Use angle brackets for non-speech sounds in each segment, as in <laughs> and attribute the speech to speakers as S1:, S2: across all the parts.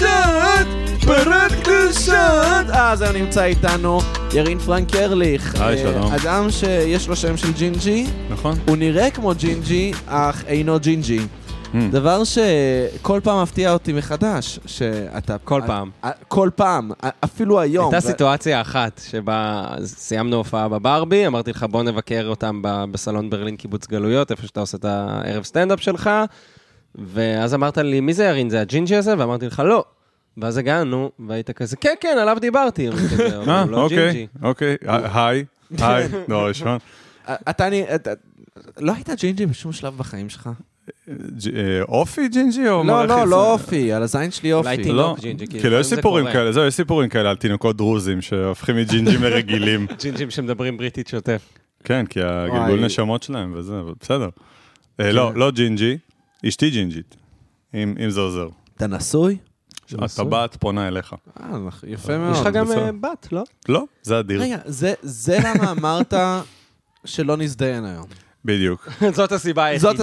S1: פרט, פרט קדושת. אה, אז היום נמצא איתנו ירין פרנק ארליך.
S2: היי,
S1: אה,
S2: שלום.
S1: אדם שיש לו שם של ג'ינג'י,
S2: נכון.
S1: הוא נראה כמו ג'ינג'י, אך אינו ג'ינג'י.
S2: Hmm.
S1: דבר שכל פעם מפתיע אותי מחדש, שאתה...
S3: כל
S1: את-
S3: פעם.
S1: אה, כל פעם, אה, אפילו היום.
S3: הייתה
S1: ו-
S3: סיטואציה אחת שבה סיימנו הופעה בברבי, אמרתי לך בוא נבקר אותם ב- בסלון ברלין קיבוץ גלויות, איפה שאתה עושה את הערב סטנדאפ שלך, ואז אמרת לי, מי זה ירין, זה הג'ינג'י הזה? ואמרתי לך, לא. ואז הגענו, והיית כזה, כן, כן, עליו דיברתי. אמרתי כזה, "אבל
S2: אה,
S3: הוא לא ג'ינג'י."
S2: אוקיי, אוקיי. אה, היי, היי.
S1: כן.
S2: לא, יש מה.
S1: אה, אתה אני... אתה- לא היית ג'ינג'י בשום שלב בחיים שלך.
S2: ג'- אה, אופי ג'ינג'י או
S1: לא,
S2: מערכת?
S1: לא, לא אופי, על הזין שלי
S3: אולי
S1: אופי.
S3: תינוק.
S2: לא,
S3: ג'ינג'י, כי
S2: כאילו יש
S3: לפעמים זה
S2: סיפורים
S3: קורה.
S2: כאלה, זהו, יש סיפורים כאלה על תינוקות דרוזים שהופכים מג'ינג'ים
S1: <laughs>
S2: לרגילים.
S3: ג'ינג'ים שמדברים בריטית שוטף.
S2: כן, כי הגלגול
S1: וואי. כן.
S2: נשמות שלהם וזה, אבל בסדר. אה, לא, לא ג'ינג'י, אשתי ג'ינג'ית, אם אם זה עוזר.
S1: אתה נשוי?
S2: הטבעת פונה אליך.
S1: אה, יפה מאוד.
S3: יש לך גם
S2: בסדר.
S3: אה, בת, לא?
S2: לא, זה אדיר,
S1: רגע, זה- זה למה אמרת שלא נזדיין היום.
S2: בדיוק.
S3: <laughs> זאת הסיבה היחידה.
S1: זאת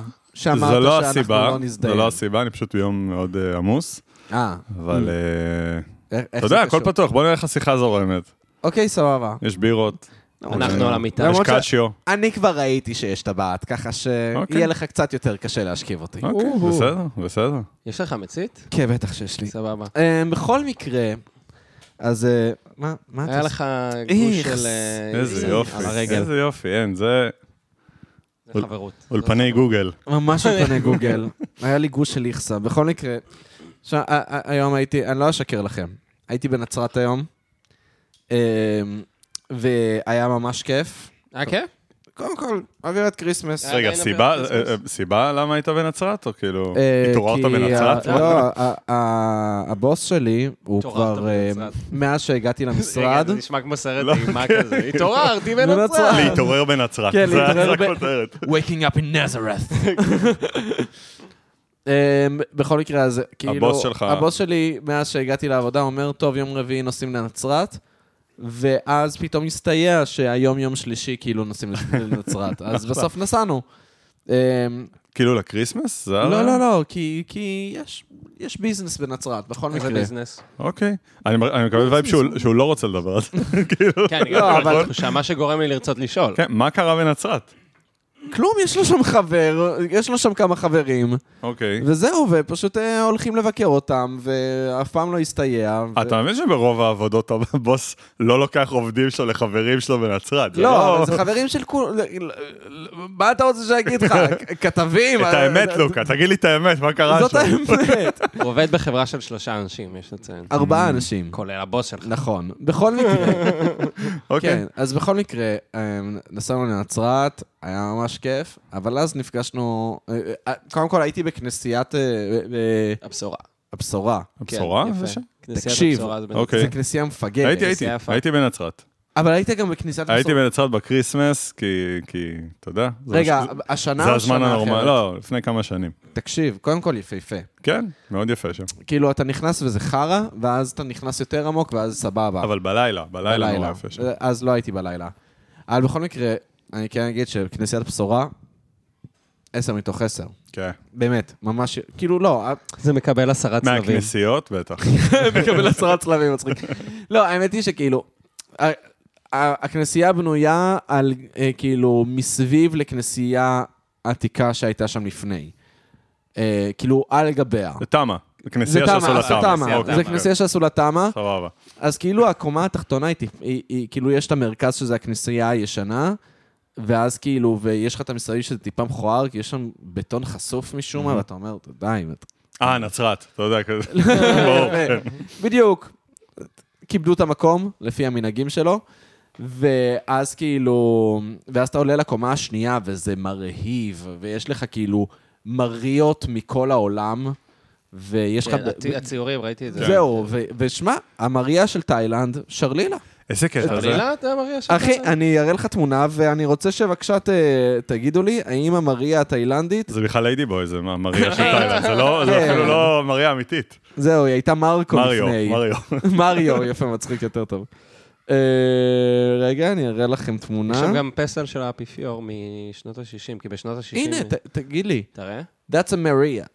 S2: זו לא
S1: שאמרת שאנחנו
S2: הסיבה,
S1: לא
S2: זו
S1: נזדיין.
S2: לא הסיבה, אני פשוט ביום מאוד אה, עמוס,
S1: אה,
S2: אבל אה,
S1: איך איך
S2: אתה
S1: זה
S2: יודע, הכל
S1: קשור?
S2: פתוח, בוא נראה איך השיחה זורמת.
S1: אוקיי, סבבה.
S2: יש בירות,
S1: אוקיי.
S3: אנחנו על המיטה.
S2: יש
S1: למרות ש-
S2: קשיו.
S1: אני כבר ראיתי שיש טבעת, ככה שיהיה
S2: אוקיי.
S1: לך קצת יותר קשה להשכיב אותי.
S2: אוקיי,
S3: אוהו.
S2: בסדר, בסדר.
S3: יש לך מצית?
S1: כן, בטח שיש לי.
S3: סבבה.
S1: אה, בכל מקרה, אז אה, מה, מה אתה
S3: היה
S1: עושה?
S3: לך גוש
S1: איכס. אה,
S3: של... אה,
S2: איזה
S3: איזה-
S2: יופי,
S3: על הרגל.
S2: איזה יופי, אין, זה
S3: זה חברות.
S2: אולפני גוגל.
S3: <laughs>
S1: ממש מפני גוגל. היה לי גוש של איכסה. בכל מקרה, עכשיו, ה- ה- היום הייתי, אני לא אשקר לכם, הייתי בנצרת היום, אמ, והיה ממש כיף.
S3: אה, כן?
S1: קודם כל, אווירת כריסמס.
S3: אה,
S2: רגע,
S3: עדיין
S2: סיבה-
S3: עבירת
S2: אה,
S3: פספוס?
S2: אה, סיבה למה היית בנצרת, או כאילו,
S1: אה,
S2: התעוררת
S1: כי
S2: בנצרת?
S1: ה- לא, ה- ה- הבוס שלי, הוא
S3: התעוררת
S1: כבר, אה,
S3: בנצרת.
S1: מאז שהגעתי
S3: רגע,
S1: למשרד,
S3: זה נשמע כמו סרט
S2: לא.
S3: אימה כזה. התעוררתי
S1: בנצרת.
S3: בנצרת.
S2: להתעורר בנצרת,
S1: אה. כן,
S2: זה
S1: להתעורר
S2: זה
S1: ב-
S2: הכותרת.
S1: Waking up in <laughs> Nazareth. אמ, בכל מקרה, אז כאילו...
S2: הבוס שלך-
S1: הבוס שלי, מאז שהגעתי לעבודה, אומר, טוב, יום רביעי נוסעים לנצרת, ואז פתאום הסתייע שהיום יום שלישי כאילו נוסעים <laughs>
S2: <laughs>
S1: לנצרת. אז בסוף נסענו. אמ,
S2: כאילו לקריסמס? זה
S1: לא,
S2: הרעיון?
S1: לא, לא, כי כי יש- יש ביזנס בנצרת, בכל
S3: איזה
S1: מקרה.
S2: <laughs>
S3: ביזנס.
S2: אוקיי. אני מר- אני מקבל וייב שהוא- שהוא לא רוצה לדבר
S1: <laughs>
S2: על זה. כאילו,
S3: כן, אני גם
S1: לא,
S3: מקבל
S1: אבל-
S3: תחושה, מה שגורם לי לרצות לשאול.
S2: כן, מה קרה בנצרת?
S1: כלום, יש לו שם חבר, יש לו שם כמה חברים,
S2: אוקיי.
S1: וזהו, ופשוט אה, הולכים לבקר אותם, ואף פעם לא הסתייע. ו-
S2: אתה מבין שברוב העבודות הבוס לא לוקח עובדים שלו לחברים שלו בנצרת? זה
S1: לא, אבל זה חברים של כולם. מה אתה רוצה שאני
S2: <laughs>
S1: אגיד לך? כ- כתבים? אה,
S2: את האמת, לוקה, תגיד לי את האמת, מה קרה
S1: זאת
S2: שם? <laughs>
S1: האמת.
S2: כן.
S3: הוא עובד בחברה של שלושה אנשים, יש לציין.
S1: ארבעה אנשים.
S3: כולל הבוס שלך.
S1: נכון. בכל מקרה,
S2: <laughs> אוקיי.
S1: כן. אז בכל מקרה, אה, נסענו לנצרת, היה ממש כיף, אבל אז נפגשנו... אה, אה, קודם כל הייתי בכנסיית אה, אה,
S3: הבשורה.
S1: הבשורה.
S2: הבשורה?
S3: כן, יפה.
S2: זה שם?
S3: כנסיית
S1: תקשיב.
S3: הבשורה זה בנצרת.
S2: אוקיי.
S1: זו כנסייה מפגרת.
S2: הייתי, הייתי,
S3: זה יפה.
S2: הייתי בנצרת.
S1: אבל היית גם בכניסת...
S2: הייתי
S1: הבשורה.
S2: בנצרת בקריסמס, כי, כי, אתה יודע. זה
S1: רגע,
S2: מה ש-
S1: השנה
S2: זה
S1: או
S2: הזמן
S1: שנה
S2: הנורמלי,
S1: אחרת?
S2: לא, לפני כמה שנים.
S1: תקשיב, קודם כל יפהפה.
S2: כן, מאוד יפה שם.
S1: כאילו, אתה נכנס וזה חרא, ואז אתה נכנס יותר עמוק, ואז סבבה.
S2: אבל בלילה, בלילה נורא יפה שם.
S1: אז לא הייתי בלילה. אבל בכל מקרה, אני כן אגיד שכנסיית בשורה, עשר מתוך עשר.
S2: כן.
S1: באמת, ממש, כאילו
S2: <laughs>
S1: לא,
S3: זה מקבל עשרה צלבים.
S2: מהכנסיות בטח.
S1: מקבל עשרה צלבים מצחיק. <laughs> לא, האמת היא שכאילו, ה- ה- הכנסייה בנויה על, אה, כאילו, מסביב לכנסייה עתיקה שהייתה שם לפני. אה, כאילו, על גביה.
S2: זה תמה. זה
S1: זה
S2: כנסייה שעשו
S1: תמה,
S2: לה
S1: זה
S2: תמה.
S1: תמה,
S2: אוקיי,
S1: זה
S3: אוקיי.
S1: כנסייה שעשו לה תמה.
S2: סבבה.
S1: אז כאילו הקומה התחתונה היא, טיפ- היא, היא, כאילו יש את המרכז שזה הכנסייה הישנה, ואז כאילו, ויש לך את המסביב שזה טיפה מכוער, כי יש שם בטון חשוף משום מה, ואתה אומר, די, מת-
S2: אה, נצרת, אתה יודע,
S1: <laughs>
S2: כזה. ברור, כן.
S1: בדיוק. כיבדו את המקום, לפי המנהגים שלו, ואז כאילו, ואז אתה עולה לקומה השנייה, וזה מרהיב, ויש לך כאילו מריות מכל העולם, ויש לך...
S3: כן, הצי- הציורים, ראיתי את זה.
S1: זהו, ו- ושמע, המריה של תאילנד, שרלילה.
S2: איזה קטע זה.
S3: רילה, אתה מריה שלך?
S1: אחי, אני אראה לך תמונה, ואני רוצה שבבקשה ת- תגידו לי, האם המריה התאילנדית,
S2: זה בכלל ליידי בוי, זה מה- מריה של תאילנד. זה לא- זה
S1: כן.
S2: אפילו לא מריה אמיתית.
S1: זהו, היא הייתה מרקו
S2: מריו,
S1: לפני.
S2: מריו.
S1: <laughs> מריו, יפה, מצחיק יותר טוב. אה, רגע, אני אראה לכם
S3: יש
S1: תמונה.
S3: שם גם פסל של האפיפיור משנות ה-60, כי בשנות ה-60...
S1: הנה, ת- תגיד לי,
S3: תראה.
S1: That's a Maria.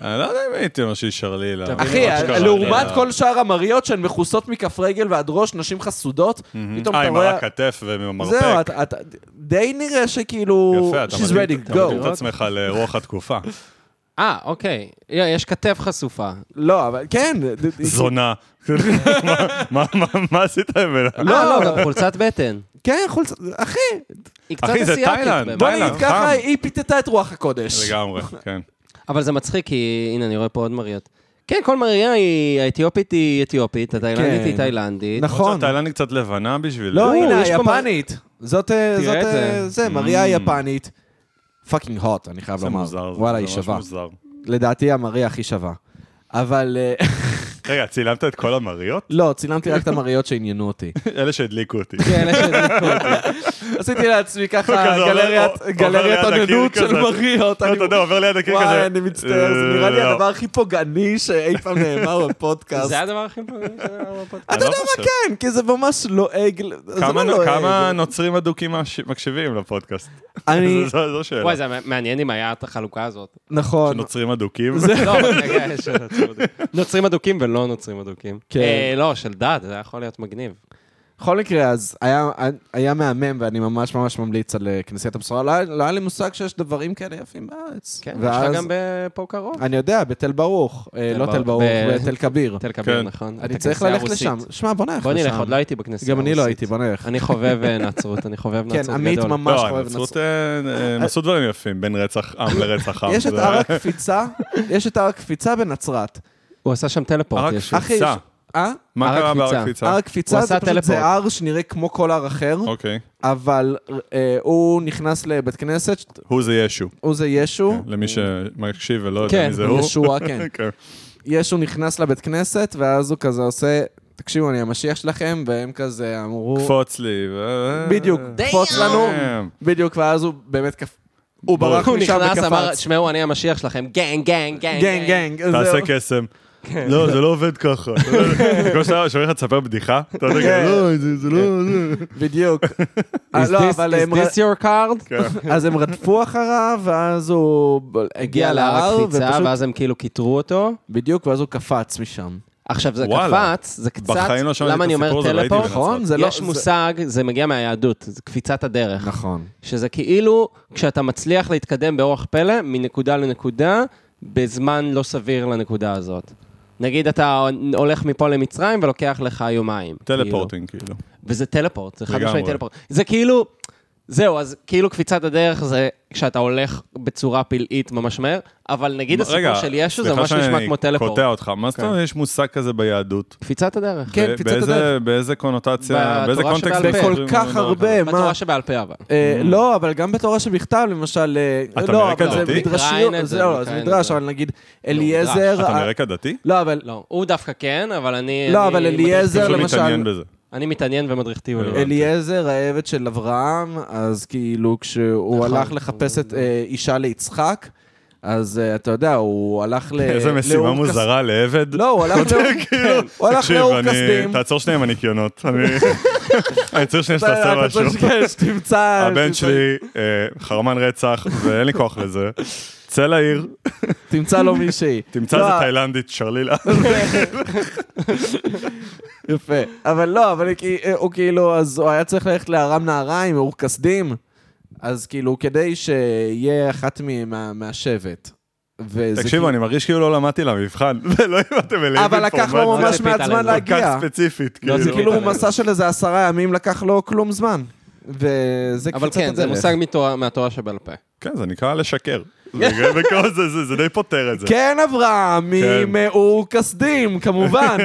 S2: אני לא יודע אם הייתי אומר שהיא שרלילה.
S1: אחי,
S2: אשכרה, אני לא
S1: לעומת
S2: יודע.
S1: כל שאר המריות שהן מכוסות מכף רגל ועד ראש, נשים חסודות, פתאום
S2: אה,
S1: אתה
S2: עם
S1: רואה...
S2: הרק כתף ומרפק.
S1: זהו, אתה- אתה- די נראה שכאילו...
S2: יפה, אתה
S1: She's
S2: מתאים
S1: ready,
S2: אתה מתאים את
S1: go.
S2: עצמך לרוח
S1: <laughs>
S2: התקופה.
S3: אה, אוקיי. יש כתף חשופה.
S1: לא, אבל כן. <laughs>
S2: זונה. מה- מה- מה- מה עשית ממנה?
S3: לא, לא,
S2: אה.
S3: גם חולצת בטן.
S1: כן, חולצה... אחי,
S3: היא קצת
S2: אחי, זה
S3: אסיאתית.
S2: תאילנד,
S3: באמת.
S1: בוא
S2: די לה,
S1: נגיד ככה,
S2: חם.
S1: היא פיתתה את רוח הקודש.
S2: לגמרי, כן.
S3: אבל זה מצחיק, כי הנה, אני רואה פה עוד מריות. כן, כל מריה היא, האתיופית היא אתיופית, התאילנדית
S1: כן.
S3: היא תאילנדית.
S1: נכון.
S2: תאילנד קצת לבנה בשביל...
S1: לא,
S3: לא,
S1: הנה,
S3: יש פה
S1: היפנית. זאת, אה,
S3: תראה
S1: זאת,
S3: את
S1: אה,
S3: זה.
S1: זה, מריה
S2: Mm.
S1: היפנית. פאקינג הוט, אני חייב
S2: זה
S1: לומר.
S2: לא מוזר, זה
S1: וואלה, היא
S2: ממש
S1: שווה.
S2: מוזר.
S1: לדעתי המריה הכי שווה. אבל אה, <laughs>
S2: רגע, צילמת את כל המריות?
S1: לא, צילמתי רק את המריות שעניינו
S2: <laughs>
S1: אותי.
S2: אלה שהדליקו אותי.
S3: כן, אלה שהדליקו אותי.
S1: עשיתי לעצמי ככה
S2: כזה עובר-
S1: גלריית-
S2: עובר
S1: <laughs> גלריית
S2: ליד הקיר
S1: אוננות של
S2: כזה.
S1: מריות.
S2: לא,
S1: אני-
S2: אתה יודע, עובר ליד הקיר כזה.
S1: וואי, אני מצטער, זה נראה לי
S2: אה, לא.
S1: הדבר הכי פוגעני שאי פעם
S2: <laughs>
S1: נאמר בפודקאסט.
S3: זה הדבר הכי פרק שלנו בפודקאסט.
S2: אני
S1: אתה
S2: לא
S1: יודע
S2: חושב.
S1: מה כן, כי זה ממש לועג. ל- זה
S2: כמה-
S1: לא לועג.
S2: כמה נוצרים אדוקים מקש- מקשיבים לפודקאסט?
S1: <laughs>
S2: <laughs>
S1: אני,
S2: זו- זו זו שאלה.
S3: <laughs> וואי, זה היה מעניין אם היה את החלוקה הזאת.
S1: נכון.
S2: נוצרים אדוקים?
S3: <laughs>
S2: <laughs>
S3: לא, רגע, יש נוצרים אדוקים. נוצרים אדוקים ולא נוצרים אדוקים.
S1: כן.
S3: אה, לא, של דת, זה יכול להיות מגניב.
S1: בכל מקרה, אז היה, היה מהמם, ואני ממש ממש ממליץ על אה, כנסיית הבשורה. לא, היה- לא היה לי מושג שיש דברים כאלה יפים בארץ.
S3: כן, יש
S1: ואז-
S3: לה גם פה קרוב.
S1: אני יודע, בתל ברוך. אה,
S3: תל
S1: לא
S3: ברוך,
S1: תל ברוך,
S3: ב-
S1: בתל כביר.
S3: תל כביר,
S2: כן.
S3: נכון.
S1: אני
S3: את
S1: צריך
S3: הכנסייה
S1: ללכת
S3: הרוסית.
S1: לשם. שמע, בוא נלך לשם.
S3: בוא נלך, עוד לא הייתי בכנסייה
S1: גם אני לא
S3: הרוסית.
S1: הייתי, בוא נלך.
S3: אני חובב אה, נצרות, אני חובב נצרות
S1: <laughs> כן,
S3: גדול.
S1: עמית ממש
S2: לא,
S1: חובב
S2: הנצרות,
S1: נצרות.
S2: אה, אה, הם עשו דברים יפים בין רצח
S1: <laughs>
S2: עם לרצח עם.
S1: יש את
S2: זה- לא-
S1: הר הקפיצה, יש את הר הקפיצה בנצרת.
S3: הוא עשה שם טלפורט,
S2: הרק-
S3: יש
S1: אחי,
S2: קפיצה.
S1: יש- אה?
S2: מה
S3: הר
S2: קרה בהר
S3: הקפיצה.
S1: הר
S2: הקפיצה?
S1: הקפיצה
S3: הוא
S1: זה
S3: עשה
S1: פשוט זה
S3: טלפורט.
S1: הר שנראה כמו כל הר אחר,
S2: אוקיי.
S1: אבל אה, הוא נכנס לבית כנסת,
S2: הוא זה ישו.
S1: הוא זה ישו,
S2: למי שמקשיב ולא כן, לא יודע
S3: כן,
S2: מי זה הוא.
S1: ישוע, כן.
S2: <laughs> כן.
S1: ישו נכנס לבית כנסת, ואז הוא כזה עושה, תקשיבו, אני המשיח שלכם, והם כזה אמרו...
S2: קפוץ לי. ו-
S1: בדיוק,
S3: אה.
S1: קפוץ לנו,
S2: כן.
S1: בדיוק, ואז הוא באמת קפ... הוא ברח
S3: הוא
S1: משם
S3: נכנס, אמר,
S1: וקפץ.
S3: תשמעו, אני המשיח שלכם, גנג, גנג, גנג.
S1: גנג, גנג.
S2: תעשה
S1: זהו.
S3: כן.
S1: כן.
S2: קסם. לא, זה לא עובד
S1: <laughs>
S2: ככה. כמו שאתה שומע לך תספר בדיחה, אתה יודע,
S1: כן.
S2: לא, זה זה לא... זה."
S1: בדיוק. אה,
S3: <laughs> Is
S1: לא,
S3: this-
S1: אבל
S3: is
S1: הם...
S3: this your card?
S2: כן.
S1: אז הם רדפו אחריו, ואז הוא הגיע
S3: הגיע להר
S1: להר,
S3: הקפיצה,
S1: ופשוט...
S3: ואז הם כאילו כיתרו אותו.
S1: בדיוק, ואז הוא קפץ משם.
S3: עכשיו, זה
S2: וואלה.
S3: קפץ, זה קצת...
S2: בחיים לא שמעתי
S3: למה
S2: את
S3: אני אומר
S2: הסיפור הזה, ראיתי
S3: טלפורט?
S2: בנצרת.
S1: נכון? זה לא...
S3: יש
S1: זה-
S3: מושג, זה מגיע מהיהדות, זה קפיצת הדרך.
S1: נכון.
S3: שזה כאילו, כשאתה מצליח להתקדם באורח פלא, מנקודה לנקודה, בזמן לא סביר לנקודה הזאת. נגיד אתה הולך מפה למצרים ולוקח לך יומיים.
S2: טלפורטינג, כאילו.
S3: כאילו. וזה טלפורט, זה חד
S2: לגמרי.
S3: משמעית טלפורט. זה כאילו, זהו, אז כאילו קפיצת הדרך זה כשאתה הולך בצורה פלאית ממש מהר, אבל נגיד הסיפור
S2: רגע,
S3: של ישו זה
S2: סליחה
S3: ממש נשמע
S2: שאני
S3: כמו טלפורט.
S2: קוטע אותך, מה זאת
S3: כן.
S2: אומרת יש מושג כזה ביהדות?
S3: קפיצת הדרך.
S1: כן,
S2: ב-
S1: קפיצת
S2: באיזה-
S1: הדרך.
S2: באיזה קונוטציה,
S3: בתורה
S2: באיזה קונטקסט?
S3: שבעל פה.
S2: מדברים
S1: בכל כך
S2: על הדבר
S1: הרבה, מה?
S3: בתורה שבעל פה אבל.
S1: אה, לא, אבל גם בתורה שבכתב, למשל... אה,
S2: Mm. אתה
S1: לא,
S2: אמריקה
S1: אבל זה
S2: דתי?
S1: מדרשיות,
S3: מקראין את
S1: זה
S3: זה,
S1: לא, זה
S3: מקראין את
S1: מדרש,
S3: זה.
S1: אבל נגיד
S2: הזה?
S1: אליעזר...
S2: אתה
S1: אה,
S2: מרקע דתי?
S1: לא, אבל
S3: לא, הוא דווקא כן, אבל אני...
S1: לא,
S3: אני
S1: אבל
S3: מדריך
S1: אליעזר,
S2: פשוט
S3: טיולים.
S1: למשל-
S2: מתעניין בזה.
S3: אני מתעניין ומדריך טיולים.
S2: הבנתי.
S1: אליעזר, העבד של אברהם, אז כאילו כשהוא
S3: נכון.
S1: הלך לחפש את אה, אישה ליצחק, אז אה, אתה יודע, הוא הלך ל...
S2: איזה משימה
S1: אה, לאור כס-
S2: מוזרה לעבד.
S1: לא, הוא הלך לאור- כן, <laughs> הוא הלך
S2: תקשיב,
S1: לאור
S2: אני-
S1: כסדים.
S2: תעצור שנייה עם הניקיונות. אני אני צריך שנייה שתעשה
S1: אתה
S2: משהו.
S1: צריך כן, שתמצא...
S2: הבן
S1: תמצא-
S2: שלי אה, חרמן רצח, ואין לי כוח לזה. צא לעיר,
S1: תמצא לו מישהי.
S2: תמצא
S1: לא,
S2: איזה תאילנדית, שרלילה.
S1: יפה. אבל לא, אבל כי- הוא כאילו, אז הוא היה צריך ללכת לארם נהריים, אור כסדים, אז כאילו, כדי שיהיה אחת מ- מה- מהשבט. וזה
S2: תקשיבו,
S1: כאילו-
S2: אני מרגיש כאילו לא למדתי למבחן, <laughs> ולא הבנתם אליהם
S1: אבל לקח לו
S2: אינפורמציה
S1: ממש
S3: ציפית
S1: מעט זמן
S3: עלינו.
S2: כל
S1: להגיע.
S2: כך ספציפית,
S3: לא, זה
S1: זה
S2: כאילו.
S1: כאילו הוא
S3: להתעלם.
S1: מסע של איזה עשרה ימים, לקח לו כלום זמן. וזה כאילו-
S3: אבל
S1: קפיצת
S3: כן, זה
S1: הדרך.
S3: מושג מתורה- מהתורה שבעל פה.
S2: כן, זה נקרא לשקר. זה <laughs> בכל זה- זה- זה די פותר את זה.
S1: כן, אברהם,
S2: כן.
S1: ממאור כסדים, כמובן.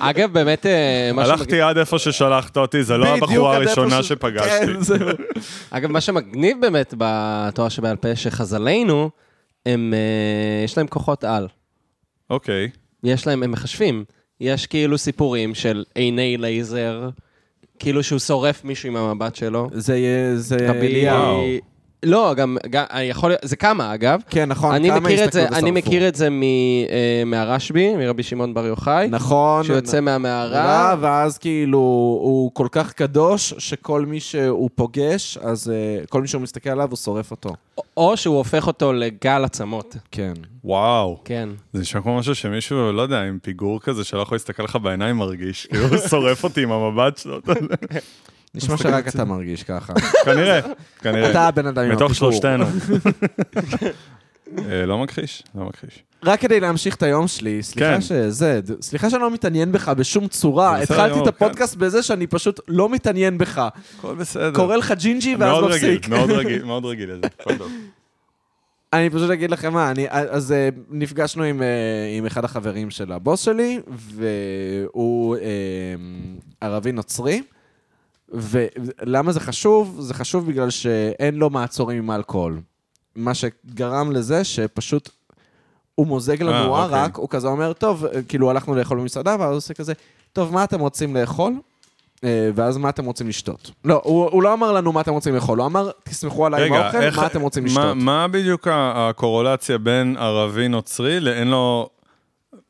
S3: אגב, באמת, אה, מה שמגניב-
S2: הלכתי עד איפה ששלחת אותי, <laughs> זה לא
S1: בדיוק
S2: הבחורה
S1: עד איפה
S2: הראשונה
S1: ש-
S2: שפגשתי.
S1: כן, זהו.
S3: אגב, מה שמגניב באמת בתורה שבעל פה, שחז"לינו, הם, אה, יש להם כוחות על.
S2: אוקיי.
S3: יש להם, הם מחשבים. יש כאילו סיפורים של עיני לייזר, כאילו שהוא שורף מישהו עם המבט שלו.
S1: אה, זה יהיה- זה
S3: רבי
S1: אליהו.
S2: וואו.
S3: לא, גם, גם יכול להיות, זה כמה אגב.
S1: כן, נכון,
S3: אני
S1: כמה
S3: מכיר את זה,
S1: הסתכלו
S3: אני
S1: ושרפו.
S3: מכיר את זה מ, אה, מהרשב"י, מרבי שמעון בר יוחאי.
S1: נכון.
S3: שהוא יוצא
S1: רע,
S3: מהמערה.
S1: ואז כאילו הוא כל כך קדוש, שכל מי שהוא פוגש, אז אה, כל מי שהוא מסתכל עליו, הוא שורף אותו.
S3: או שהוא הופך אותו לגל עצמות.
S1: כן.
S2: וואו.
S3: כן.
S2: זה נשמע כמו משהו שמישהו, לא יודע, עם פיגור כזה שלא יכול להסתכל לך בעיניים מרגיש, כאילו הוא שורף אותי עם המבט שלו, <laughs> אתה יודע.
S1: נשמע שרק אתה מרגיש
S2: <laughs>
S1: ככה.
S2: כנראה, כנראה.
S1: אתה הבן אדם עם הפיגור.
S2: מתוך אה,
S1: <laughs>
S2: שלושתנו. אה, לא מכחיש, לא מכחיש.
S1: רק כדי להמשיך את היום שלי, סליחה
S2: כן.
S1: שזה, ד- סליחה שאני לא מתעניין בך בשום צורה.
S2: זה בסדר
S1: התחלתי את
S2: גמור,
S1: הפודקאסט בזה שאני פשוט לא מתעניין בך.
S2: הכל בסדר.
S1: קורא לך ג'ינג'י ואז
S2: מאוד רגיל,
S1: מפסיק. <laughs>
S2: מאוד רגיל, מאוד רגיל לזה, הכל טוב.
S1: אני פשוט אגיד לכם מה, אני, אז אה, נפגשנו עם, אה, עם אחד החברים של הבוס שלי, והוא אה, ערבי נוצרי. ולמה זה חשוב? זה חשוב בגלל שאין לו מעצורים עם אלכוהול. מה שגרם לזה שפשוט הוא מוזג
S2: אה,
S1: לנו
S2: אוקיי.
S1: ערק, הוא כזה אומר, טוב, אה, כאילו הלכנו לאכול במסעדה, ואז הוא עושה כזה, טוב, מה אתם רוצים לאכול? אה, ואז מה אתם רוצים לשתות? לא, הוא, הוא לא אמר לנו מה אתם רוצים לאכול, הוא אמר, תסמכו עליי עם
S2: רגע,
S1: האוכל,
S2: איך-
S1: מה אתם רוצים
S2: מה-
S1: לשתות?
S2: מה בדיוק ה- הקורולציה בין ערבי נוצרי לאין לו...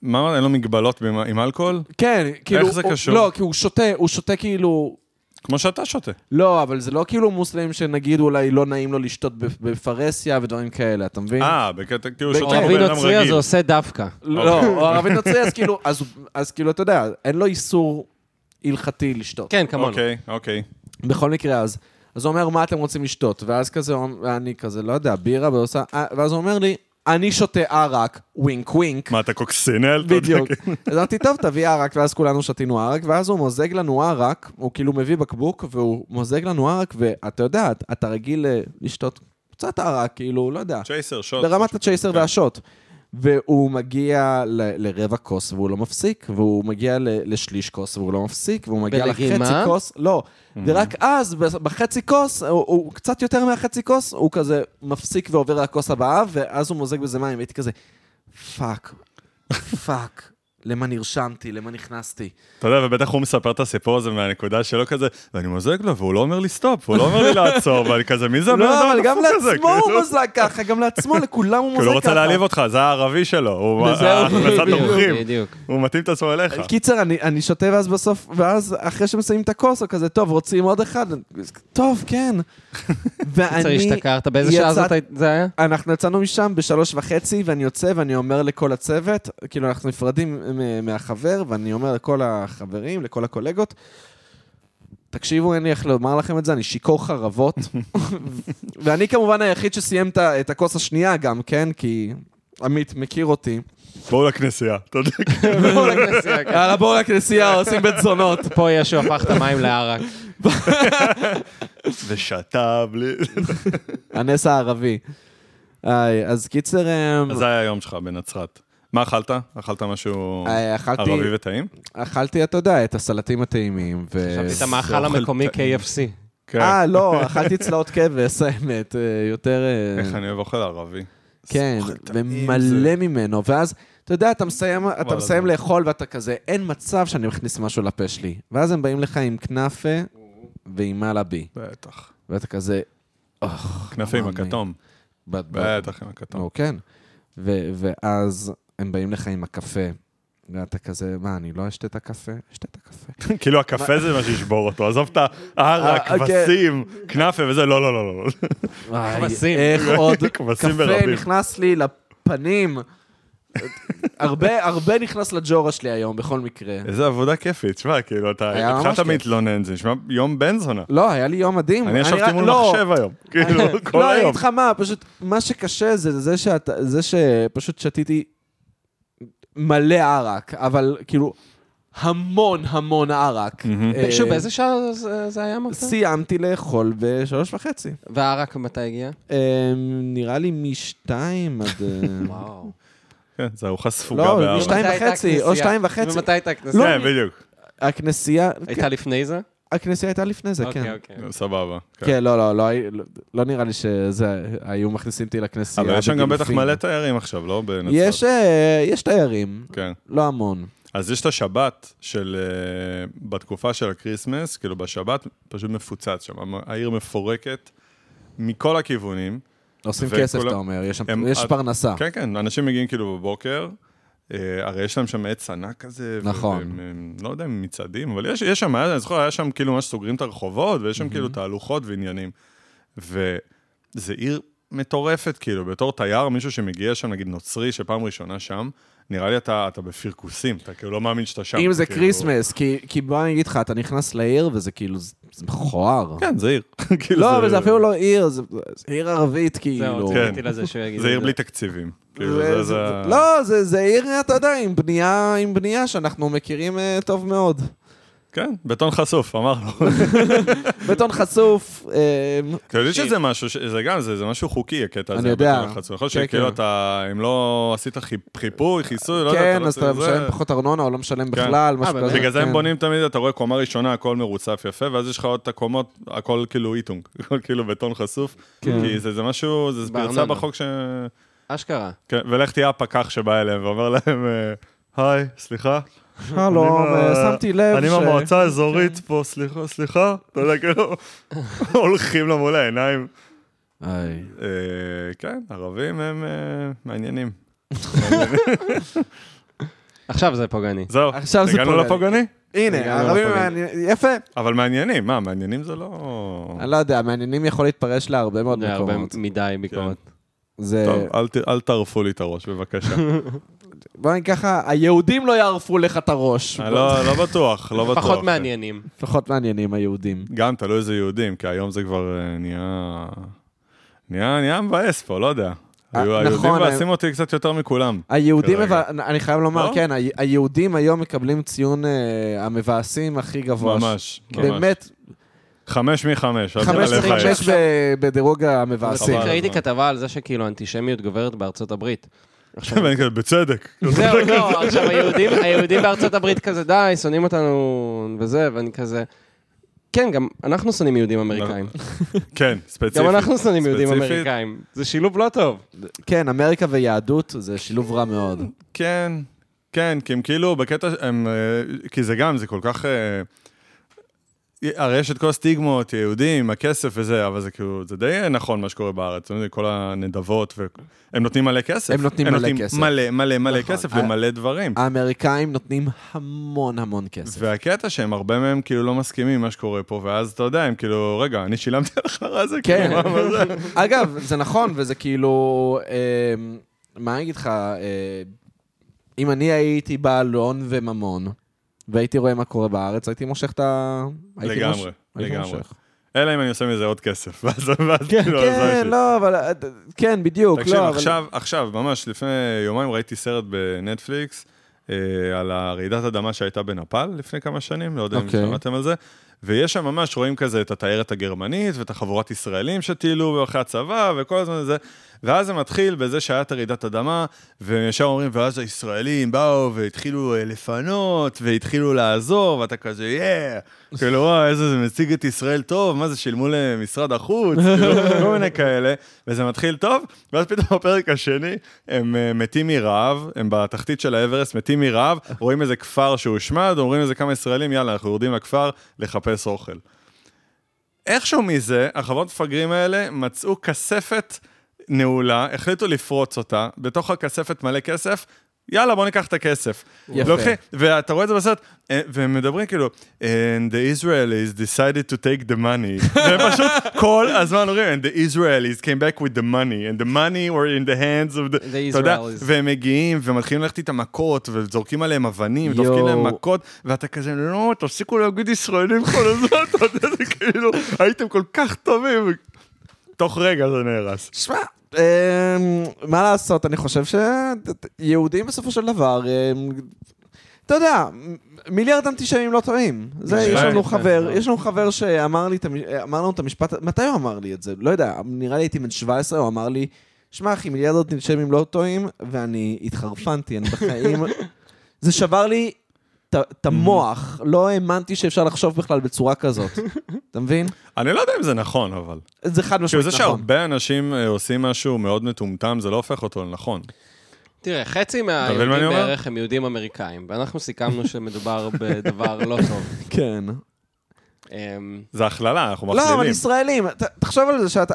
S2: מה אמרת? אין לו מגבלות עם- עם אלכוהול?
S1: כן, כאילו...
S2: זה
S1: הוא-
S2: קשור?
S1: לא, כי הוא שותה, הוא שותה כאילו...
S2: כמו שאתה שותה.
S1: לא, אבל זה לא כאילו מוסלמים שנגיד אולי לא נעים לו לשתות בפ- בפרסיה ודברים כאלה, אתה מבין?
S2: אה, בקטע, כאילו
S1: בקטע-
S2: שותה כמו
S3: ערבי
S2: בן אדם
S3: נוצרי אז
S2: רגיל.
S3: הוא עושה דווקא.
S1: לא,
S2: אוקיי.
S1: הוא ערבי נוצרי, אז כאילו, אז הוא- אז כאילו, אתה יודע, אין לו איסור הלכתי לשתות.
S3: כן, כמונו. <laughs>
S2: אוקיי, אוקיי.
S1: בכל מקרה, אז... אז הוא אומר, מה אתם רוצים לשתות? ואז כזה, אני כזה, לא יודע, בירה, ועושה... אה, ואז הוא אומר לי, אני שותה אה, ערק, ווינק ווינק.
S2: מה, אתה קוקסינל? אתה יודע,
S1: בדיוק.
S2: כן.
S1: אז אמרתי, טוב, תביא ערק, ואז כולנו שתינו ערק, ואז הוא מוזג לנו ערק, הוא כאילו מביא בקבוק, והוא מוזג לנו ערק, ואתה יודע, את- אתה רגיל אה, לשתות קצת ערק, כאילו, לא יודע,
S2: צ'ייסר, שוט.
S1: ברמת הצ'ייסר
S2: כן.
S1: והשוט. והוא מגיע ל- לרבע כוס והוא לא מפסיק, והוא מגיע ל- לשליש כוס והוא לא מפסיק, והוא מגיע
S3: בלגימה?
S1: לחצי כוס, לא.
S2: Mm-hmm.
S1: ורק אז, בס- בחצי כוס, הוא- הוא קצת יותר מהחצי כוס, הוא כזה מפסיק ועובר לכוס הבאה, ואז הוא מוזג בזה מים, והייתי כזה, פאק, פאק, למה נרשמתי, למה נכנסתי.
S2: אתה יודע, ובטח הוא מספר את הסיפור הזה מהנקודה שלו כזה, ואני מוזג לו, והוא לא אומר לי סטופ, הוא לא אומר לי לעצור, ואני כזה, מי זה הבן
S1: לא, אבל
S2: אדם
S1: גם
S2: הדפוק הזה?"
S1: לעצמו הוא
S2: כאילו,
S1: מזג ככה, גם לעצמו, לכולם הוא מוזג ככה.
S2: כי הוא לא רוצה להעליב אותך, זה הערבי שלו, הוא
S1: וזהו,
S2: הכנסת
S1: בדיוק,
S2: אורחים,
S3: בדיוק.
S2: הוא מתאים את עצמו אליך.
S1: אה, קיצר, אני, אני שותה ואז בסוף, ואז אחרי שמסיימים את הכוס, הוא כזה, טוב, רוצים עוד אחד? טוב, <laughs> כן. ואני...
S3: קיצר, השתכרת, באיזה שעה זאת
S1: יצאת-
S3: היית- זה היה? <laughs>
S1: אנחנו יצאנו משם בשלוש וחצי, ואני יוצא ואני אומר לכל הצוות, כאילו, אנחנו נפרדים מ- מהחבר, ואני אומר לכל החברים, לכל הקולגות, תקשיבו, אין לי איך לומר לכם את זה, אני שיכור חרבות. <laughs> ואני כמובן היחיד שסיים את ה- את הכוס השנייה גם, כן? כי עמית מכיר אותי.
S2: בואו לכנסייה, אתה
S1: <laughs>
S2: יודע.
S3: בואו
S2: <laughs>
S3: לכנסייה, כן.
S1: יאללה, בואו לכנסייה, עושים בית זונות.
S3: פה ישו הפך את המים לערק.
S2: ושתה בלי...
S1: הנס הערבי. איי, אז קיצר, אמ,
S2: זה היה היום שלך בנצרת. מה אכלת? אכלת משהו
S1: אה, אכלתי, אה,
S2: ערבי וטעים?
S1: אכלתי, אתה יודע, את הסלטים הטעימים. ו-
S3: את המאכל
S2: אוכל
S3: המקומי
S2: טעים.
S3: KFC.
S2: כן.
S1: אה, לא, אכלתי צלעות כבש, האמת, אה, יותר... אה,
S2: איך אני אוהב אוכל ערבי.
S1: כן,
S2: אוכל טעים
S1: ומלא
S2: זה.
S1: ממנו, ואז, אתה יודע, אתה מסיים, אתה
S2: וואלה,
S1: מסיים
S2: זה- לא-
S1: לאכול ואתה כזה, אין מצב שאני מכניס משהו לפה שלי. ואז הם באים לך עם כנאפה ועם מלאבי,
S2: בטח.
S1: ואתה כזה,
S2: כנפים,
S1: מאמי.
S2: הכתום.
S1: בת בת.
S2: בטח עם הכתום.
S1: או, כן. ו- ואז הם באים לך עם הקפה, ואתה כזה, מה, אני לא אשתה את הקפה? אשתה את הקפה.
S2: כאילו הקפה זה מה שישבור אותו, עזוב את הערק,
S1: אה, אוקיי.
S2: כבשים, כנאפה וזה, לא, לא, לא, לא.
S1: וואי,
S3: כבשים.
S1: איך
S2: <laughs>
S1: עוד
S2: כבשים
S1: קפה
S2: ברבים.
S1: נכנס לי לפנים. הרבה, הרבה נכנס לג'ורה שלי היום, בכל מקרה.
S2: איזה עבודה כיפית, שמע, כאילו,
S1: היה
S2: אתה
S1: ממש
S2: התחלת
S1: כיף.
S2: להתלונן, זה נשמע יום בן זונה.
S1: לא, היה לי יום מדהים.
S2: אני ישבתי
S1: רק-
S2: מול
S1: לא, <laughs>
S2: מחשב היום, כאילו, כל
S1: לא, אני
S2: היום.
S1: אגיד לך מה, פשוט, מה שקשה זה זה שאתה, זה שפשוט שתיתי מלא ערק, אבל כאילו, המון המון ערק.
S2: מהמם.
S1: אה,
S3: שוב, באיזה שעה זה- זה היה אמרת?
S1: סיימתי לאכול בשלוש וחצי.
S3: והערק מתי הגיע?
S1: אה, נראה לי משתיים עד...
S3: <laughs>
S1: אה,
S3: וואו.
S2: כן, זה ארוחה ספוגה
S1: לא,
S2: בהר.
S1: משתיים
S3: ומתי הייתה
S1: וחצי, או
S3: הכנסייה?
S1: שתיים וחצי.
S3: ומתי הייתה
S1: לא,
S3: הכנסייה?
S2: כן, בדיוק,
S1: הכנסייה,
S3: הייתה לפני זה?
S1: הכנסייה הייתה לפני זה,
S3: אוקיי,
S1: כן.
S3: אוקיי.
S2: סבבה. כן.
S1: כן, לא, לא, לא, הי- לא- לא נראה לי שזה, היו מכניסים אותי לכנסייה.
S2: אבל יש שם גם בטח
S1: בגילופין.
S2: מלא תיירים עכשיו, לא? בנצרת.
S1: יש, אה, יש תיירים,
S2: כן.
S1: לא המון.
S2: אז יש את השבת של... אה, בתקופה של הקריסמס, כאילו בשבת, פשוט מפוצץ שם. המ- העיר מפורקת, מכל הכיוונים.
S1: עושים
S2: וכולם-
S1: כסף, אתה אומר, יש שם-
S2: הם-
S1: יש
S2: עד-
S1: פרנסה.
S2: כן, כן, אנשים מגיעים כאילו בבוקר, אה, הרי יש להם שם עץ ענק כזה. ו-
S1: נכון.
S2: והם, הם, לא יודע אם מצעדים, אבל יש, יש שם, אני זוכר, היה שם כאילו ממש סוגרים את הרחובות, ויש שם כאילו תהלוכות ועניינים. וזה עיר מטורפת, כאילו, בתור תייר, מישהו שמגיע שם, נגיד נוצרי, שפעם ראשונה שם, נראה לי אתה, אתה בפרקוסים, אתה כאילו לא מאמין שאתה שם.
S1: אם זה
S2: כאילו.
S1: כריסמס, כי- כי בוא אני אגיד לך, אתה נכנס לעיר וזה כאילו, זה זה מכוער.
S2: כן, זה עיר. <laughs> כאילו,
S1: לא, אבל זה אפילו לא עיר, זה זה עיר ערבית, כאילו.
S3: זהו,
S2: כן.
S3: ציפיתי לזה שהוא יגיד.
S2: זה עיר
S3: את
S2: בלי תקציבים. כאילו,
S1: זה-
S2: זה-
S1: זה-
S2: זה-
S1: לא, זה זה עיר, אתה יודע, עם בנייה, עם בנייה שאנחנו מכירים אה, טוב
S2: <laughs>
S1: מאוד.
S2: כן, בטון חשוף, אמרנו.
S1: בטון חשוף, אה,
S2: אתה יודע שזה משהו, ש- זה גם, זה זה משהו חוקי, הקטע הזה.
S1: אני יודע.
S2: בטון חשוף. יכול להיות
S1: כן,
S2: שכאילו
S1: כן.
S2: אתה, אם לא עשית חיפ- חיפוי, חיסוי, לא יודע,
S1: כן,
S2: לא
S1: אז אתה
S2: צריך- זה- כן. אה,
S1: משלם פחות ארנונה או לא משלם בכלל, משהו
S3: באמת?
S1: כזה.
S2: בגלל זה
S1: כן.
S2: הם בונים תמיד, אתה רואה קומה ראשונה, הכל מרוצף יפה, ואז יש לך עוד את הקומות, הכל כאילו איטונג, <laughs> הכל כאילו בטון חשוף.
S1: כן.
S2: כי זה זה משהו, זה פרצה
S3: בארנונה.
S2: בחוק ש...
S3: אשכרה.
S2: כן, ולך תהיה הפקח שבא אליהם ואומר להם, אה, היי, סליחה,
S1: שלום,
S2: אני
S1: אה,
S2: מה-
S1: שמתי לב
S2: אני
S1: ש... כן.
S2: מהמועצה האזורית פה, סליחה, סליחה, אתה יודע, כאילו, <laughs> הולכים לה מול העיניים.
S1: איי.
S2: אה, כן, ערבים הם אה, מעניינים.
S3: עכשיו זה פוגעני.
S2: זהו,
S1: עכשיו זה
S2: הגענו
S1: פוגעני.
S2: לפוגעני?
S1: הנה,
S3: גם לא
S1: הערבים
S3: פוגעים.
S1: מעניינים, יפה.
S2: אבל מעניינים, מה, מעניינים זה לא...
S1: אני לא יודע, מעניינים יכול להתפרש להרבה מאוד
S3: זה הרבה
S1: מקומות. כן,
S3: מדי ביקורת.
S1: זה...
S2: טוב, אל ת- אל תערפו לי את הראש, בבקשה.
S1: <laughs> בוא נגיד ככה, היהודים לא יערפו לך את הראש.
S2: אני לא לא בטוח, לא בטוח.
S1: כן.
S3: פחות מעניינים.
S1: פחות מעניינים היהודים.
S2: גם תלוי איזה יהודים, כי היום זה כבר אה, נהיה... נהיה נהיה מבאס פה, לא יודע.
S1: אה,
S2: היו- היהודים
S1: נכון,
S2: מבאסים אותי קצת יותר מכולם.
S1: היהודים,
S2: כרגע.
S1: אבל- אני חייב לומר,
S2: לא?
S1: כן, ה- היהודים היום מקבלים ציון אה, המבאסים הכי גבוה.
S2: ממש, ממש.
S1: באמת,
S2: חמש מחמש, אל
S1: חמש
S2: תעלה
S1: עשרים
S2: חיים.
S1: שש ב- בדירוג המבאסים.
S2: חבל. על
S3: ראיתי
S2: הזמן.
S3: כתבה על זה שכאילו האנטישמיות גוברת בארצות
S1: <laughs>
S3: הברית. עכשיו-
S2: ואני כזה, <laughs> בצדק.
S3: זהו, לא, עכשיו היהודים, היהודים בארצות הברית כזה, די, שונאים אותנו וזה, ואני כזה... כן, גם אנחנו שונאים יהודים אמריקאים.
S2: כן, ספציפית.
S3: גם אנחנו שונאים יהודים
S2: ספציפית,
S3: אמריקאים. זה שילוב לא טוב.
S1: כן, אמריקה ויהדות זה שילוב רע מאוד.
S2: כן, כן, כי הם כאילו בקטע, ש- הם, אה, כי זה גם, זה כל כך... אה, הרי יש את כל הסטיגמות, יהודים, הכסף וזה, אבל זה כאילו, זה די נכון מה שקורה בארץ, אתם יודעים, כל הנדבות, ו- הם נותנים מלא כסף.
S1: הם נותנים מלא כסף.
S2: מלא, מלא, מלא
S1: נכון.
S2: כסף
S1: ה-
S2: למלא דברים.
S1: האמריקאים נותנים המון המון כסף.
S2: והקטע שהם הרבה מהם כאילו לא מסכימים עם מה שקורה פה, ואז אתה יודע, הם כאילו, רגע, אני שילמתי לך רע זה, <laughs>
S1: כן.
S2: כאילו, מה- מה זה?
S1: אגב, זה נכון, וזה כאילו... אמ, מה אני אגיד לך? אה, אם אני הייתי בעל הון וממון, והייתי רואה מה קורה בארץ, הייתי מושך את ה... הייתי
S2: לגמרי,
S1: מוש- הייתי
S2: לגמרי.
S1: מושך.
S2: אלא אם אני עושה מזה עוד כסף, <laughs> ואז ואז כאילו, אז זה
S1: כן,
S2: שלי.
S1: לא, אבל... אה, כן, בדיוק,
S2: תקשיב,
S1: לא, אבל...
S2: עכשיו, עכשיו, ממש לפני יומיים ראיתי סרט בנטפליקס אה, על הרעידת אדמה שהייתה בנפאל לפני כמה שנים, לא יודע אם
S1: אוקיי.
S2: שמעתם על זה, ויש שם ממש, רואים כזה את התיירת הגרמנית ואת החבורת ישראלים שטיילו אחרי הצבא וכל הזמן זה, ואז זה מתחיל בזה שהיה את הרעידת אדמה, והם ישר אומרים, ואז הישראלים באו והתחילו אה, לפנות, והתחילו לעזור, ואתה כזה, יאה, כאילו, וואו, איזה זה מציג את ישראל טוב, מה זה, שילמו למשרד החוץ, כאילו, כל מיני כאלה, וזה מתחיל טוב, ואז פתאום בפרק השני, הם אה, מתים מרעב, הם בתחתית של האברסט, מתים מרעב, רואים איזה כפר שהושמד, אומרים איזה כמה ישראלים, יאללה, אנחנו יורדים לכפר לחפש אוכל. איכשהו מזה, החוות מפגרים האלה מצאו כספת נעולה, החליטו לפרוץ אותה, בתוך הכספת מלא כסף, יאללה, בוא ניקח את הכסף.
S1: יפה.
S2: לוקחים, ואתה רואה את זה בסרט, אה, והם מדברים כאילו, And the Israelis decided to take the money. והם פשוט כל הזמן אומרים, And the Israelis came back with the money, and the money were in the hands of the...
S3: The
S2: אתה יודע,
S3: Israelis.
S2: והם מגיעים ומתחילים ללכת איתם מכות, וזורקים עליהם אבנים, דופקים
S1: יואו.
S2: להם מכות, ואתה כזה, לא, תפסיקו להגיד ישראלים כל הזמן, <laughs> אתה יודע, זה כאילו, הייתם כל כך טובים. תוך רגע זה נהרס.
S1: שמע, אמ, מה לעשות, אני חושב שיהודים בסופו של דבר, אמ, אתה יודע, מ- מיליארד אנטישמים לא טועים. זה, יש לנו
S3: כן,
S1: חבר,
S3: כן.
S1: יש לנו חבר שאמר לי, את המש- אמר לנו את המשפט, מתי הוא אמר לי את זה? לא יודע, נראה לי הייתי בן 17, הוא אמר לי, שמע אחי, מיליארד אנטישמים לא טועים, ואני התחרפנתי, אני בחיים... <laughs> זה שבר לי את- את המוח, לא האמנתי שאפשר לחשוב בכלל בצורה כזאת. אתה מבין?
S2: אני לא יודע אם זה נכון, אבל.
S1: זה חד
S2: כאילו,
S1: משמעית
S2: זה
S1: לא נכון.
S2: שהרבה אנשים אה, עושים משהו מאוד מטומטם, זה לא הופך אותו לנכון.
S3: תראה, חצי
S2: אתה מבין מה אני
S3: מהיהודים
S2: אומר?
S3: בערך הם יהודים אמריקאים, ואנחנו
S2: <laughs>
S3: סיכמנו שמדובר בדבר לא טוב.
S1: כן.
S3: אמ,
S2: זה הכללה, אנחנו
S1: לא, אבל
S2: מכלילים. כן,
S1: ישראלים, ת- תחשוב על זה שאתה...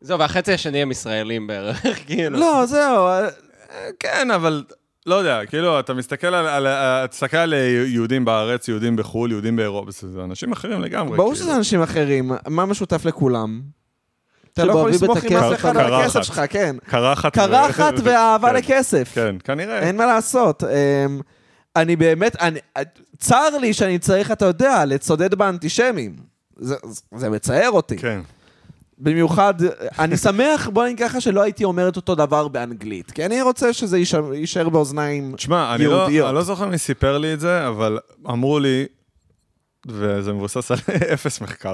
S3: זהו, והחצי השני הם ישראלים בערך, <laughs>
S2: נכון.
S3: כאילו.
S1: לא, זהו, אה,
S2: כן, אבל לא יודע, כאילו, אתה מסתכל על, על, על, תסתכל על אה, יהודים בארץ, יהודים בחו"ל, יהודים באירופה, זה אנשים אחרים לגמרי.
S1: ברור
S2: כאילו.
S1: שזה אנשים אחרים, מה משותף לכולם? אתה לא יכול
S3: שבאביב
S1: לסמוך עם
S3: אתה
S1: אף
S2: כסף.
S1: אחד על
S2: קרחת.
S1: הכסף שלך,
S2: <laughs>
S1: כן.
S2: קרחת. ו- <laughs>
S1: קרחת
S2: ו-
S1: ואהבה
S2: כן,
S1: לכסף.
S2: כן, כנראה.
S1: אין מה לעשות. אמ, אני באמת, אני- צר לי שאני צריך, אתה יודע, לצודד באנטישמים. זה- זה מצער אותי.
S2: כן. <laughs>
S1: במיוחד, אני שמח, בוא נגיד ככה, שלא הייתי אומר את אותו דבר באנגלית. כי אני רוצה שזה יישאר- יישאר באוזניים.
S2: תשמע, אני לא,
S1: יהודיות.
S2: אני לא זוכר מי סיפר לי את זה, אבל אמרו לי, וזה מבוסס על <laughs> אפס מחקר,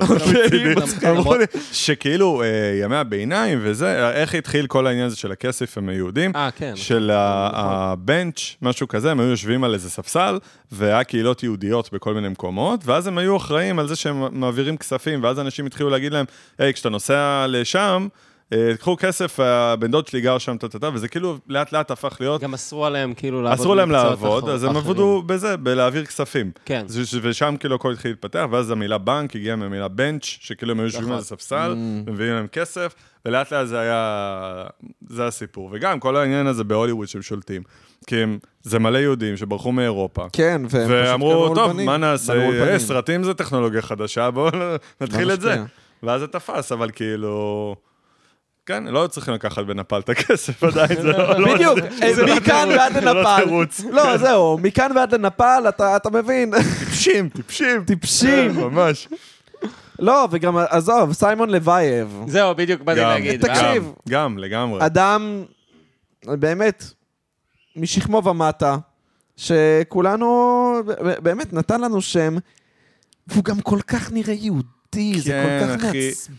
S2: <laughs>
S1: אוקיי,
S2: מצידי. אמרו לי שכאילו אה, ימי הביניים וזה, אה, איך התחיל כל העניין הזה של הכסף עם היהודים,
S3: אה, כן.
S2: של ה- הבנץ', משהו כזה, הם היו יושבים על איזה ספסל, והיה קהילות יהודיות בכל מיני מקומות, ואז הם היו אחראים על זה שהם מעבירים כספים, ואז אנשים התחילו להגיד להם, היי, כשאתה נוסע לשם, אה, קחו כסף, הבן דוד שלי גר שם, טה-טה-טה, וזה כאילו לאט לאט הפך להיות
S3: גם אסרו עליהם כאילו לעבוד.
S2: אסור להם
S3: במקצועות
S2: לעבוד,
S3: אחר-
S2: אז הם
S3: אחרים.
S2: עבדו בזה, בלהעביר כספים.
S3: כן.
S2: זה ש- ושם כאילו הכל התחיל להתפתח, ואז המילה בנק הגיעה מהמילה בנץ', שכאילו הם היו
S1: נכון.
S2: יושבים על ספסל,
S1: Mm.
S2: ומביאים להם כסף, ולאט לאט זה היה... זה הסיפור. וגם כל העניין הזה בהוליווד שהם שולטים. כי הם... זה מלא יהודים שברחו מאירופה.
S1: כן, והם פשוט קנו
S2: ואמרו, טוב,
S1: אולפנים.
S2: מה
S1: בנו
S2: נעשה?
S1: אולפנים."
S2: אה, סרטים זה טכנולוגיה חדשה, בואו נתחיל
S1: לא
S2: את זה.
S1: נשקיע.
S2: ואז זה תפס, אבל כאילו... כן, לא צריכים לקחת בנפאל את הכסף עדיין, זה לא... לא-
S1: <laughs> בדיוק,
S2: זה לא
S1: מכאן
S2: תירוץ,
S1: ועד
S2: זה <laughs> לא
S1: לנפאל.
S2: תירוץ.
S1: לא, זהו, מכאן ועד לנפאל, אתה אתה מבין.
S2: טיפשים, טיפשים.
S1: <laughs> טיפשים.
S2: ממש.
S1: לא, וגם, עזוב, סיימון לבייב.
S3: זהו, בדיוק באתי להגיד.
S1: תקשיב.
S3: אה?
S2: גם, גם, לגמרי.
S1: אדם, באמת, משכמו ומטה, שכולנו, ב- באמת, נתן לנו שם, והוא גם כל כך נראה יהודי, זה
S2: כן,
S1: כל כך
S2: אחי.
S1: מעצבן.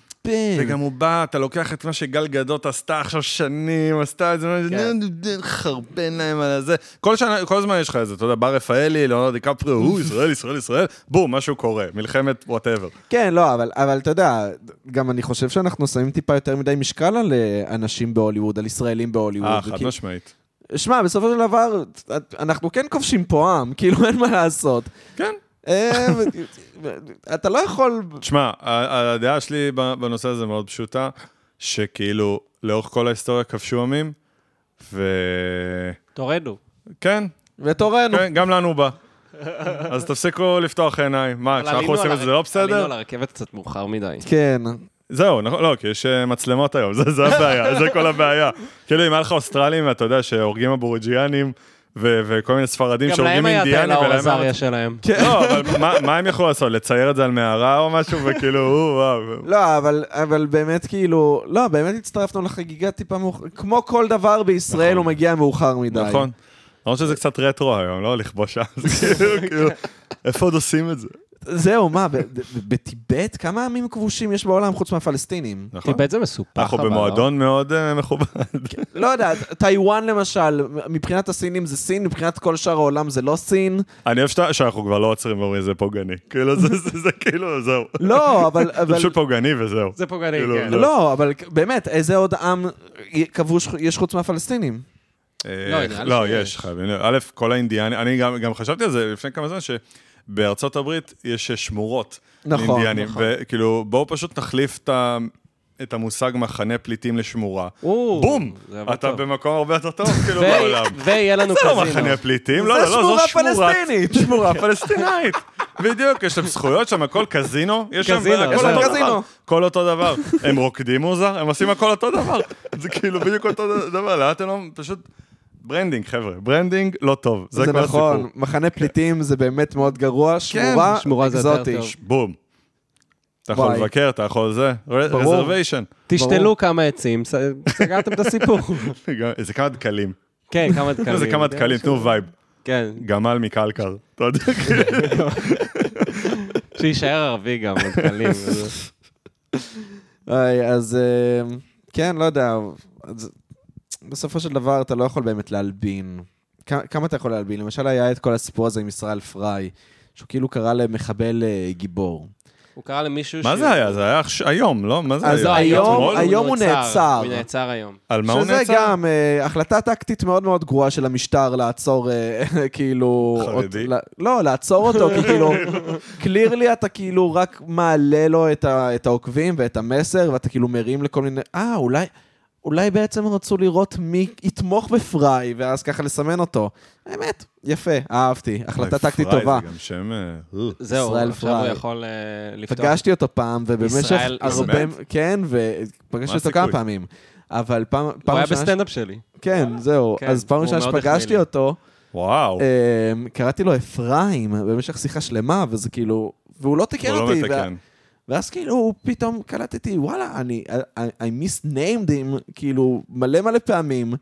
S2: וגם הוא בא, אתה לוקח את מה שגל גדות עשתה עכשיו שנים, עשתה את
S3: כן.
S2: זה, חרבן להם על זה. כל שנה, כל הזמן יש לך איזה, אתה יודע, בר רפאלי, ליאונרד דיקפריו, הוא ישראל, ישראל, ישראל, בום, משהו קורה, מלחמת וואטאבר.
S1: כן, לא, אבל, אבל אתה יודע, גם אני חושב שאנחנו שמים טיפה יותר מדי משקל על אה, אנשים בהוליווד, על ישראלים בהוליווד.
S3: כאילו-
S2: אה, חד
S1: וכי-
S2: משמעית.
S1: שמע, בסופו של דבר, אנחנו כן כובשים פה עם, <laughs> כאילו, אין מה לעשות.
S2: כן.
S1: אה, ו- ו- אתה לא יכול...
S2: תשמע, ה- הדעה שלי בנושא הזה מאוד פשוטה, שכאילו, לאורך כל ההיסטוריה כבשו עמים, וכן,
S3: תורדו.
S1: ותורנו.
S2: כן, גם לנו בא. אז תפסיקו לפתוח עיניים. מה,
S3: אבל עלינו
S2: כשאנחנו עושים
S3: על
S2: את זה
S3: הרכ-
S2: זה לא
S3: עלינו
S2: בסדר?
S3: על הרכבת קצת מאוחר מדי.
S1: כן.
S2: זהו, נכון, לא, כי יש אה, מצלמות היום, <laughs> זה זה הבעיה, זה כל הבעיה. כאילו, אם היה לך אוסטרלים, ואתה יודע שהורגים אבורג'יאנים, ו- וכל מיני ספרדים
S3: גם
S2: שהורגים
S3: להם היה את
S2: אינדיאנים,
S3: האלה
S2: ולהם
S3: עזריה
S2: היה...
S3: שלהם.
S2: לא, אבל מה- מה הם יכלו לעשות? לצייר את זה על מערה או משהו? וכאילו, או, וואו.
S1: לא, אבל, אבל באמת כאילו, לא, באמת הצטרפנו לחגיגה טיפה מאוחר, כמו כל דבר בישראל
S2: נכון.
S1: הוא מגיע מאוחר מדי.
S2: נכון. למרות שזה קצת רטרו היום, לא? לכבוש אז, <laughs> כאילו, כאילו, איפה עוד עושים את זה?
S1: זהו, מה, ב- ב- בטיבט? כמה עמים כבושים יש בעולם חוץ מהפלסטינים?
S2: נכון.
S3: טיבט זה מסופח.
S2: אנחנו
S3: אבל, לא?
S2: במועדון מאוד אה, מכובד.
S1: לא יודע, טיוואן למשל, מבחינת הסינים זה סין, מבחינת כל שאר העולם זה לא סין.
S2: אני אוהב שאתה- שאנחנו כבר לא עוצרים ואומרים, זה פוגעני. כאילו, זה- זה זה כאילו, זהו.
S1: לא, אבל...
S2: זה
S1: אבל...
S2: פשוט פוגעני וזהו.
S3: זה פוגעני,
S2: כאילו,
S3: כן.
S1: לא, אבל באמת, איזה עוד עם כבוש יש חוץ מהפלסטינים?
S2: אה,
S3: נראה לי
S2: לא,
S3: שיש.
S2: יש, חייבים. א', כל האינדיאנים, אני גם, גם חשבתי על זה לפני כמה זמן, שבארצות הברית יש שמורות
S1: נכון,
S2: לאינדיאנים.
S1: נכון.
S2: וכאילו, בואו פשוט נחליף את ה... את המושג מחנה פליטים לשמורה.
S3: או,
S2: בום!
S3: זה עבד
S2: אתה
S3: טוב.
S2: במקום הרבה יותר טוב, כאילו,
S3: ו-
S2: בעולם.
S3: ויהיה לנו
S2: זה לא
S3: <laughs> קזינו.
S2: מחנה פליטים,
S1: זה
S2: לא, לא, לא, זו
S1: שמורה
S2: שמורת-
S1: פלסטינית.
S2: שמורה פלסטינאית. בדיוק, יש להם זכויות שם, הכל קזינו, יש שם
S3: קזינו,
S2: הכל
S3: יש להם
S2: אותו
S1: קזינו.
S2: דבר. כל אותו דבר. הם רוקדים מוזר, הם עושים הכל אותו דבר. זה כאילו בדיוק אותו דבר, לאט אתם לא, פשוט... ברנדינג, חבר'ה, ברנדינג לא טוב, זה
S1: <laughs> זה
S2: כל הסיפור. כן,
S1: נכון, מחנה פליטים זה באמת מאוד גרוע, שמורה
S3: שמורה זה יותר
S1: אקזוטי.
S3: טוב.
S2: בום. אתה יכול
S1: וואי.
S2: לבקר, אתה יכול זה,
S1: ברור.
S2: רזרוויישן.
S3: תשתלו כמה עצים, ס- סגרתם את
S1: <laughs>
S3: הסיפור.
S2: איזה כמה דקלים,
S3: כן, כמה דקלים.
S2: איזה כמה דקלים, תנו וייב.
S3: כן,
S2: גמל מקלקר. אתה
S1: <laughs>
S2: יודע, כאילו.
S3: שיישאר ערבי גם,
S1: <laughs>
S3: דקלים.
S1: היי, אז אה, כן, לא יודע. אז בסופו של דבר אתה לא יכול באמת להלבין. כ- כמה אתה יכול להלבין? למשל היה את כל הסיפור הזה עם ישראל פריי, שהוא כאילו קרא למחבל אה, גיבור.
S3: הוא קרא למישהו
S2: מה זה היה? זה היה עכש- היום, לא? מה זה
S1: אז
S2: היה?
S1: היום-
S2: אתמול?
S1: היום הוא נעצר.
S3: הוא נעצר היום.
S2: על מה הוא
S1: שזה
S2: נעצר?
S1: גם אה, החלטה טקטית מאוד מאוד גרועה של המשטר לעצור, אה, <laughs> כאילו...
S2: חרדי.
S1: אות- לא- לא, לעצור אותו, כי
S2: <laughs>
S1: כאילו, קלירלי אתה כאילו רק מעלה לו את ה- את העוקבים ואת המסר, ואתה כאילו מרים לכל מיני... אה, אולי... אולי בעצם רצו לראות מי יתמוך בפריי, ואז ככה לסמן אותו. האמת, יפה, אהבתי. החלטה
S2: אוי,
S1: טקטית
S2: פריי,
S1: טובה.
S2: זה גם שם... אה, אה.
S3: זהו,
S1: ישראל
S3: עכשיו הוא
S1: פריי.
S3: יכול אה, לפתוח.
S1: פגשתי אותו פעם, ובמשך
S3: ישראל-
S1: הרבה...
S2: באמת?
S1: כן, ופגשתי
S2: מה
S1: אותו כמה
S2: הסיכוי?
S1: פעמים. אבל פעם פעם
S3: הוא היה
S1: ראשונה ש-
S3: בסטנדאפ שלי.
S1: כן, זהו.
S3: כן,
S1: אז פעם
S3: הוא
S1: ראשונה
S3: מאוד החמיא לי.
S1: שפגשתי אותו,
S2: וואו.
S1: אמ, קראתי לו אפרים במשך שיחה שלמה, וזה כאילו... והוא לא תיקן
S2: הוא לא
S1: אותי. וה-
S2: מתקן.
S1: ואז כאילו פתאום קלטתי, וואלה, אני... I- I misnamed him, כאילו, מלא מלא פעמים.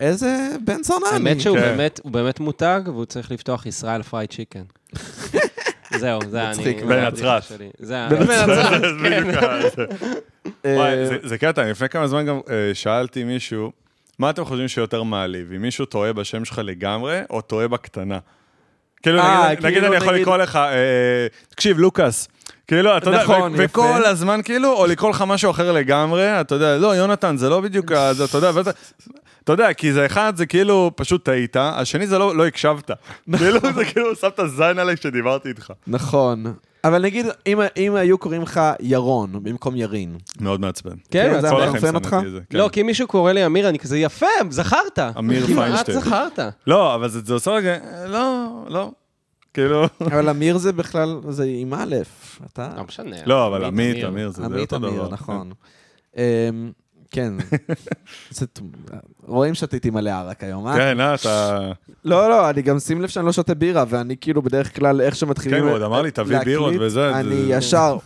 S1: איזה בן זונה אני.
S3: האמת שהוא
S2: כן.
S3: באמת- הוא באמת מותג, והוא צריך לפתוח ישראל פריי
S1: <laughs>
S3: צ'יקן. זהו, זה אני...
S1: מצחיק.
S3: זה הבדיחה
S2: בנצרת.
S3: שלי. זה ה-
S1: בנצרת.
S2: <laughs> זה בדיוק ה- זה.
S1: כן. אה,
S2: וואי, זה- זה קטע, לפני כמה זמן גם אה, שאלתי מישהו, מה אתם חושבים שיותר מעליב, אם מישהו טועה בשם שלך לגמרי, או טועה בקטנה? כאילו,
S1: אה,
S2: נגיד- נגיד
S1: כאילו,
S2: אני יכול
S1: נגיד-
S2: לקרוא לך, אה, תקשיב, לוקאס. כאילו, אתה יודע,
S1: נכון,
S2: ו-
S1: יפה.
S2: וכל הזמן, כאילו, או לקרוא לך משהו אחר לגמרי, אתה יודע, לא, יונתן, זה לא בדיוק, ה- זה, אתה יודע, ואתה- אתה יודע, כי זה אחד, זה כאילו, פשוט טעית, השני זה לא לא
S1: <laughs>
S2: הקשבת. כאילו, זה כאילו, שמת זין עליי כשדיברתי איתך.
S1: נכון. אבל נגיד, אם- אם היו קוראים לך ירון במקום
S3: <laughs>
S1: ירין,
S2: מאוד מעצבן.
S3: כן,
S1: כאילו, זה
S3: אז-
S1: היה
S2: כל החיים
S1: מעצבן
S2: שנאתי
S1: אותך?
S2: את זה, כן.
S3: לא, כי אם מישהו קורא לי אמיר, אני כזה, יפה, זכרת.
S2: אמיר פיינשטיין.
S3: כמעט זכרת.
S2: לא, אבל זה, זה עושה רגע, אה, לא, לא. כאילו...
S1: אבל אמיר זה בכלל, זה עם א', אתה...
S3: לא משנה.
S2: לא, אבל עמית, אמיר, זה זה
S1: עמית
S2: אותו
S1: אמיר,
S2: דבר.
S1: נכון. אמ,
S2: <laughs>
S1: כן. זה ת- רואים שתיתי מלא ערק היום, אה?
S2: כן, אה, אתה...
S1: <laughs> לא, לא, אני גם שים לב שאני לא שותה בירה, ואני כאילו בדרך כלל, איך שמתחילים...
S2: כן, הוא עוד אמר לי, "תביא
S1: כאילו, להקליט,
S2: בירות וזה",
S1: אני
S2: זה-
S1: ישר,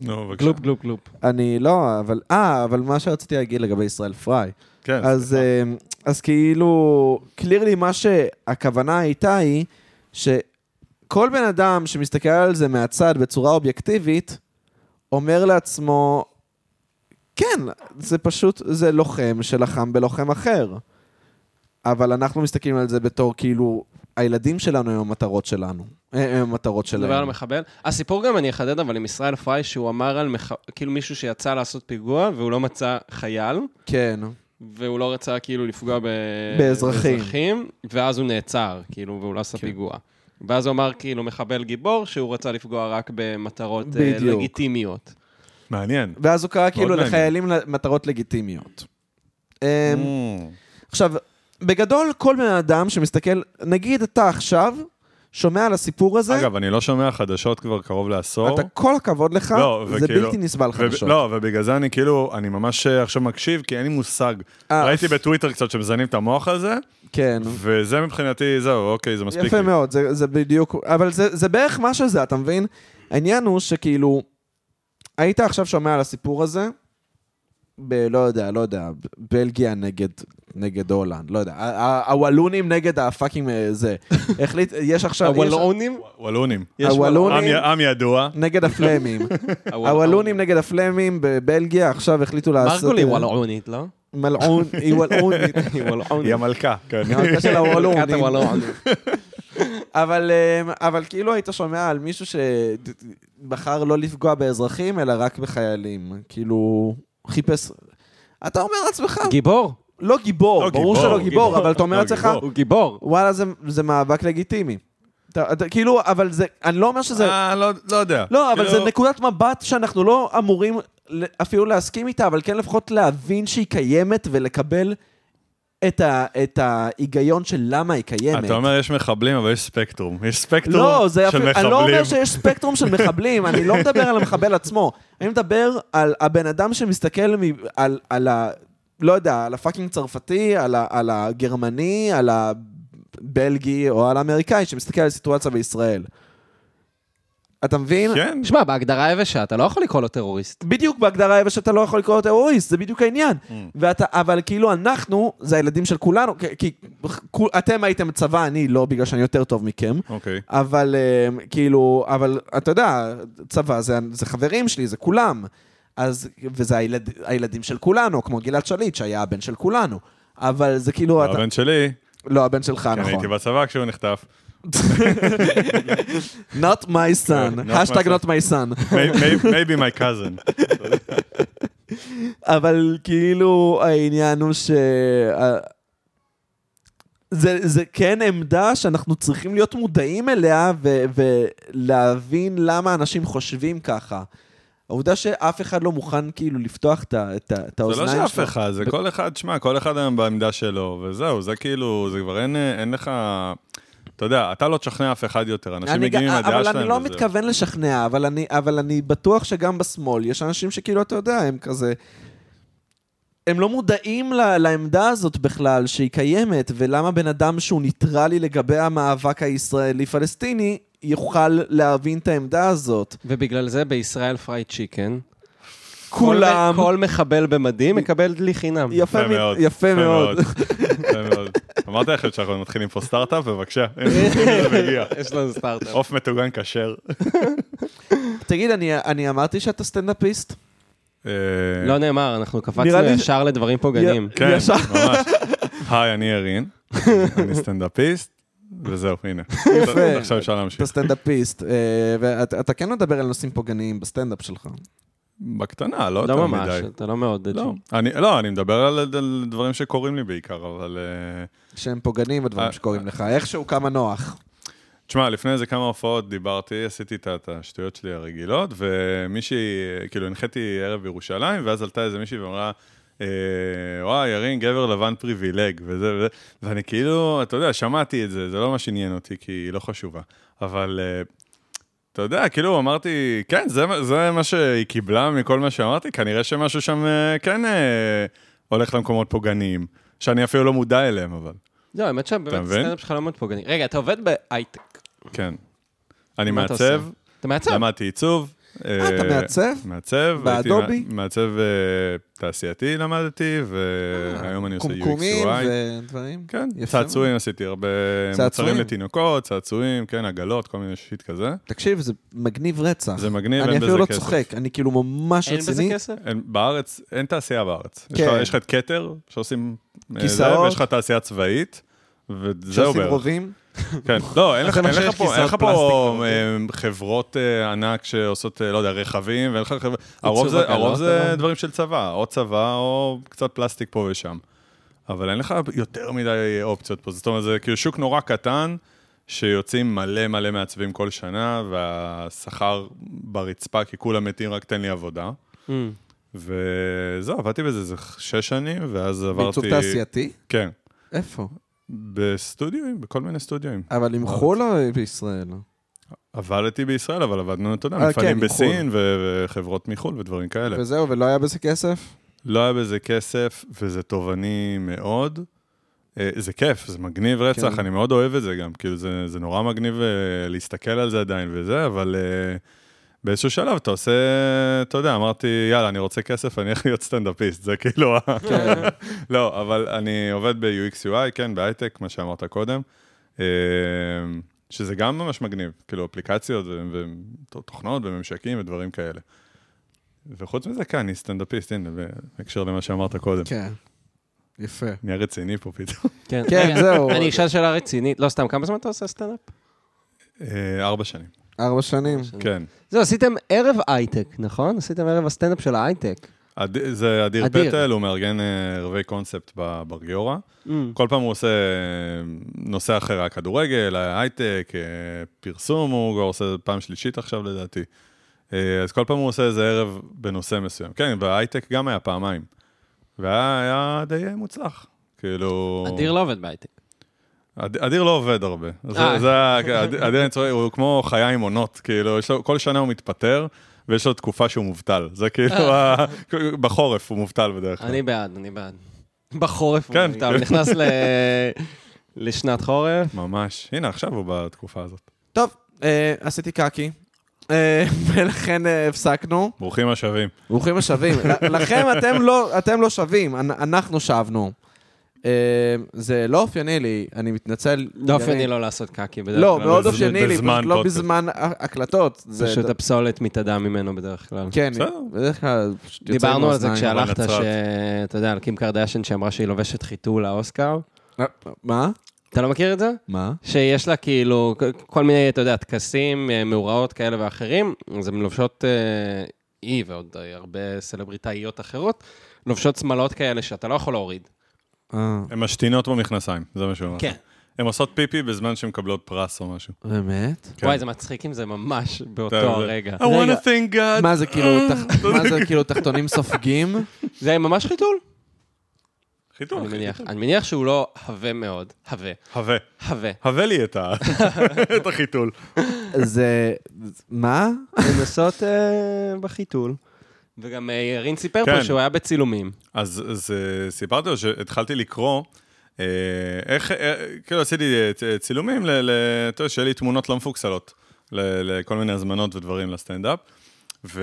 S2: נו, בבקשה.
S3: גלופ, גלופ, גלופ.
S1: אני לא, אבל... אה, אבל מה שרציתי להגיד לגבי ישראל פריי.
S2: כן,
S1: אז, אמ, אז כאילו, קלירלי מה שהכוונה הייתה היא שכל בן אדם שמסתכל על זה מהצד בצורה אובייקטיבית, אומר לעצמו, כן, זה פשוט, זה לוחם שלחם בלוחם אחר. אבל אנחנו מסתכלים על זה בתור כאילו, הילדים שלנו הם המטרות שלנו. הם הם המטרות שלהם.
S3: מדבר על מחבל. הסיפור גם, אני אחדד, אבל עם ישראל פריי, שהוא אמר על מח... כאילו מישהו שיצא לעשות פיגוע, והוא לא מצא חייל,
S1: כן.
S3: והוא לא רצה כאילו לפגוע ב...
S1: באזרחים.
S3: באזרחים, ואז הוא נעצר, כאילו, והוא לא עשה
S1: כן.
S3: פיגוע. ואז הוא אמר, כאילו, מחבל גיבור, שהוא רצה לפגוע רק במטרות אה,
S1: בדיוק.
S3: לגיטימיות.
S2: מעניין.
S1: ואז הוא קרא כאילו
S2: מעניין.
S1: לחיילים מטרות לגיטימיות. אמ,
S2: Mm.
S1: עכשיו, בגדול, כל בן אדם שמסתכל, נגיד אתה עכשיו, שומע על הסיפור הזה,
S2: אגב, אני לא שומע חדשות כבר קרוב לעשור.
S1: אתה כל הכבוד לך,
S2: לא,
S1: זה
S2: וכאילו-
S1: בלתי נסבל חדשות.
S2: וב- לא, ובגלל זה אני כאילו, אני ממש אה, עכשיו מקשיב, כי אין לי מושג.
S1: אה,
S2: ראיתי בטוויטר קצת שמזיינים את המוח על זה,
S1: כן.
S2: וזה מבחינתי, זהו, אוקיי, זה מספיק.
S1: יפה
S2: לי.
S1: מאוד, זה, זה בדיוק, אבל זה, זה בערך מה שזה, אתה מבין? העניין הוא שכאילו, היית עכשיו שומע על הסיפור הזה, ב... לא יודע, לא יודע, בלגיה נגד, נגד הולנד, לא יודע, ה- ה- הוולונים נגד הפאקינג אה,
S2: <laughs>
S1: זה. החליט, יש עכשיו... יש-
S3: הוולאונים?
S2: וולונים.
S1: יש הוולונים-
S2: עם י- עם ידוע.
S1: נגד הפלמים. הוולונים נגד הפלמים בבלגיה עכשיו החליטו לעשות... אה,
S3: מרגולי וולאונית, לא?
S1: מלעון,
S2: <laughs>
S1: היא וולעונית.
S2: היא המלכה, כן.
S1: היא המלכה של
S3: מלכת
S1: הוולעונים.
S3: הוולאונית.
S1: <laughs> אבל, אמ, אבל כאילו היית שומע על מישהו שבחר לא לפגוע באזרחים, אלא רק בחיילים. כאילו, חיפש... אתה אומר לעצמך,
S3: גיבור?
S1: לא גיבור,
S2: לא
S1: ברור
S2: גיבור,
S1: שלא גיבור, אבל אתה אומר
S2: לא
S1: לעצמך,
S2: גיבור.
S3: הוא גיבור.
S1: וואלה, זה- זה מאבק לגיטימי. אתה- אתה- כאילו, אבל זה, אני לא אומר שזה...
S2: אה, לא- לא יודע.
S1: לא, אבל
S2: כאילו-
S1: זו נקודת מבט שאנחנו לא אמורים ל- אפילו להסכים איתה, אבל כן לפחות להבין שהיא קיימת ולקבל את, ה, את ההיגיון של למה היא קיימת.
S2: אתה אומר יש מחבלים, אבל יש ספקטרום. יש ספקטרום
S1: לא, זה
S2: של
S1: יפה,
S2: מחבלים.
S1: אני לא אומר שיש ספקטרום של מחבלים, אני לא מדבר על המחבל עצמו. אני מדבר על הבן אדם שמסתכל מ, על, על ה... לא יודע, על הפאקינג צרפתי, על, ה, על הגרמני, על הבלגי או על האמריקאי, שמסתכל על סיטואציה בישראל. אתה מבין?
S2: כן,
S3: שמע, בהגדרה היבשה, אתה לא יכול לקרוא לו טרוריסט.
S1: בדיוק בהגדרה היבש אתה לא יכול לקרוא לו טרוריסט, זה בדיוק העניין.
S2: Mm.
S1: ואתה, אבל כאילו אנחנו, זה הילדים של כולנו, כי- כי כו- אתם הייתם צבא, אני לא, בגלל שאני יותר טוב מכם.
S2: אוקיי.
S1: אבל אה, כאילו, אבל אתה יודע, צבא זה, זה חברים שלי, זה כולם. אז, וזה הילד, הילדים של כולנו, כמו גלעד שליט, שהיה הבן של כולנו. אבל זה כאילו, אתה,
S2: הבן שלי,
S1: לא, הבן שלך,
S2: כן,
S1: נכון.
S2: הייתי בצבא כשהוא נחטף.
S1: Not my son,
S2: כן, Not my
S1: השטג
S2: son.
S1: not my son.
S2: May- may- maybe my cousin.
S1: אבל כאילו העניין הוא ש... ה- זה, זה כן עמדה שאנחנו צריכים להיות מודעים אליה ו, ולהבין למה אנשים חושבים ככה. העובדה שאף אחד לא מוכן כאילו לפתוח את, ה- את, ה- את
S2: זה לא
S1: האוזניים
S2: שאף אחד, זה כל אחד, שמע, כל אחד היום בעמדה שלו, וזהו, זה כאילו, זה כבר אין, אין לך... אתה יודע, אתה לא תשכנע אף אחד יותר, אנשים
S1: אני
S2: מגיעים עם
S1: גם-
S2: הדעה שלהם.
S1: אבל אני לא
S2: וזהו.
S1: מתכוון לשכנע, אבל אני, אבל אני בטוח שגם בשמאל יש אנשים שכאילו, אתה יודע, הם כזה... הם לא מודעים ל- לעמדה הזאת בכלל, שהיא קיימת, ולמה בן אדם שהוא ניטרלי לגבי המאבק הישראלי-פלסטיני, יוכל להבין את העמדה הזאת.
S3: ובגלל זה בישראל פרייד צ'יקן.
S1: כולם...
S3: כל מחבל במדים מקבל דלי חינם.
S1: יפה
S2: יפה
S1: מ-
S2: מאוד.
S1: יפה מאוד.
S2: יפה מאוד. אמרתי לכם שאנחנו מתחילים פה סטארט-אפ, בבקשה. הנה, זה מגיע.
S3: יש לנו סטארט-אפ.
S2: עוף מטוגן כשר.
S1: תגיד, אני- אני אמרתי שאתה סטנדאפיסט?
S2: אה,
S3: לא נאמר, אנחנו
S1: נראה
S3: קפצנו
S1: לי ש-
S3: ישר לדברים פוגעניים.
S2: כן,
S1: ישר.
S2: ממש. היי, אני ארין, אני סטנדאפיסט, וזהו, הנה.
S1: יפה.
S2: עכשיו אפשר
S1: אתה
S2: להמשיך.
S1: סטנדאפיסט, אה, ואתה אתה כן מדבר על נושאים פוגעניים בסטנדאפ שלך.
S2: בקטנה, לא יותר
S3: לא
S2: מדי.
S3: ממש, אתה לא מאוד...
S2: לא, אני, לא, אני מדבר על, על דברים שקורים לי בעיקר, אבל... אה,
S1: שהם פוגעניים הדברים
S2: אה,
S1: שקורים לך, איכשהו כמה נוח.
S2: תשמע, לפני איזה כמה הופעות דיברתי, עשיתי את את השטויות שלי הרגילות, ומישהי, אה, כאילו, הנחיתי ערב בירושלים, ואז עלתה איזה מישהי ואמרה, אה, וואי, ירין, גבר לבן פריבילג, וזה וזה, ואני כאילו, אתה יודע, שמעתי את זה, זה לא מה שעניין אותי, כי היא לא חשובה, אבל... אה, אתה יודע, כאילו אמרתי, כן, זה, מה- זה מה שהיא קיבלה מכל מה שאמרתי, כנראה שמשהו שם אה, כן אה, הולך למקומות פוגעניים, שאני אפילו לא מודע אליהם, אבל,
S3: לא, האמת שבאמת
S2: אתה מבין?
S3: הסטנדאפ שלך לא מאוד פוגעני. רגע, אתה עובד בהייטק.
S2: כן. אני
S3: מה אתה עושה?
S2: מעצב,
S3: אתה מעצב?
S2: למדתי עיצוב. אה,
S1: אתה מעצב?
S2: מעצב. הייתי
S1: באדובי?
S2: מע- מעצב אה, תעשייתי למדתי, והיום אני עושה
S1: קומקומים
S2: UX/UI.
S1: ודברים.
S2: כן,
S1: יפה
S2: צעצועים עשיתי הרבה,
S1: צעצועים?
S2: מוצרים לתינוקות, צעצועים, כן, עגלות, כל מיני שיט כזה.
S1: תקשיב, זה מגניב רצח.
S2: זה מגניב,
S1: אני
S2: אין
S1: אפילו
S2: בזה
S1: לא
S2: כסף.
S1: צוחק, אני כאילו ממש
S3: אין בזה
S1: רציני.
S3: כסף?
S2: אין- בארץ, אין תעשייה בארץ. יש
S1: כן.
S2: לך- יש לך את כתר, שעושים... אה, זה,
S1: כיסאות.
S2: ויש לך תעשייה צבאית, וזהו
S1: שעושים
S2: בערך.
S1: רובים.
S2: כן, לא, אין לך
S1: לכן
S2: אין
S1: עכשיו
S2: לך
S1: יש
S2: פה, אין לך
S1: כיסאות פלסטיק אוקיי.
S2: פה
S1: כזה.
S2: אה, חברות אה, ענק שעושות, אה, לא יודע, רכבים, ואין לך חברות... הרוב זה-
S3: עגלות,
S2: הרוב זה
S3: אבל.
S2: דברים של צבא, או צבא או קצת פלסטיק פה ושם. אבל אין לך יותר מדי אה, אופציות פה. זאת אומרת, זה כאילו שוק נורא קטן, שיוצאים מלא מלא מעצבים כל שנה, והשכר ברצפה, כי כולם מתים, רק תן לי עבודה.
S3: אמ.
S2: וזהו, עבדתי בזה איזה שש שנים, ואז עברתי...
S1: בעיצוב תעשייתי?
S2: כן.
S1: איפה?
S2: בסטודיואים, בכל מיני סטודיואים.
S1: אבל עם חול או
S2: לא.
S1: בישראל?
S2: עבדתי בישראל, אבל עבדנו, אתה יודע,
S1: אה, כן,
S2: מפעלים
S1: עם חו"ל.
S2: בסין ו- וחברות מחו"ל ודברים כאלה.
S1: וזהו, ולא היה בזה כסף?
S2: לא היה בזה כסף, וזה תובעני מאוד. אה, זה כיף, זה מגניב רצח,
S1: כן.
S2: אני מאוד אוהב את זה גם. כאילו, זה, זה נורא מגניב אה, להסתכל על זה עדיין וזה, אבל אה, באיזשהו שלב אתה עושה, אתה יודע, אמרתי, יאללה, אני רוצה כסף, אני הולך להיות סטנדאפיסט, זה כאילו... ה-
S1: כן.
S2: <laughs> לא, אבל אני עובד ב-UX/UI, כן, בהייטק, מה שאמרת קודם. אה, שזה גם ממש מגניב, כאילו אפליקציות ו- ותוכנות וממשקים ודברים כאלה. וחוץ מזה, כן, אני סטנדאפיסט, הנה, בהקשר למה שאמרת קודם.
S1: כן. יפה.
S2: נהיה רציני פה פתאום.
S1: כן,
S3: רגע,
S1: זהו.
S3: אני אשאל שאלה רצינית. לא סתם, כמה זמן אתה עושה סטנדאפ?
S2: אה, ארבע שנים,
S1: ארבע שנים.
S2: כן.
S3: זהו, עשיתם ערב הייטק, נכון? עשיתם ערב הסטנדאפ של ההייטק.
S2: אד- זה אדיר
S3: אדיר.
S2: פטל, הוא מארגן אה, ערבי קונספט ב- בגיורא.
S3: אמ.
S2: כל פעם הוא עושה אה, נושא אחר, היה כדורגל, היה הייטק, אה, פרסום, הוא כבר עושה פעם שלישית עכשיו לדעתי. אה, אז כל פעם הוא עושה איזה ערב בנושא מסוים. כן, וההייטק גם היה פעמיים. והיה היה די אה, מוצלח. כאילו...
S3: אדיר לא עובד בהייטק.
S2: אד- אדיר לא עובד הרבה. זה,
S3: אה.
S2: זה, ה- אד- אדיר אני צוחק, הוא כמו חיה עם עונות, כאילו, יש לו, כל שנה הוא מתפטר, ויש לו תקופה שהוא מובטל. זה כאילו, ה- בחורף הוא מובטל בדרך כלל.
S3: אה. אני בעד, אני בעד. בחורף הוא
S2: כן.
S3: מובטל, נכנס ל-
S2: <laughs>
S3: לשנת חורף.
S2: ממש. הנה, עכשיו הוא בתקופה הזאת.
S1: טוב, אה, עשיתי קקי. אה, <laughs> ולכן אה, הפסקנו.
S2: ברוכים השבים.
S1: ברוכים השבים. ל- לכם אתם לא, אתם לא שווים, אנ- אנחנו שבנו. אה, זה לא אופייני לי, אני מתנצל.
S3: לא אופייני
S1: יריב.
S3: לא לעשות קקי בדרך כלל.
S1: לא, מאוד
S2: בז-
S1: אופייני לי,
S2: בזמן
S1: פשוט לא
S2: פודקאסט.
S1: בזמן ה- הקלטות. זה-
S3: פשוט הפסולת מתאדה ממנו בדרך כלל.
S1: כן,
S2: בסדר.
S1: בדרך כלל פשוט יוצא
S3: דיברנו
S1: עם
S3: על זה
S1: האוזניים.
S2: אבל
S3: כשהלכת,
S2: נצרת.
S3: שאתה יודע, על קים קרדשן שאמרה שהיא לובשת חיתול לאוסקר.
S1: אה, מה?
S3: אתה לא מכיר את זה?
S1: מה?
S3: שיש לה כאילו כ- כל מיני, אתה יודע, טקסים, אה, מאורעות כאלה ואחרים, אז הן לובשות, אה, היא ועוד אה, הרבה סלבריטאיות אחרות, לובשות שמלות כאלה שאתה לא יכול להוריד.
S1: אה,
S2: הן משתינות במכנסיים, זה מה שהוא אמר.
S3: כן.
S2: הן עושות פיפי בזמן שהן מקבלות פרס או משהו.
S1: באמת?
S2: כן.
S3: וואי, זה מצחיק אם זה
S1: <laughs>
S3: ממש
S2: אתה יודע.
S3: באותו הרגע.
S2: I want to thank God.
S1: מה זה כאילו, תח- מה זה כאילו תחתונים סופגים?
S3: זה ממש חיתול,
S2: חיתום,
S3: אני
S2: אחי.
S3: מניח. אני מניח שהוא לא הווה מאוד. הווה.
S2: הווה.
S3: הווה.
S2: הווה לי את ה- <laughs> את החיתול.
S1: זה... מה?
S3: הן נוסעות אה, בחיתול. וגם אה, ירין סיפר
S2: כן.
S3: פה שהוא היה בצילומים.
S2: אז, אז אה, סיפרתי לו שהתחלתי לקרוא, אה, איך, אה, כאילו עשיתי אה, צ- צילומים, ל- ל- אתה יודע, שיהיה לי תמונות לא מפוקסלות, ל- לכל מיני הזמנות ודברים לסטנדאפ. ו...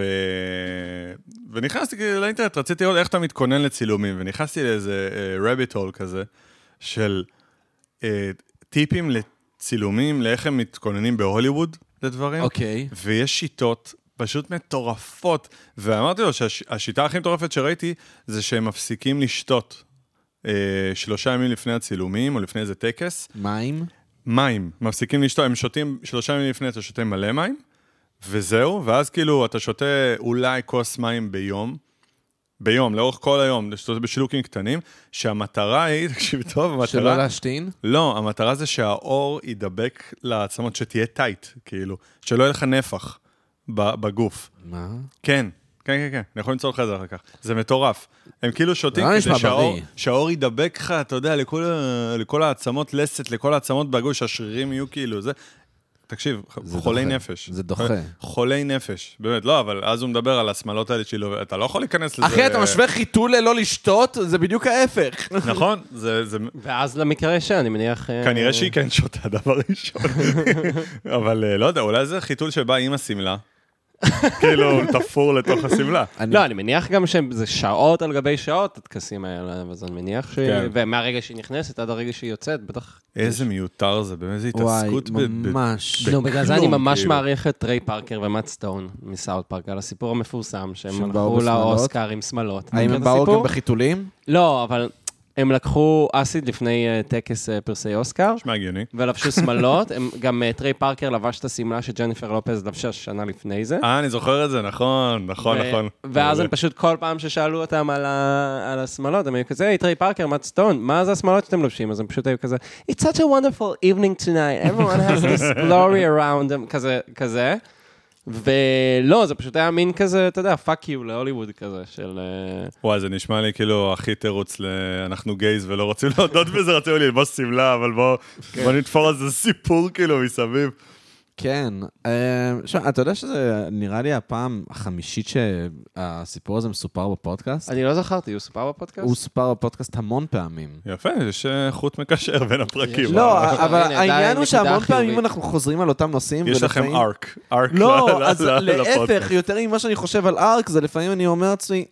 S2: ונכנסתי כאילו לאינטרנט, רציתי לראות איך אתה מתכונן לצילומים, ונכנסתי לאיזה רביט הול כזה, של אה, טיפים לצילומים, לאיך הם מתכוננים בהוליווד לדברים.
S1: אוקיי.
S2: ויש שיטות פשוט מטורפות. ואמרתי לו שהשיטה הכי מטורפת שראיתי זה שהם מפסיקים לשתות אה, שלושה ימים לפני הצילומים או לפני איזה טקס.
S1: מים?
S2: מים, מפסיקים לשתות, הם שותים, שלושה ימים לפני אתה שותה מלא מים, וזהו, ואז כאילו אתה שותה אולי כוס מים ביום. ביום, לאורך כל היום, אתה שותה בשילוקים קטנים, שהמטרה היא, <laughs> תקשיב טוב, המטרה...
S1: שלא להשתין?
S2: לא, המטרה זה שהאור יידבק לעצמות, שתהיה טייט, כאילו, שלא יהיה לך נפח ב- בגוף.
S1: מה?
S2: כן, כן, כן, כן, אני יכול למצוא לך את זה אחר כך. זה מטורף. הם כאילו שותים
S1: זה לא נשמע
S2: כדי שהאור,
S1: בריא.
S2: שהאור יידבק לך, אתה יודע, לכל, ה- לכל העצמות לסת, לכל העצמות בגוף, שהשרירים יהיו כאילו, זה... תקשיב,
S1: זה
S2: חולי
S1: דוחה.
S2: נפש.
S1: זה דוחה.
S2: חולי נש, באמת, לא, אבל אז הוא מדבר על השמלות האלה שלו, אתה לא יכול להיכנס לזה.
S1: אחי, אתה משווה חיתול ללא לשתות? זה בדיוק ההפך.
S2: נכון, זה, זה,
S3: ואז למקרה שאני מניח... אה,
S2: כנראה שהיא כן שותה דבר
S1: <laughs>
S2: ראשון. אבל אה, לא יודע, אולי זה חיתול שבא עם השמלה. כאילו, תפור לתוך השמלה.
S1: אני-
S3: לא, אני מניח גם שזה שעות על גבי שעות, הטקסים האלה, אז אני מניח ש...
S2: כן.
S3: ומהרגע שהיא נכנסת עד הרגע שהיא יוצאת, בטח...
S2: איזה מיותר זה, באמת, איזה
S1: וואי,
S2: התעסקות ב... ב-
S1: ממש.
S3: לא, בגלל זה אני
S2: כלום,
S3: ממש
S2: כאילו.
S3: מעריך את ריי פארקר ומאט סטון מסאוט פארק, על הסיפור המפורסם, שהם
S1: שהם באו
S3: הלכו
S1: בשמלות?
S3: לאוסקר עם שמלות. אתה
S1: האם
S3: מכיר
S1: הם
S3: את
S1: באו
S3: הסיפור?
S1: גם בחיתולים?
S3: לא, אבל הם לקחו אסיד לפני אה, טקס אה, פרסי אוסקר.
S2: נשמע הגיוני.
S3: ולבשו שמלות, הם- גם אה, טריי פארקר לבש את השמלה שג'ניפר לופז לבשה שנה לפני זה.
S2: אה, אני זוכר את זה, נכון, נכון,
S3: ו-
S2: נכון.
S3: ואז הם
S2: זה-
S3: פשוט כל פעם ששאלו אותם על, ה... על השמלות, הם היו כזה, היי, טרי פארקר, מאט סטון, מה זה השמלות שאתם לובשים? אז הם פשוט היו כזה, It's such a wonderful evening tonight, everyone has this glory around them, כזה, כזה. ולא, זה פשוט היה מין כזה, אתה יודע, fuck you להוליווד כזה, של... אה,
S2: וואי, זה נשמע לי כאילו הכי תירוץ ל... אנחנו גייז ולא רוצים להודות בזה, רצינו ללבוס שמלה, אבל בואו בוא נתפור על זה סיפור כאילו מסביב.
S1: כן. אה, שמע, אתה יודע שזה נראה לי הפעם החמישית שהסיפור הזה מסופר בפודקאסט?
S3: אני לא זכרתי, הוא סופר בפודקאסט?
S1: הוא סופר בפודקאסט המון פעמים.
S2: יפה, יש אה, חוט מקשר בין הפרקים.
S1: לא,
S2: אה,
S1: אבל
S3: הנה, די,
S1: העניין הוא
S3: נקודה
S1: שהמון פעמים
S3: חיובית.
S1: אנחנו חוזרים על אותם נושאים.
S2: יש לכם
S1: אה, ולפעמים-
S2: ארק. ארק <laughs> ל- ל-
S1: לא, אז
S2: ל-
S1: להפך,
S2: לפודקאסט.
S1: יותר ממה שאני חושב על ארק, זה לפעמים אני אומר לעצמי,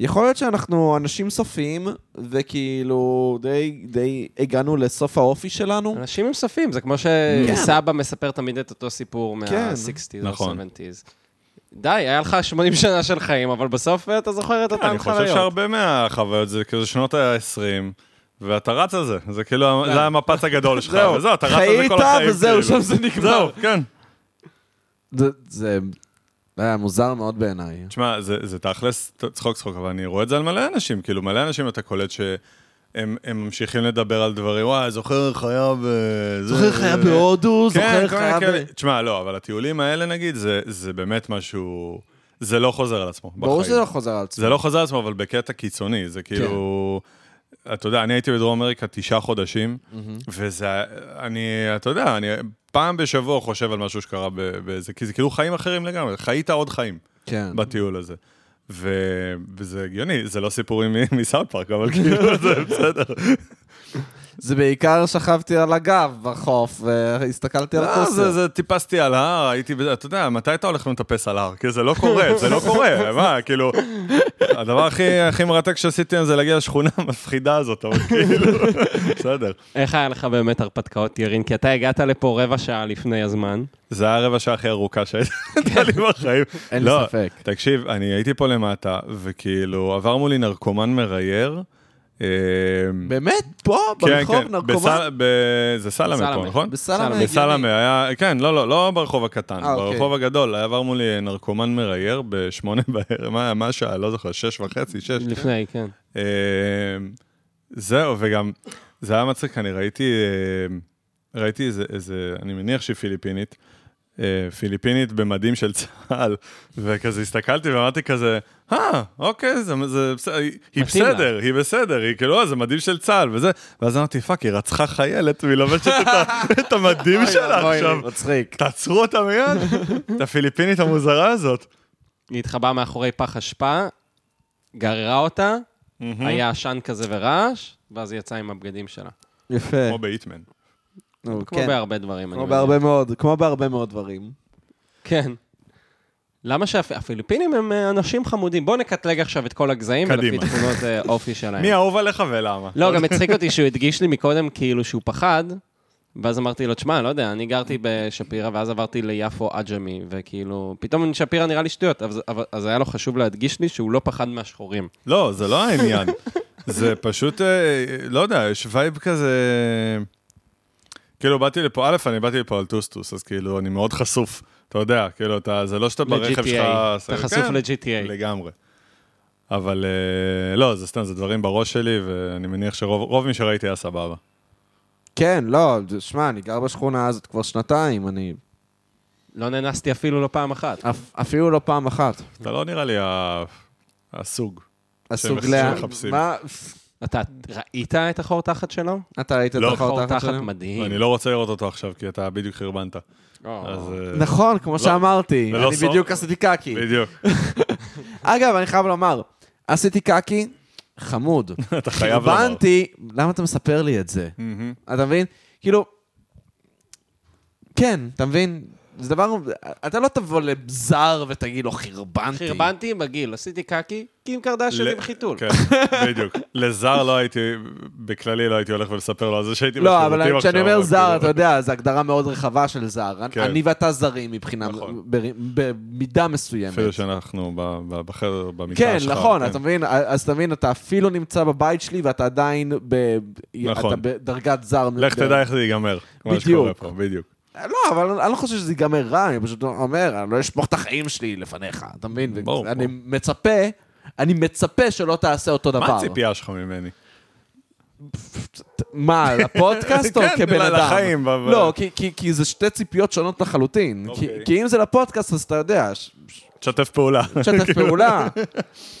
S1: יכול להיות שאנחנו אנשים סופיים, וכאילו די- די הגענו לסוף האופי שלנו.
S3: אנשים הם ספים, זה כמו שסבא מספר תמיד את אותו סיפור
S1: כן.
S3: מה-60's או
S2: נכון.
S3: 70's. די, היה לך 80 שנה של חיים, אבל בסוף אה, אתה זוכר את אותן
S2: כן, אני
S3: חוויות.
S2: חושב שהרבה מהחוויות זה כאילו שנות ה-20, ואתה רץ על זה, זה כאילו, זה המפץ הגדול שלך,
S1: כן. זהו.
S2: וזהו, אתה רץ על זה
S1: חיית
S2: כל החיים.
S1: וזהו,
S2: כאילו.
S1: שם זה נגמר.
S2: זהו, כן.
S1: זה- זה היה מוזר מאוד בעיניי.
S2: תשמע, זה זה תכלס ת- צחוק צחוק, אבל אני רואה את זה על מלא אנשים, כאילו, מלא אנשים אתה קולט ש... הם, הם ממשיכים לדבר על דברים, וואי, זוכר חיה ב... זה- אה."
S1: זוכר חיה בהודו,
S2: כן,
S1: זוכר
S2: כל מיני
S1: חיה
S2: כאלה.
S1: ב...
S2: תשמע, לא, אבל הטיולים האלה, נגיד, זה, זה באמת משהו... זה לא חוזר על עצמו בחיים.
S1: ברור שזה לא חוזר על עצמו.
S2: זה לא חוזר על עצמו, אבל בקטע קיצוני, זה כאילו... אתה יודע, אני הייתי בדרום אמריקה תשעה חודשים, וזה, אני, אתה יודע, אני פעם בשבוע חושב על משהו שקרה ב- בזה, כי זה כאילו חיים אחרים לגמרי, חיית עוד חיים
S1: כן.
S2: בטיול הזה. ו- וזה הגיוני, זה לא סיפורים מ- מסאוט פארק, אבל כאילו זה בסדר.
S1: זה בעיקר שכבתי על הגב בחוף, והסתכלתי על
S2: לא, זה,
S1: הכוסר.
S2: זה טיפסתי על ההר, הייתי, בזה- אתה יודע, מתי אתה הולך לטפס על ההר? כי זה לא קורה, זה לא
S1: <laughs>
S2: קורה, מה, כאילו, הדבר הכי, הכי מרתק שעשיתי היום זה להגיע לשכונה <laughs> המפחידה הזאת, אבל כאילו,
S1: <laughs>
S2: בסדר.
S3: איך היה לך באמת הרפתקאות, ירין? כי אתה הגעת לפה רבע שעה לפני הזמן.
S2: זה היה הרבע שעה הכי ארוכה שהייתה
S1: <laughs>
S2: לי בחיים.
S1: אין לי
S2: לא,
S1: ספק.
S2: תקשיב, אני הייתי פה למטה, וכאילו, עבר מולי נרקומן מרייר, אה,
S1: באמת? פה?
S2: כן,
S1: ברחוב?
S2: כן,
S1: נרקומן?
S2: בסל- ב- זה סלמה פה,
S3: סלמה.
S2: נכון?
S1: בסלמה
S3: בסלמה.
S1: הגיוני.
S2: בסלמה היה, כן, לא, לא, לא ברחוב הקטן,
S1: אה, אוקיי.
S2: ברחוב הגדול, היה עבר מולי נרקומן מראייר בשמונה בערב, מה- מה השעה, לא זוכר, שש וחצי, שש.
S3: לפני, כן.
S2: אה, זהו, וגם, זה היה מצחיק, אני ראיתי, אה, ראיתי איזה, איזה, אני מניח שהיא פיליפינית, אה, פיליפינית במדים של צה"ל, וכזה הסתכלתי ואמרתי כזה, אה, אוקיי, זה, זה, בסדר, היא- היא
S3: מתאים לה."
S2: בסדר, היא בסדר, היא כאילו, "אה, זה מדים של צה"ל, וזה, ואז אמרתי, פאק, היא רצחה חיילת, והיא לובשת את, ה- את המדים שלה
S1: אה, אוי,
S2: עכשיו.
S1: מצחיק.
S2: תעצרו אותה מיד, את הפיליפינית המוזרה הזאת.
S3: היא התחבאה מאחורי פח אשפה, גררה אותה,
S2: Mhm.
S3: היה עשן כזה ורעש, ואז היא יצאה עם הבגדים שלה.
S1: יפה.
S2: כמו באיטמן.
S1: נו,
S3: כמו
S1: כן.
S3: בהרבה דברים.
S1: כמו
S3: אני
S1: בהרבה
S3: מניח.
S1: מאוד, כמו בהרבה מאוד דברים.
S3: כן. למה שהפיליפינים הם אה, אנשים חמודים? בואו נקטלג עכשיו את כל הגזעים, ולפי
S2: קדימה.
S3: תכונות אה, אופי שלהם.
S2: מי אהוב עליך ולמה?
S3: לא, גם הצחיק אותי שהוא הדגיש לי מקודם כאילו שהוא פחד, ואז אמרתי לו, תשמע, לא יודע, אני גרתי בשפירא, ואז עברתי ליפו עג'מי, וכאילו, פתאום שפירא נראה לי שטויות, אז, אבל- אז היה לו חשוב להדגיש לי שהוא לא פחד מהשחורים.
S2: לא, זה לא העניין. זה פשוט, אה, לא יודע, יש וייב כזה... כאילו, באתי לפה, א', אני באתי לפה על טוסטוס, אז כאילו, אני מאוד חשוף. אתה יודע, כאילו, אתה, זה לא שאתה ברכב
S3: ל-GTA.
S2: שלך...
S3: אתה חשוף
S2: כן,
S3: ל-GTA.
S2: לגמרי. אבל אה, לא, זה סתם, זה דברים בראש שלי, ואני מניח שרוב רוב מי שראיתי היה סבבה.
S1: כן, לא, שמע, אני גר בשכונה הזאת כבר שנתיים, אני
S3: לא נאנסתי אפילו לא פעם אחת.
S1: אפ- אפילו לא פעם אחת.
S2: אתה לא נראה לי ה- הסוג.
S1: הסוג
S2: שהם
S1: ל...
S2: מחפשים.
S1: מה?
S3: אתה ראית את החור תחת שלו?
S1: אתה ראית את
S2: לא,
S1: החור תחת שלהם?
S3: מדהים.
S2: אני לא רוצה לראות אותו עכשיו, כי אתה בדיוק חרבנת.
S3: או.
S2: אז... אה,
S1: נכון, כמו שאמרתי,
S2: זה לא
S1: אני
S2: סוד.
S1: בדיוק עשיתי קקי.
S2: בדיוק.
S1: אגב, אני חייב לומר, עשיתי קקי, חמוד.
S2: <laughs> אתה חייב לומר.
S1: הבנתי, למה אתה מספר לי את זה?
S2: מהמם.
S1: אתה מבין? כאילו, כן, אתה מבין? זה דבר, אתה לא תבוא לזר ותגיד לו חרבנתי.
S3: חרבנתי בגיל, עשיתי קקי, קים קרדשן
S2: ל-
S3: עם חיתול.
S2: כן, בדיוק. לזר לא הייתי, בכללי לא הייתי הולך ולספר לו על זה שהייתי
S1: לא,
S2: בשירותים
S1: אבל כשאני אומר
S2: אבל
S1: זר,
S2: כאילו-
S1: אתה יודע, זו הגדרה מאוד רחבה של זר.
S2: כן.
S1: אני ואתה זרים מבחינה,
S2: נכון.
S1: בר- במידה מסוימת.
S2: אפילו שאנחנו ב- ב- בחדר, במיטה
S1: כן,
S2: שלך.
S1: נכון, אתה מבין, אז אתה מבין, אתה אפילו נמצא בבית שלי ואתה עדיין ב...
S2: נכון.
S1: אתה בדרגת זר.
S2: לך
S1: ב-
S2: תדע איך זה ייגמר. מה שקורה
S1: כן. בדיוק.
S2: פה, בדיוק.
S1: לא, אבל אני לא חושב שזה ייגמר רע, אני פשוט אומר, אני לא אשפוך את החיים שלי לפניך, אתה מבין?
S2: ברור,
S1: אני
S2: ברור.
S1: מצפה, אני מצפה שלא תעשה אותו דבר.
S2: מה הציפייה שלך ממני?
S1: מה, לפודקאסט
S2: <laughs>
S1: או
S2: כן,
S1: כבן
S2: ל-
S1: אדם?
S2: לחיים, אבל-
S1: לא, כי- כי- כי זה שתי ציפיות שונות לחלוטין. כי-
S2: אוקיי.
S1: כי אם זה לפודקאסט, אז אתה יודע, ש-
S2: תשתף פעולה.
S1: תשתף פעולה, כאילו.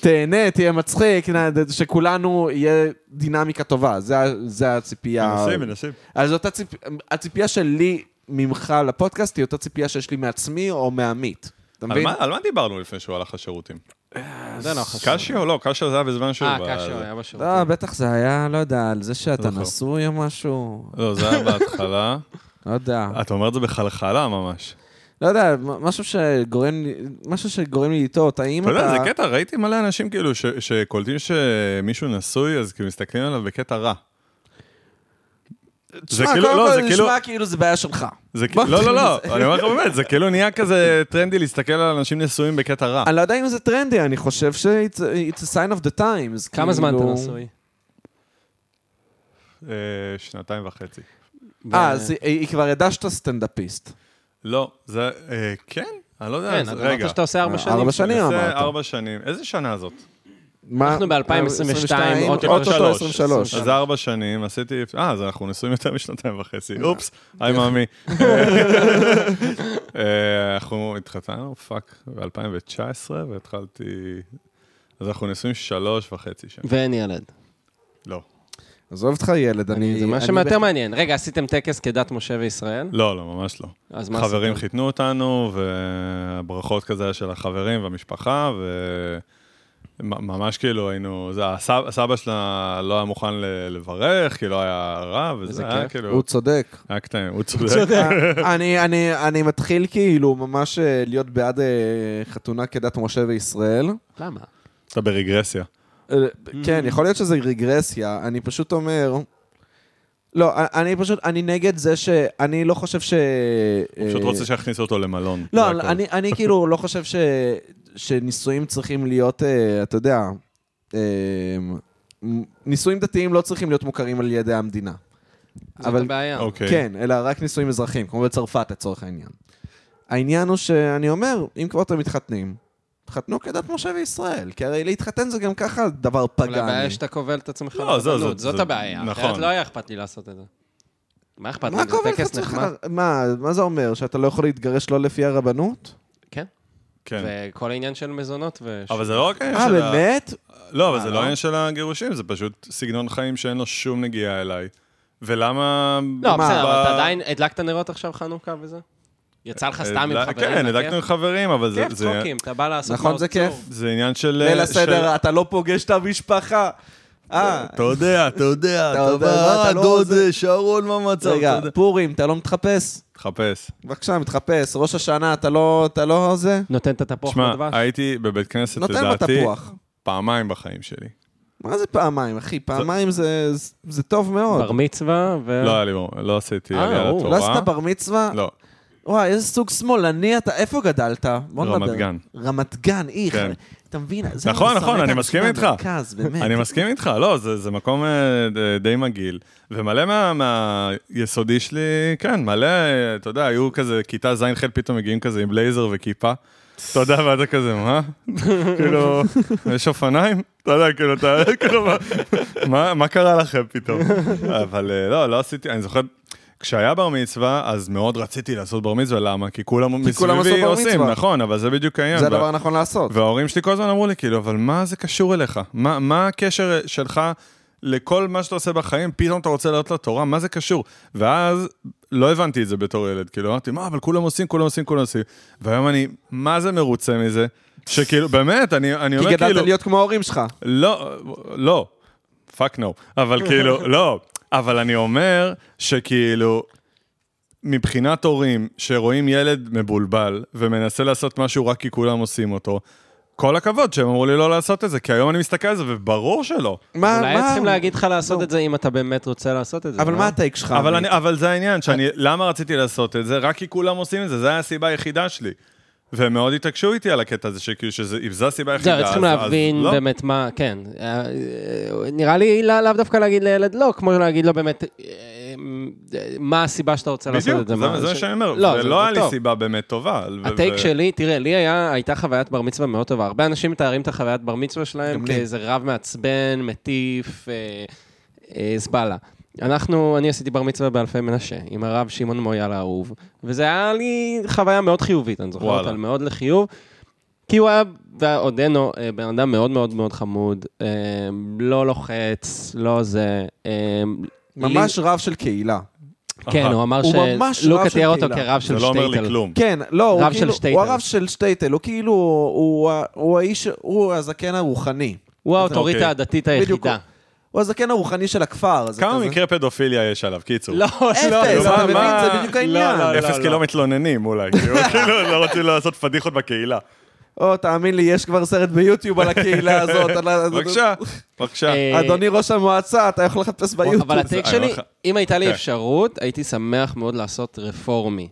S1: <laughs> תהנה, תהיה מצחיק, נ- שכולנו יהיה דינמיקה טובה. זה ה- זה
S2: <laughs>
S1: הציפייה.
S2: מנסים, מנסים.
S1: אז אותה ציפ- הציפייה שלי ממך לפודקאסט היא אותה ציפייה שיש לי מעצמי או מעמית. אתה
S2: על
S1: מבין? אה,
S2: מה- על מה דיברנו לפני שהוא הלך לשירותים?
S3: זה לא חשוב.
S2: קשיו? לא, קשיו זה היה בזמן שהוא...
S3: אה,
S2: בא-
S3: קשיו
S2: זה-
S3: היה בשירות.
S2: אוקיי.
S1: לא, בטח זה היה, לא יודע, על זה שאתה
S2: זוכר.
S1: נשוי או משהו,
S2: לא, זה היה בהתחלה.
S1: לא יודע.
S2: אתה אומר את זה בחלחלה ממש.
S1: לא יודע, מ- משהו שגורם לי, משהו שגורם לי לטעות, האם
S2: אתה
S1: אתה...
S2: יודע, זה קטע, ראיתי מלא אנשים כאילו ש- שקולטים שמישהו נשוי, אז כאילו מסתכלים עליו בקטע רע.
S1: תשמע,
S2: זה כאילו-
S1: קודם
S2: לא,
S1: כל
S2: זה
S1: זה
S2: כאילו-
S1: נשמע כאילו זה בעיה שלך.
S2: זה
S1: בוא
S2: כאילו, לא,
S1: נתחיל
S2: לא, לא,
S1: מזה.
S2: אני אומר לך באמת, זה כאילו נהיה כזה טרנדי להסתכל על אנשים נשואים בקטע רע.
S1: אני לא יודע אם זה טרנדי, אני חושב ש- it's a- it's a sign of the times.
S3: כמה זמן אתה
S1: כאילו-
S3: נשוי?
S2: אה, שנתיים וחצי.
S1: אה,
S3: כן,
S1: אז היא- היא כבר ידעה שאתה סטנדאפיסט.
S2: לא, זה, אה, כן? אני לא יודע,
S3: כן,
S2: אז-
S3: אתה
S2: רגע. אה,
S3: אמרת שאתה עושה ארבע שנים.
S1: ארבע שנים
S2: זה
S1: אמרת.
S2: ארבע שנים. איזה שנה זאת?
S1: מה- אה,
S3: אנחנו ב-2022, אוטוטו
S1: אוקיי, אוטוטו
S2: אוקיי, שלוש.
S1: 23.
S2: אז ארבע שנים, עשיתי... אה, אז אנחנו נשואים יותר משנתיים
S3: אה.
S2: וחצי. אופס, היי מאמי. אה, אנחנו התחתנו, פאק, ב-2019, והתחלתי... אז אנחנו נשואים שלוש וחצי שנים.
S3: ואין ילד.
S2: לא.
S1: עזוב אותך ילד, אני...
S3: זה מה
S1: אני
S3: שיותר
S1: ב-
S3: מעניין. רגע, עשיתם טקס כדת משה וישראל?
S2: לא, לא, ממש לא.
S3: אז מה
S2: חברים
S3: עשיתם?
S2: חיתנו אותנו, והברכות כזה היה של החברים והמשפחה, וממש כאילו היינו, זה, הסב, סבא שלה לא היה מוכן ל- לברך, כי לא היה רב,
S3: איזה
S2: וזה היה
S3: כיף.
S2: כאילו,
S1: הוא
S2: <laughs>
S1: צודק. אה,
S2: היה קטעים, הוא צודק.
S1: אני, אני, אני מתחיל כאילו ממש אה, להיות בעד אה, חתונה כדת משה וישראל.
S3: למה?
S2: אתה ברגרסיה.
S1: אה,
S2: Mm-hmm.
S1: כן, יכול להיות שזה רגרסיה, אני פשוט אומר... לא, אני- אני פשוט, אני נגד זה ש... אני לא חושב ש...
S2: הוא פשוט
S1: אה,
S2: רוצה שיכניסו אותו למלון.
S1: לא,
S2: זה הכל.
S1: אני, אני כאילו לא חושב ש, שנישואים צריכים להיות, אה, אתה יודע, אה, נישואים דתיים לא צריכים להיות מוכרים על ידי המדינה.
S3: זאת
S1: אבל-
S3: הבעיה.
S2: אוקיי.
S1: כן, אלא רק נישואים אזרחיים, כמו בצרפת לצורך העניין. העניין הוא שאני אומר, אם כבר אתם מתחתנים, תחתנו כדת משה וישראל, כי הרי להתחתן זה גם ככה דבר
S3: אבל הבעיה
S1: פגאני.
S3: היא שאתה כובל את עצמך
S2: לא, זה-
S3: ברבנות,
S2: זה-
S3: זאת
S2: זה-
S3: הבעיה.
S2: נכון.
S3: אחרת לא היה אכפת לי לעשות את זה. מה אכפת לי?
S1: מה
S3: זה
S1: קובע לך
S3: טקס
S1: עצמך?
S3: נחמד.
S1: מה, מה זה אומר? שאתה לא יכול להתגרש לא לפי הרבנות?
S3: כן,
S2: כן.
S3: וכל העניין של מזונות ו...
S2: אבל זה לא רק העניין
S1: אה,
S2: של ה...
S1: באמת?
S2: לא, אבל
S1: אה,
S2: זה
S1: לא?
S2: לא העניין של הגירושים, זה פשוט סגנון חיים שאין לו שום נגיעה אליי. ולמה...
S3: לא,
S1: מה,
S3: בסדר, אבל
S2: ב-
S3: אתה עדיין הדלקת נרות עכשיו חנוכה וזה? יצא לך סתם עם
S2: הדלק-
S3: חברים?
S2: כן,
S3: לכיף?
S2: הדלקנו עם חברים, אבל זה...
S3: כיף,
S2: זה-
S3: צחוקים, אתה בא לעשות...
S1: נכון,
S3: מאות
S1: זה כיף.
S3: צור.
S2: זה עניין של... אה,
S1: ליל
S2: של-
S1: הסדר, אתה לא פוגש את המשפחה. אה,
S2: אתה יודע, אתה יודע,
S1: אתה יודע, אתה לא עוזר.
S2: שרון, מה המצב?
S1: רגע,
S2: אתה יודע.
S1: פורים, אתה לא מתחפש?
S2: תחפש.
S1: בבקשה, מתחפש. ראש השנה, אתה לא, אתה לא זה?
S3: נותן את התפוח
S2: תשמע,
S3: בדבש?
S2: הייתי בבית כנסת,
S1: נותן לו
S2: לדעתי,
S1: תפוח. אה.
S2: פעמיים בחיים שלי.
S1: מה זה פעמיים, אחי? פעמיים זה, זה, זה טוב
S3: בר
S1: מאוד.
S3: מצווה ו...
S2: לא היה לי ברור, לא עשיתי
S3: אה,
S2: עלייה
S3: הוא.
S2: לתורה.
S1: לא עשית בר מצווה?
S2: לא,
S1: וואי, איזה סוג שמאלני אתה, איפה גדלת? בוא נדבר.
S2: רמת גן.
S1: רמת גן, איך.
S2: כן.
S1: אתה מבין? זה
S2: נכון,
S1: אני שם
S2: נכון,
S1: את
S2: אני
S1: האנשים
S2: מסכים איתך.
S1: במרכז, באמת.
S2: אני מסכים איתך, לא, זה, זה מקום אה, ד- די מגעיל. ומלא מה, מהיסודי שלי, כן, מלא, אה, אתה יודע, היו כזה, כיתה ז'-ח' פתאום מגיעים כזה עם בלייזר וכיפה. אתה יודע, ואתה כזה, מה? <laughs> כאילו, יש אופניים? אתה יודע, כאילו, אתה, <laughs> כאילו, מה- מה, מה קרה לכם פתאום? אבל אה, לא, לא עשיתי, אני זוכר, כשהיה בר מצווה, אז מאוד רציתי לעשות בר מצווה, למה? כי כולם
S1: כולם עשו
S2: מסביבי
S1: בר
S2: עושים,
S1: מצווה.
S2: נכון, אבל זה בדיוק העניין.
S1: זה
S2: ב-
S1: הדבר הנכון לעשות.
S2: וההורים שלי כל הזמן אמרו לי, כאילו, אבל מה זה קשור אליך? מה, מה הקשר אה, שלך לכל מה שאתה עושה בחיים? פתאום אתה רוצה לעלות לתורה? מה זה קשור? ואז לא הבנתי את זה בתור ילד, כאילו, אמרתי, מה, אבל כולם עושים, כולם עושים, כולם עושים. והיום אני, מה זה מרוצה מזה? שכאילו, באמת, אני, אני
S1: כי
S2: אומר,
S1: גדלת
S2: כאילו...
S1: להיות כמו ההורים שלך.
S2: לא, לא, פאק נו, אבל כאילו, לא, אבל אני אומר שכאילו, מבחינת הורים שרואים ילד מבולבל ומנסה לעשות משהו רק כי כולם עושים אותו, כל הכבוד שהם אמרו לי לא לעשות את זה, כי היום אני מסתכל על זה וברור שלא.
S1: מה,
S3: אולי היו
S1: מה?
S3: צריכים להגיד לך לעשות
S1: לא.
S3: את זה אם אתה באמת רוצה לעשות את זה.
S1: אבל
S3: אה?
S1: מה הטייק שלך?
S2: אבל,
S1: עמית?
S2: אני, אבל זה העניין, שאני, למה רציתי לעשות את זה? רק כי כולם עושים את זה, זו הייתה הסיבה היחידה שלי. והם מאוד התעקשו איתי על הקטע הזה, שכאילו, שזה- אם זו הסיבה היחידה,
S3: זהו,
S2: אז-
S3: צריכים
S2: אז
S3: להבין
S2: לא.
S3: באמת מה, כן. אה, נראה לי לא- לאו דווקא להגיד לילד לא, כמו להגיד לו באמת אה, אה, מה הסיבה שאתה רוצה לעשות
S2: בדיוק,
S3: את זה.
S2: זה
S3: מה-
S2: מה זה מה
S3: ש-
S2: שאני אומר,
S3: לא, זה- זה
S2: ולא היה לי
S3: טוב.
S2: סיבה באמת טובה. ו-
S3: הטייק
S2: ו-
S3: שלי, תראה, לי היה, הייתה חוויית בר מצווה מאוד טובה. הרבה אנשים מתארים את החוויית בר מצווה שלהם
S1: גם לי.
S3: כאיזה רב מעצבן, מטיף, אה, אה, זבלה. אנחנו, אני עשיתי בר מצווה באלפי מנשה, עם הרב שמעון מויאל האהוב, וזה היה לי חוויה מאוד חיובית, אני זוכר
S2: וואלה.
S3: אותה מאוד לחיוב, כי הוא היה, ועודנו, אה, בן אדם מאוד מאוד מאוד חמוד, אה, לא לוחץ, לא זה. אה,
S1: ממש רב של קהילה.
S3: לי, כן,
S2: אהה.
S3: הוא אמר
S1: הוא ממש רב
S3: שלוקה
S1: של
S3: תיאר אותו
S1: קהילה.
S3: כרב
S2: זה
S3: של
S2: לא אומר לי
S3: שטייטל.
S2: כלום.
S1: כן, לא, הוא
S3: רב של
S1: כאילו,
S3: שטייטל.
S1: הוא הרב של שטייטל, הוא כאילו, הוא ה- הוא האיש, הוא הזקן הרוחני.
S3: הוא האוטוריטה
S2: אוקיי.
S3: הדתית
S1: בדיוק.
S3: היחידה.
S1: הוא הזקן הרוחני של הכפר. זה
S2: כמה
S1: כזה-
S2: מקרי פדופיליה יש עליו? קיצור.
S3: לא, לא,
S1: אפס,
S2: לא,
S1: אתה
S2: מה-
S1: מבין?
S2: מה-
S1: זה בדיוק
S2: לא,
S1: העניין.
S3: לא, לא.
S2: אפס כי לא מתלוננים אולי,
S3: <laughs>
S2: כאילו, כאילו, לא רוצים לעשות פדיחות בקהילה.
S1: או, תאמין לי, יש כבר סרט ביוטיוב על
S2: <laughs>
S1: הקהילה הזאת. על ה-
S2: בבקשה, בבקשה.
S3: לא- אה,
S1: אדוני ראש המועצה, אתה יכול לחפש ביוטיוב.
S3: אבל הטייק
S2: זה- אני
S3: שלי,
S2: אומר לך-
S3: אם הייתה לי
S2: כן.
S3: אפשרות, הייתי שמח מאוד לעשות רפורמי.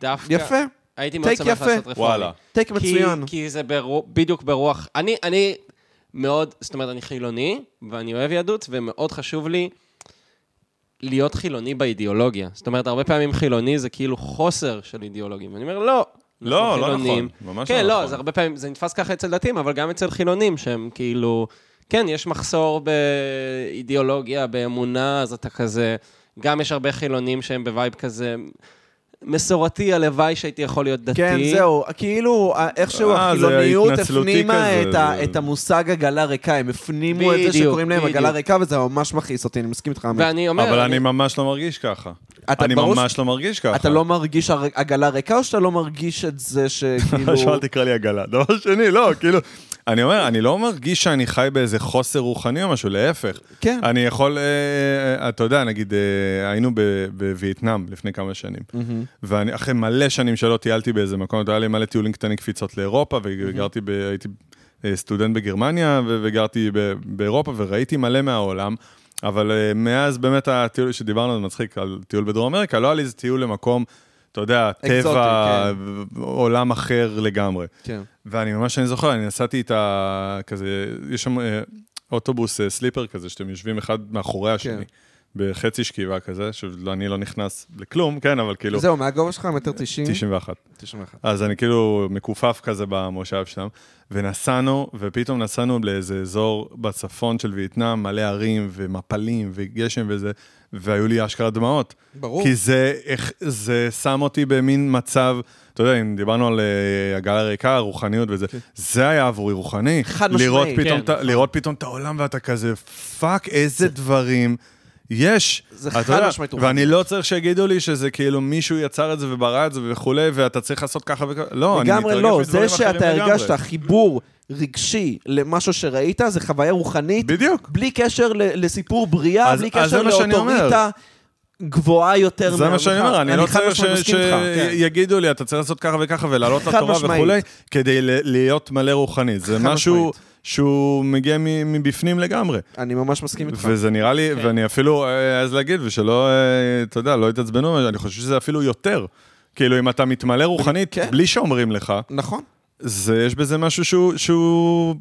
S3: דווקא...
S1: יפה,
S3: הייתי מאוד
S1: טייק
S3: שמח
S1: יפה.
S3: לעשות רפורמי.
S2: וואלה.
S1: טייק
S3: כי-
S1: מצוין.
S3: כי זה ברו- בדיוק ברוח... אני- אני מאוד, זאת אומרת, אני חילוני, ואני אוהב יהדות, ומאוד חשוב לי להיות חילוני באידיאולוגיה. זאת אומרת, הרבה פעמים חילוני זה כאילו חוסר של אידיאולוגים. ואני אומר, לא.
S2: לא,
S3: אנחנו
S2: לא
S3: חילונים."
S2: נכון, ממש
S3: כן,
S2: לא
S3: לא,
S2: נכון.
S3: אז הרבה פעמים, זה נתפס ככה אצל דתיים, אבל גם אצל חילונים, שהם כאילו, כן, יש מחסור באידיאולוגיה, באמונה, אז אתה כזה, גם יש הרבה חילונים שהם בווייב כזה מסורתי, הלוואי שהייתי יכול להיות דתי.
S1: כן, זהו, כאילו, ה- איכשהו
S2: אה, זה
S1: החילוניות
S2: התנצלותי
S1: הפנימה
S2: כזה,
S1: את ה-
S2: זה-
S1: את המושג עגלה ריקה, הם הפנימו את זה
S3: בדיוק,
S1: שקוראים להם עגלה
S3: בדיוק.
S1: ריקה, וזה ממש מכעיס אותי, אני מסכים איתך. עמית.
S3: ואני אומר...
S2: אבל אני ממש לא מרגיש ככה.
S1: אתה
S2: אני
S1: ברור-
S2: ממש <laughs> לא מרגיש ככה.
S1: אתה לא מרגיש הר- עגלה ריקה, או שאתה לא מרגיש את
S2: <laughs>
S1: זה שכאילו...
S2: שאל תקרא לי עגלה. דבר שני, לא, כאילו... אני אומר, אני לא מרגיש שאני חי באיזה חוסר רוחני או משהו, להפך.
S1: כן.
S2: אני יכול, אה, אה, אתה יודע, נגיד, אה, היינו ב- בווייטנאם לפני כמה שנים, ואני אחרי מלא שנים שלא טיילתי באיזה מקום, היה לי מלא טיולים קטנים, קפיצות לאירופה, וגרתי, ב- הייתי אה, סטודנט בגרמניה, ו- וגרתי ב- באירופה, וראיתי מלא מהעולם. אבל אה, מאז באמת הטיול שדיברנו, זה מצחיק, על טיול בדרום אמריקה, לא היה לי איזה טיול למקום, אתה יודע, טבע, עולם אחר לגמרי.
S1: כן.
S2: ואני ממש, אני זוכר, אני נסעתי איתה, כזה, יש שם, אה, אוטובוס אה, סליפר כזה, שאתם יושבים אחד מאחורי השני,
S1: כן.
S2: בחצי שכיבה כזה, שאני לא נכנס לכלום, כן, אבל כאילו,
S1: זהו, מה הגובה שלך? מטר תשעים?
S2: 91.
S1: תשעים ואחת.
S2: אז אני כאילו מכופף כזה במושב שם, ונסענו, ופתאום נסענו לאיזה אזור בצפון של וייטנאם, מלא הרים ומפלים וגשם וזה, והיו לי אשכרה דמעות.
S1: ברור.
S2: כי זה, איך- זה שם אותי במין מצב, אתה יודע, אם דיברנו על אה, הגל הריקה, הרוחניות וזה, זה היה עבורי רוחני.
S1: כן. חד
S2: לראות
S1: משמעית.
S2: פתאום
S4: כן.
S2: את ה- לראות פתאום את העולם ואתה כזה, פאק, איזה דברים. יש,
S1: זה
S2: אתה
S1: חד
S2: יודע,
S1: משמעית
S2: ואני
S1: רוחניות.
S2: לא צריך שיגידו לי שזה כאילו מישהו יצר את זה וברא את זה וכולי, ואתה צריך לעשות ככה וככה, לא, אני מתרגש
S1: לגמרי לא, זה
S2: מדברים
S1: שאתה
S2: אחרים
S1: הרגשת
S2: לגמרי.
S1: חיבור רגשי למשהו שראית, זה חוויה רוחנית,
S2: בדיוק.
S1: בלי קשר ל- לסיפור בריאה,
S2: אז-
S1: בלי
S2: אז זה
S1: קשר
S2: מה שאני אומר.
S1: לאוטוריטה גבוהה יותר
S2: זה מה שאני אומר, אני לא
S1: חד
S2: צריך
S1: משמעית מסכים איתך, כן.
S2: שיגידו לי, אתה צריך לעשות ככה וככה ולעלות
S1: חד
S2: לתורה
S1: משמעית.
S2: וכולי, כדי ל- להיות מלא רוחנית. זה
S1: חד
S2: משהו
S1: משמעית.
S2: שהוא מגיע מ- מבפנים לגמרי.
S1: אני ממש מסכים איתך.
S2: וזה נראה לי,
S4: כן.
S2: ואני אפילו אה, אז להגיד, ושלא, אה, אתה יודע, לא יתעצבנו, אני חושב שזה אפילו יותר. כאילו, אם אתה מתמלא רוחנית,
S1: כן.
S2: בלי שאומרים לך,
S1: נכון.
S2: זה, יש בזה משהו שהוא, שהוא...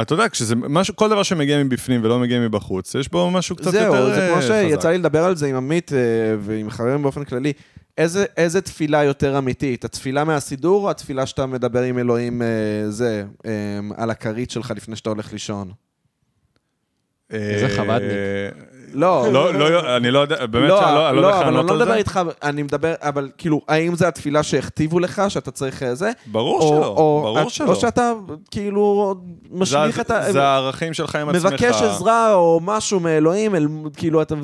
S2: אתה יודע, כשזה משהו, כל דבר שמגיע מבפנים ולא מגיע מבחוץ, יש בו משהו קצת
S1: זהו,
S2: יותר
S1: זה
S2: אה,
S1: כמו
S2: חזק.
S1: שיצא לי לדבר על זה עם עמית אה, ועם חברים באופן כללי. איזה, איזה תפילה יותר אמיתית? התפילה מהסידור או התפילה שאתה מדבר עם אלוהים, אה, זה, אה, על הכרית שלך לפני שאתה הולך לישון?
S2: אה,
S3: איזה חב"דניק.
S1: לא,
S2: לא, לא, אני לא יודע, באמת
S1: לא,
S2: שאני לא אני לא יודע
S1: לא,
S2: איך
S1: אבל אני
S2: לענות
S1: לא
S2: על
S1: מדבר
S2: זה.
S1: איתך, אני מדבר, אבל כאילו, האם זו התפילה שהכתיבו לך, שאתה צריך אה, זה?
S2: ברור
S1: או-
S2: שלא,
S1: או-
S2: ברור שלא.
S1: או שאתה כאילו
S2: זה
S1: משליך
S2: ה-
S1: את ה...
S2: זה הערכים שלך עם עצמך.
S1: מבקש עזרה או משהו מאלוהים, אל- כאילו, אתה-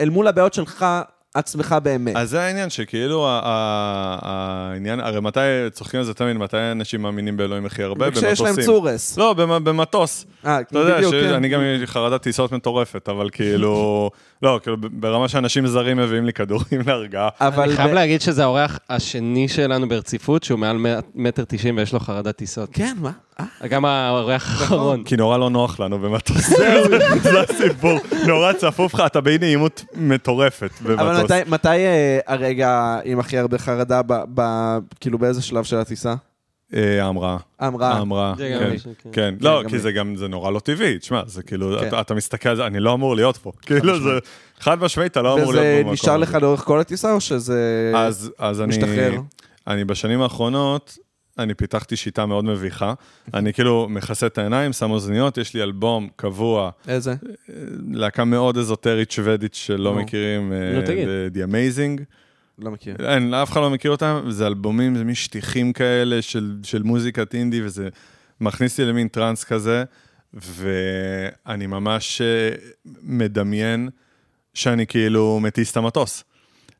S1: אל מול הבעיות שלך, עצמך באמת.
S2: אז זה העניין, שכאילו ה- ה- העניין, הרי מתי, צוחקים על זה תמיד, מתי אנשים מאמינים באלוהים הכי הרבה?
S1: וכשיש להם
S2: במטוסים.
S1: צורס.
S2: לא, במ- במטוס.
S1: אה,
S2: אתה יודע,
S1: בדיוק, כן.
S2: שאני גם יש לי חרדת טיסות מטורפת, אבל
S1: <laughs>
S2: כאילו, לא, כאילו, ב- ברמה שאנשים זרים מביאים לי כדורים להרגעה.
S1: אבל...
S3: אני
S1: ב-
S3: חייב להגיד שזה האורח השני שלנו ברציפות, שהוא מעל מ- מטר תשעים ויש לו חרדת טיסות.
S1: כן, מה? אה,
S3: גם האורח
S1: נכון.
S3: האחרון.
S2: כי נורא לא נוח לנו
S1: <laughs>
S2: במטוס, <laughs> זה הסיפור, נורא צפוף לך, אתה באי נעימות מטורפת
S1: אבל
S2: במטוס.
S1: מתי- מתי אה, הרגע עם הכי הרבה חרדה, ב- ב- כאילו באיזה שלב של הטיסה?
S2: אה, ההמראה.
S1: אמרה.
S2: ההמראה,
S3: זה גם
S2: כן.
S3: מישהו, כן.
S2: כן, לא,
S1: גם
S2: כי
S1: לי.
S2: זה גם, זה נורא לא טבעי, תשמע, זה כאילו,
S1: כן.
S2: אתה- אתה מסתכל על זה, אני לא אמור להיות פה. כאילו, זה חד משמעית, אתה לא אמור להיות
S1: וזה
S2: במקום.
S1: נשאר
S2: הזה.
S1: לך לאורך כל הטיסה, או שזה...
S2: אז, אז אני...
S1: משתחרר.
S2: אני בשנים האחרונות, אני פיתחתי שיטה מאוד מביכה. אני כאילו מכסה את העיניים, שם אוזניות, יש לי אלבום קבוע,
S1: איזה?
S2: אה, להקה מאוד אזוטרית שוודית שלא
S1: נו.
S2: מכירים, אה,
S3: נו, לא תגיד.
S2: The- The Amazing.
S1: לא מכיר.
S2: אין, אף אחד לא מכיר אותם, זה אלבומים, זה מין שטיחים כאלה של, של מוזיקת אינדי, וזה מכניס לי למין טראנס כזה, ואני ממש אה, מדמיין שאני כאילו מטיס את המטוס.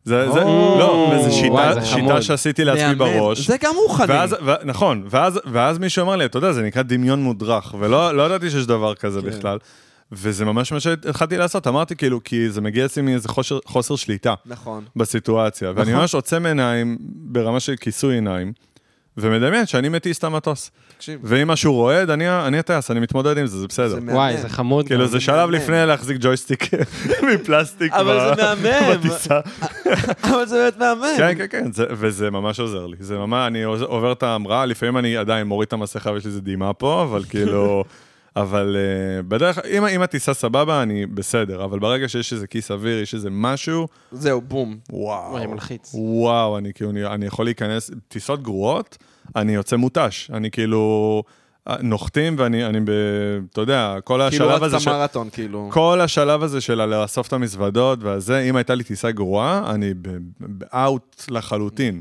S2: זה, זה,
S1: או,
S2: לא, וזו
S3: וואי,
S2: שיטה,
S3: זה חמוד.
S2: שיטה שעשיתי לעצמי
S1: מהמם.
S2: בראש.
S1: זה גם רוחני.
S2: ואז, ו, נכון, ואז, ואז מישהו אמר לי, אתה יודע, זה נקרא דמיון מודרך, ולא לא ידעתי שיש דבר כזה
S1: כן.
S2: בכלל. וזה ממש מה שהתחלתי לעשות, אמרתי כאילו, כי זה מגיע אצלי מאיזה חושר, חוסר שליטה.
S1: נכון.
S2: בסיטואציה, ואני
S1: נכון.
S2: ממש עוצם עיניים ברמה של כיסוי עיניים, ומדמיין שאני מטיס את המטוס.
S1: תקשיב,
S2: ואם משהו רועד, אני ה- אני הטייס, אני מתמודד עם זה, זה בסדר.
S1: זה מהמם.
S3: וואי, זה חמוד.
S2: כאילו, זה שלב
S1: מהמם.
S2: לפני להחזיק
S1: <laughs>
S2: ג'ויסטיק מפלסטיק
S1: אבל
S2: ב-
S1: זה
S2: <laughs>
S1: מהמם.
S2: בטיסה.
S1: <laughs> אבל זה באמת מהמם.
S2: כן, כן, כן, זה- וזה ממש עוזר לי. זה ממש, אני עוז- עובר את ההמראה, לפעמים אני עדיין מוריד את המסכה ויש לי איזה דמעה פה, אבל כאילו... אבל אה, בדרך כלל, אם- אם הטיסה סבבה, אני בסדר, אבל ברגע שיש איזה כיס אוויר, יש איזה משהו,
S1: זהו, בום.
S2: וואו.
S3: וואי, מלחיץ.
S2: וואו, אני כאילו, אני, אני יכול להיכנס, טיסות גרועות, אני יוצא מותש. אני כאילו, אה, נוחתים ואני, אני ב... אתה יודע, כל
S1: כאילו
S2: השלב הזה
S1: רצת
S2: של...
S1: מרתון, כאילו.
S2: כל השלב הזה של ה- לאסוף את המזוודות והזה, אם הייתה לי טיסה גרועה, אני באאוט לחלוטין.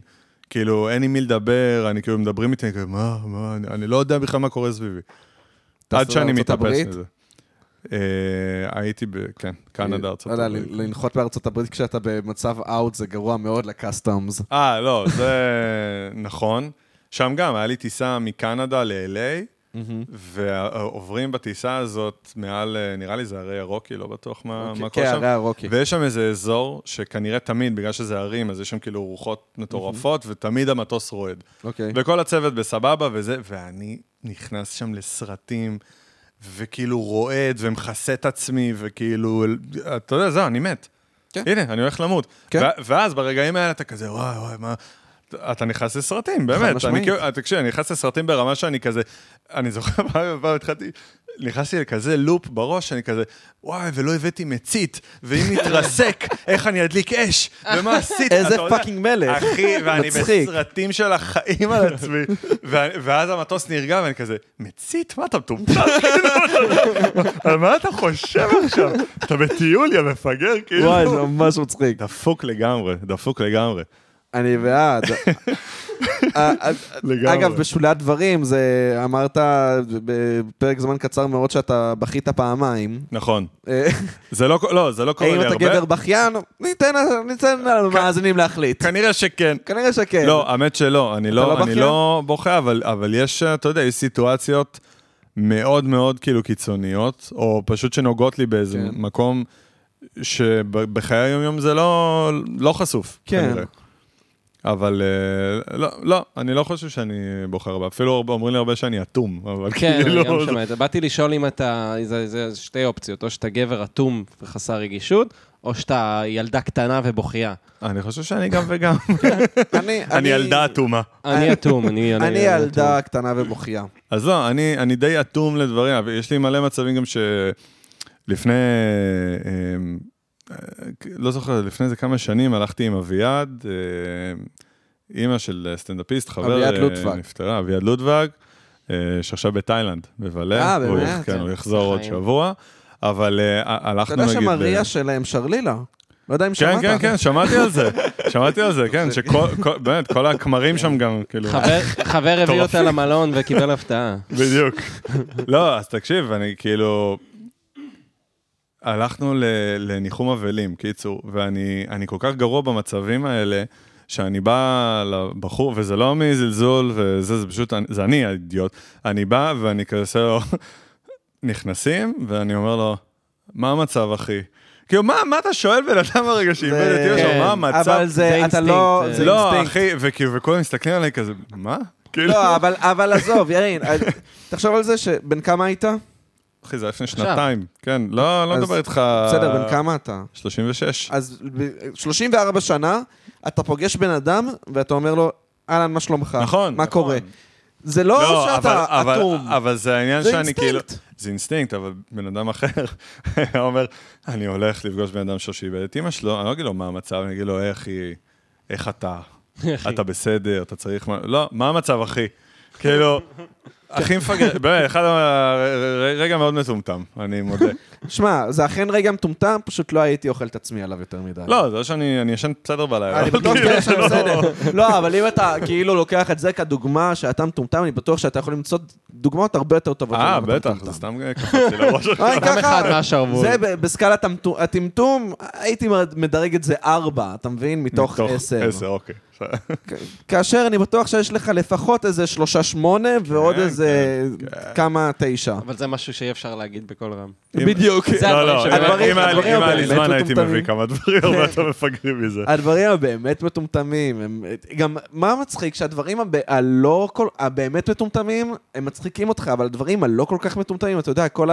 S2: כאילו, אין עם מי לדבר, אני כאילו, מדברים איתי, אני כאילו, מה, מה, אני, אני לא יודע בכלל מה קורה סביבי. עד
S1: טסת
S2: שאני
S1: לארצות
S2: מתאפס
S1: הברית?
S2: מזה. אה, הייתי ב... כן, קנדה, ארצות
S1: לא יודע,
S2: הברית.
S1: לנחות בארצות הברית כשאתה במצב אאוט זה גרוע מאוד לקסטומס.
S2: אה, לא, זה <laughs> נכון. שם גם, היה לי טיסה מקנדה ל-LA, ועוברים בטיסה הזאת מעל, אה, נראה לי זה הרי הרוקי, לא בטוח מה מה
S1: כן,
S2: קורה שם.
S1: הרי הרוקי.
S2: ויש שם איזה אזור שכנראה תמיד, בגלל שזה הרים, אז יש שם כאילו רוחות מטורפות, ותמיד המטוס רועד.
S1: אוקיי.
S2: וכל הצוות בסבבה וזה, ואני נכנס שם לסרטים, וכאילו רועד ומכסה את עצמי, וכאילו, אתה יודע, זהו, אני מת.
S1: כן.
S2: הנה, אני הולך למות.
S1: כן.
S2: ו- ואז ברגעים האלה אתה כזה, וואי, וואי, מה... אתה נכנס לסרטים, באמת. אני
S1: משמעית.
S2: כאילו, אה, תקשיב, אני נכנס לסרטים ברמה שאני כזה, אני זוכר פעם פעם התחלתי, נכנסתי לכזה לופ בראש, שאני כזה, וואי, ולא הבאתי מצית, ואם
S1: <laughs>
S2: נתרסק, איך אני אדליק אש, ומה עשית?
S1: איזה
S2: אתה יודע,
S1: פאקינג מלך.
S2: אחי, ואני
S1: <laughs> מצחיק.
S2: בסרטים של החיים על
S1: <laughs>
S2: עצמי, ו- ואז המטוס נרגע, ואני כזה, מצית? מה אתה מטומטם? <laughs> כאילו, על מה אתה חושב עכשיו? אתה בטיול, יא מפגר, כאילו.
S1: וואי, זה ממש מצחיק.
S2: דפוק לגמרי, דפוק לגמרי.
S1: אני <laughs> בעד. אה, אה,
S2: לגמרי.
S1: אגב, בשולי הדברים, זה אמרת בפרק זמן קצר מאוד שאתה בכית פעמיים.
S2: נכון.
S1: אה,
S2: זה לא, לא, זה לא קורה לי
S1: האם
S2: הרבה.
S1: אתה גבר בכיין? ניתן ניתן למאזינים להחליט.
S2: כנראה שכן.
S1: כנראה שכן.
S2: לא, האמת שלא, אני לא,
S1: כן. לא
S2: אני
S1: בכיין?
S2: לא בוכה, אבל, אבל יש, אה, אתה יודע, יש סיטואציות מאוד מאוד כאילו קיצוניות, או פשוט שנוגעות לי באיזה
S1: כן.
S2: מקום שבחיי היום-יום זה לא, לא חשוף.
S1: כן.
S2: כנראה. אבל אה, לא, לא, אני לא חושב שאני בוחר בה. אפילו הרבה- אומרים לי הרבה שאני אטום, אבל
S3: כן, אני גם
S2: כאילו...
S3: שומע את זה. באתי לשאול אם אתה, זה, זה שתי אופציות, או שאתה גבר אטום וחסר רגישות, או שאתה ילדה קטנה ובוכייה.
S2: אני חושב שאני גם וגם.
S1: אני
S2: אני ילדה אטומה.
S3: אני אטום, אני...
S1: אני ילדה קטנה ובוכייה.
S2: אז לא, אני, אני די אטום לדברים, אבל יש לי מלא מצבים גם שלפני, אמ, אה, לא זוכר, לפני איזה כמה שנים הלכתי עם אביעד, אמ, אימא של סטנדאפיסט, חבר,
S1: אביעד
S2: אה,
S1: לוטבק.
S2: נפטרה, אביעד לוטבק, אה, שעכשיו בתאילנד, מבלה,
S1: אה,
S2: הוא
S1: באמת?
S2: יח- כן, הוא יחזור
S3: בחיים.
S2: עוד שבוע, אבל אה, ה-
S1: אתה
S2: הלכנו
S1: יודע
S2: נגיד... ב-
S1: שמריה שלהם שרלילה? לא יודע אם
S2: כן,
S1: שמעת.
S2: כן, כן, שמעתי על זה, שמעתי על זה,
S1: <laughs>
S2: כן, שכל, כל- באמת,
S1: כן.
S2: כל הכמרים שם גם, כאילו...
S3: חבר- חבר הביא אותה
S2: מטורפים.
S3: למלון וקיבל הפתעה.
S2: בדיוק. <laughs> לא, אז תקשיב, אני כאילו... הלכנו ל- לניחום אבלים, קיצור, ואני אני כל כך גרוע במצבים האלה, שאני בא לבחור, וזה לא מזלזול, וזה זה פשוט, אני- זה אני האידיוט, אני בא ואני כזה עושה לו, נכנסים, ואני אומר לו, מה המצב, אחי? כאילו, מה, מה אתה שואל בן אדם הרגע שאיבד את אימא שלו,
S3: כן,
S2: מה המצב?
S1: אבל זה,
S3: זה
S1: אתה לא...
S3: אינסטינקט,
S1: זה
S2: לא,
S1: אינסטינקט.
S2: אחי, וכאילו, וכולם מסתכלים עליי כזה, מה? כאילו,
S1: לא, אבל- אבל עזוב, ירין, אז- תחשוב על זה שבן כמה היית?
S2: אחי, זה היה לפני
S3: עכשיו.
S2: שנתיים. כן, לא, לא
S1: אז
S2: מדבר איתך...
S1: בסדר, בן כמה אתה?
S2: 36.
S1: אה, אז ב- 34 שנה, אתה פוגש בן אדם, ואתה אומר לו, אהלן, מה שלומך?
S2: נכון,
S1: מה
S2: נכון.
S1: קורה? זה לא שאתה
S2: אבל,
S1: אטום.
S2: אבל, אבל זה העניין
S1: זה
S2: שאני
S1: אינסטינקט.
S2: כאילו... זה אינסטינקט, אבל בן אדם אחר <laughs> היה אומר, אני הולך לפגוש בן אדם שלו שאיבד את אמא שלו, אני לא אגיד לו מה המצב, אני אגיד לו, "היי, אחי, איך אתה? אתה בסדר, אתה צריך... מה-" לא, מה המצב, אחי? כאילו, הכי מפגר, <laughs> באמת, אחד ה... רגע מאוד מטומטם, אני מודה.
S1: <laughs> שמע, זה אכן רגע מטומטם, פשוט לא הייתי אוכל את עצמי עליו יותר מדי.
S2: לא, זה לא שאני אני ישן בסדר בלילה.
S1: אני
S2: אבל
S1: בטוח
S2: כאילו,
S1: שאתה ישן
S2: לא-
S1: בסדר. לא, אבל אם אתה כאילו לוקח את זה כדוגמה שאתה מטומטם, אני בטוח שאתה יכול למצוא דוגמאות הרבה יותר טובות.
S2: אה,
S1: למה אתה
S2: בטח,
S1: מטומטם.
S2: זה סתם קפצתי לראש.
S1: אה,
S3: גם אחד מהשרוול.
S1: זה ב- בסקלת המטו- הטמטום, הייתי מדרג את זה ארבע, אתה מבין? מתוך עשר.
S2: עשר, אוקיי.
S1: כ- כאשר אני בטוח שיש לך לפחות איזה שלושה שמונה ועוד
S2: כן,
S1: איזה
S2: כן, כן.
S1: כמה תשע.
S3: אבל זה משהו שאי אפשר להגיד בקול רם.
S1: בדיוק.
S2: לא,
S3: זה הדברים
S2: לא,
S3: שבאמת-
S2: אם- אם היה לי-
S1: הדברים
S2: אם היה לי
S1: הבאמת
S2: זמן הייתי
S1: מטומטמים.
S2: מביא כמה דברים, אבל אתם מפגרים מזה.
S1: הדברים הבאמת מטומטמים, הם... גם מה מצחיק? שהדברים הב... הלא כל... הבאמת מטומטמים, הם מצחיקים אותך, אבל הדברים הלא כל כך מטומטמים, אתה יודע, כל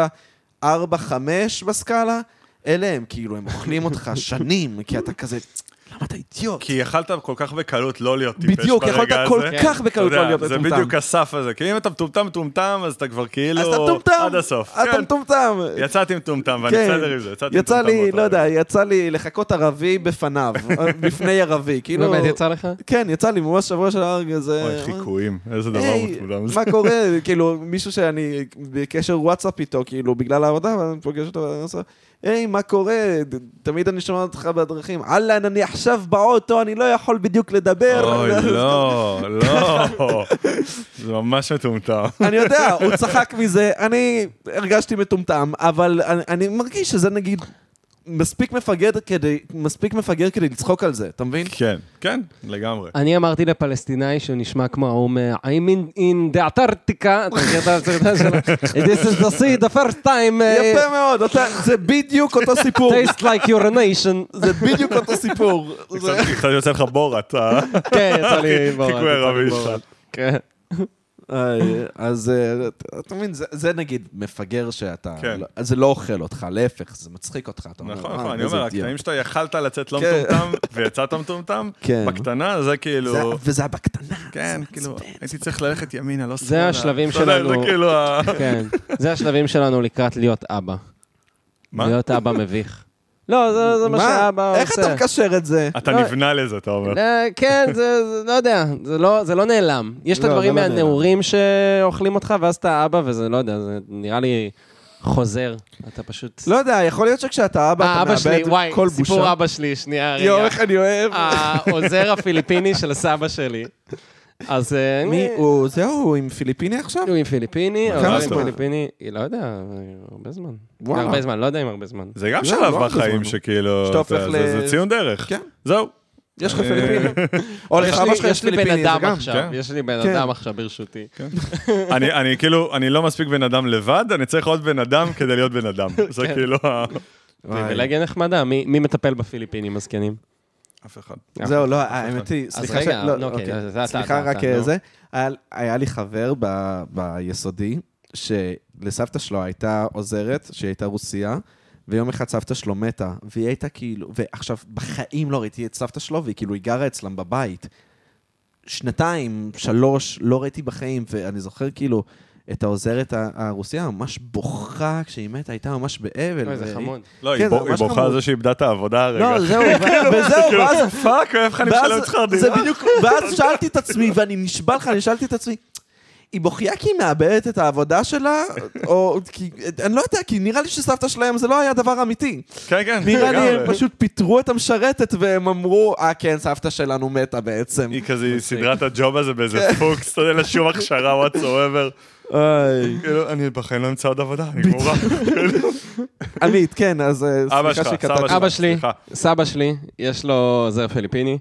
S1: הארבע, חמש בסקאלה, אלה הם כאילו, הם
S2: <laughs>
S1: אוכלים אותך שנים, כי אתה כזה, למה אתה אידיוט?
S2: כי יכלת כל כך בקלות לא להיות טיפש
S1: בדיוק,
S2: ברגע הזה. כן.
S1: יכולת כל כך בקלות
S2: אתה יודע,
S1: לא להיות
S2: זה
S1: מטומטם.
S2: בדיוק הסף הזה, כי אם אתה מטומטם מטומטם, אז אתה כבר כאילו...
S1: אז אתה מטומטם,
S2: עד הסוף.
S1: אתה
S2: כן,
S1: מטומטם.
S2: יצאתי מטומטם, ואני
S1: כן.
S2: בסדר עם זה. יצאתי
S1: יצא
S2: מטומטם
S1: לי,
S2: באותה
S1: לא יודע,
S2: רגע.
S1: יצא לי לחכות ערבי <laughs> בפניו, בפני ערבי, כאילו...
S3: באמת יצא לך?
S1: כן, יצא לי ממש שבוע של הרגע, זה...
S2: אוי, חיקויים, איזה דבר
S1: היי,
S2: מטומטם זה.
S1: מה קורה? לא כאילו, מישהו שאני בקשר וואטסאפ איתו, כאילו, בגלל העבודה, ואני פוגש אותו, ואני עושה, היי, מה קורה? ת- תמיד אני שומע אותך בדרכים, אהלן, אני עכשיו באוטו, אני לא יכול בדיוק לדבר.
S2: אוי, לא, לא. זה ממש מטומטם.
S1: אני יודע, הוא צחק מזה, אני הרגשתי מטומטם, אבל אני, אני מרגיש שזה נגיד מספיק מפגר כדי, מספיק מפגר כדי לצחוק על זה, אתה מבין?
S2: כן, כן, לגמרי.
S3: אני אמרתי לפלסטינאי שהוא נשמע כמו האום I'm in, in the Antarctica, אתה מכיר את הסרטון שלו? This is the sea the first time, uh,
S1: יפה מאוד, אתה, זה בדיוק אותו סיפור.
S3: taste like your nation.
S1: <laughs> זה בדיוק אותו
S3: <laughs>
S1: סיפור.
S2: זה
S1: זה-
S2: קצת- קצת יוצא לך בורת, אה?
S1: אוקיי,
S3: כן, יצא לי בורא.
S2: חיקוי ערבי שלך.
S3: כן.
S1: אה, אז אה, אתה- אתה מבין, זה- זה נגיד מפגר שאתה...
S2: כן.
S1: לא- אז זה לא אוכל אותך, להפך, זה מצחיק אותך. אתה אומר,
S2: נכון,
S1: "אה,
S2: נכון, אני
S1: איזה
S2: אומר,
S1: אידיוט."
S2: הקטעים שאתה יכלת לצאת לא
S1: כן.
S2: מטומטם, ויצאת מטומטם,
S1: <laughs> כן.
S2: בקטנה זה
S1: זה-
S2: כאילו...
S1: וזה היה בקטנה.
S2: כן,
S1: זה
S2: כאילו,
S1: מעצבן.
S2: הייתי צריך ללכת ימינה, לא שמאלה.
S3: זה השלבים
S2: אתה יודע,
S3: שלנו.
S2: זה כאילו
S1: <laughs>
S2: ה...
S3: כן. זה השלבים שלנו לקראת להיות אבא.
S2: מה?
S3: להיות אבא
S1: <laughs>
S3: מביך. לא, זה- זה מה שאבא
S1: איך אתה
S3: עושה.
S1: מקשר את זה?
S2: אתה
S3: לא.
S2: נבנה לזה, אתה אומר.
S3: אה, כן, זה, זה- לא יודע, זה לא, זה לא נעלם. יש את
S1: לא,
S3: הדברים
S1: זה לא נעלם.
S3: מהנעורים שאוכלים אותך, ואז אתה אבא, וזה, לא יודע, זה נראה לי חוזר. אתה פשוט...
S1: לא יודע, יכול להיות שכשאתה אבא,
S3: אה,
S1: אתה
S3: אבא שלי,
S1: מאבד
S3: וואי,
S1: כל בושה.
S3: סיפור אבא שלי, שנייה, רגע.
S1: יואו, איך אני אוהב.
S3: אה, העוזר הפיליפיני של סבא שלי. אז... אה,
S1: מי
S3: אני-
S1: הוא? זהו, הוא עם פיליפיני עכשיו?
S3: הוא כאילו עם פיליפיני,
S1: כמה
S3: העוזר
S1: זמן?
S3: עם פיליפיני, לא יודע, הרבה זמן.
S1: וואלה.
S3: הרבה זמן, לא יודע אם הרבה זמן.
S2: זה גם
S1: לא,
S2: שלב
S1: לא
S2: בחיים
S1: בזמן.
S2: שכאילו...
S1: שאתה הופך
S2: אתה- זה-
S1: ל-
S2: זה ציון דרך.
S1: כן. <laughs>
S2: זהו.
S1: יש לך פיליפיני? או
S3: יש
S1: לך
S3: לי-
S1: אבא שלך
S3: יש
S1: יש
S3: לי בן
S1: פיליפיני, זה
S3: אדם
S1: גם.
S3: עכשיו,
S2: כן.
S3: יש לי בן
S1: כן.
S3: אדם עכשיו ברשותי.
S2: אני, אני כאילו, אני לא מספיק בן אדם לבד, אני צריך עוד בן אדם כדי להיות בן
S1: <laughs>
S2: אדם. זה
S3: כן.
S2: כאילו ה...
S1: וואי.
S3: פריבילגיה נחמדה, מי מי מטפל בפיליפינים הזקנים?
S2: אף אחד.
S1: זהו, לא, האמת היא,
S3: נכון. אז
S1: סליחה ש...
S3: רגע,
S1: לא,
S3: נו, אוקיי, זה- זה אתה,
S1: סליחה,
S3: אתה,
S1: רק
S3: אתה,
S1: אה,
S3: נו.
S1: זה. היה- היה לי חבר ב- ביסודי, שלסבתא שלו הייתה עוזרת, שהיא הייתה רוסייה, ויום אחד סבתא שלו מתה, והיא הייתה כאילו... ועכשיו, בחיים לא ראיתי את סבתא שלו, והיא כאילו, היא גרה אצלם בבית. שנתיים, שלוש, לא ראיתי בחיים, ואני זוכר כאילו... את העוזרת ה- הרוסיה ממש בוכה כשהיא מתה, הייתה ממש באבל.
S3: אוי, זה
S1: והיא-
S3: חמוד.
S2: לא,
S1: כן,
S2: היא
S1: זה
S2: בו- היא
S1: ממש
S2: בוכה
S1: חמוד.
S2: על זה שאיבדה את העבודה הרגע.
S1: לא, זהו, ו- וזהו,
S2: כאילו,
S1: ואז
S2: פאק, אוהב לך לשלם את שכר
S1: זה
S2: דירה.
S1: בדיוק, ואז שאלתי את עצמי, ואני נשבע לך, אני שאלתי את עצמי, היא בוכייה כי היא מאבדת את העבודה שלה, או כי, אני לא יודע, כי נראה לי שסבתא שלהם זה לא היה דבר אמיתי.
S2: כן, כן.
S1: נראה לי
S2: לגמרי.
S1: הם פשוט פיטרו את המשרתת והם אמרו, אה כן, סבתא שלנו מתה בעצם.
S2: היא כזה היא סידרה את הג'וב הזה באיזה פוקס, אתה יודע, אין לה שום הכשרה what so ever.
S1: איי.
S2: כאילו, אני בחיים לא אמצא עוד עבודה, אני גמורה.
S1: עמית, כן, אז אה,
S2: אבא
S1: סליחה
S2: שלך,
S1: שקטעתי.
S2: סבא שלך.
S3: אבא שלי,
S2: סליחה.
S3: סבא שלי, יש לו עוזר פיליפיני.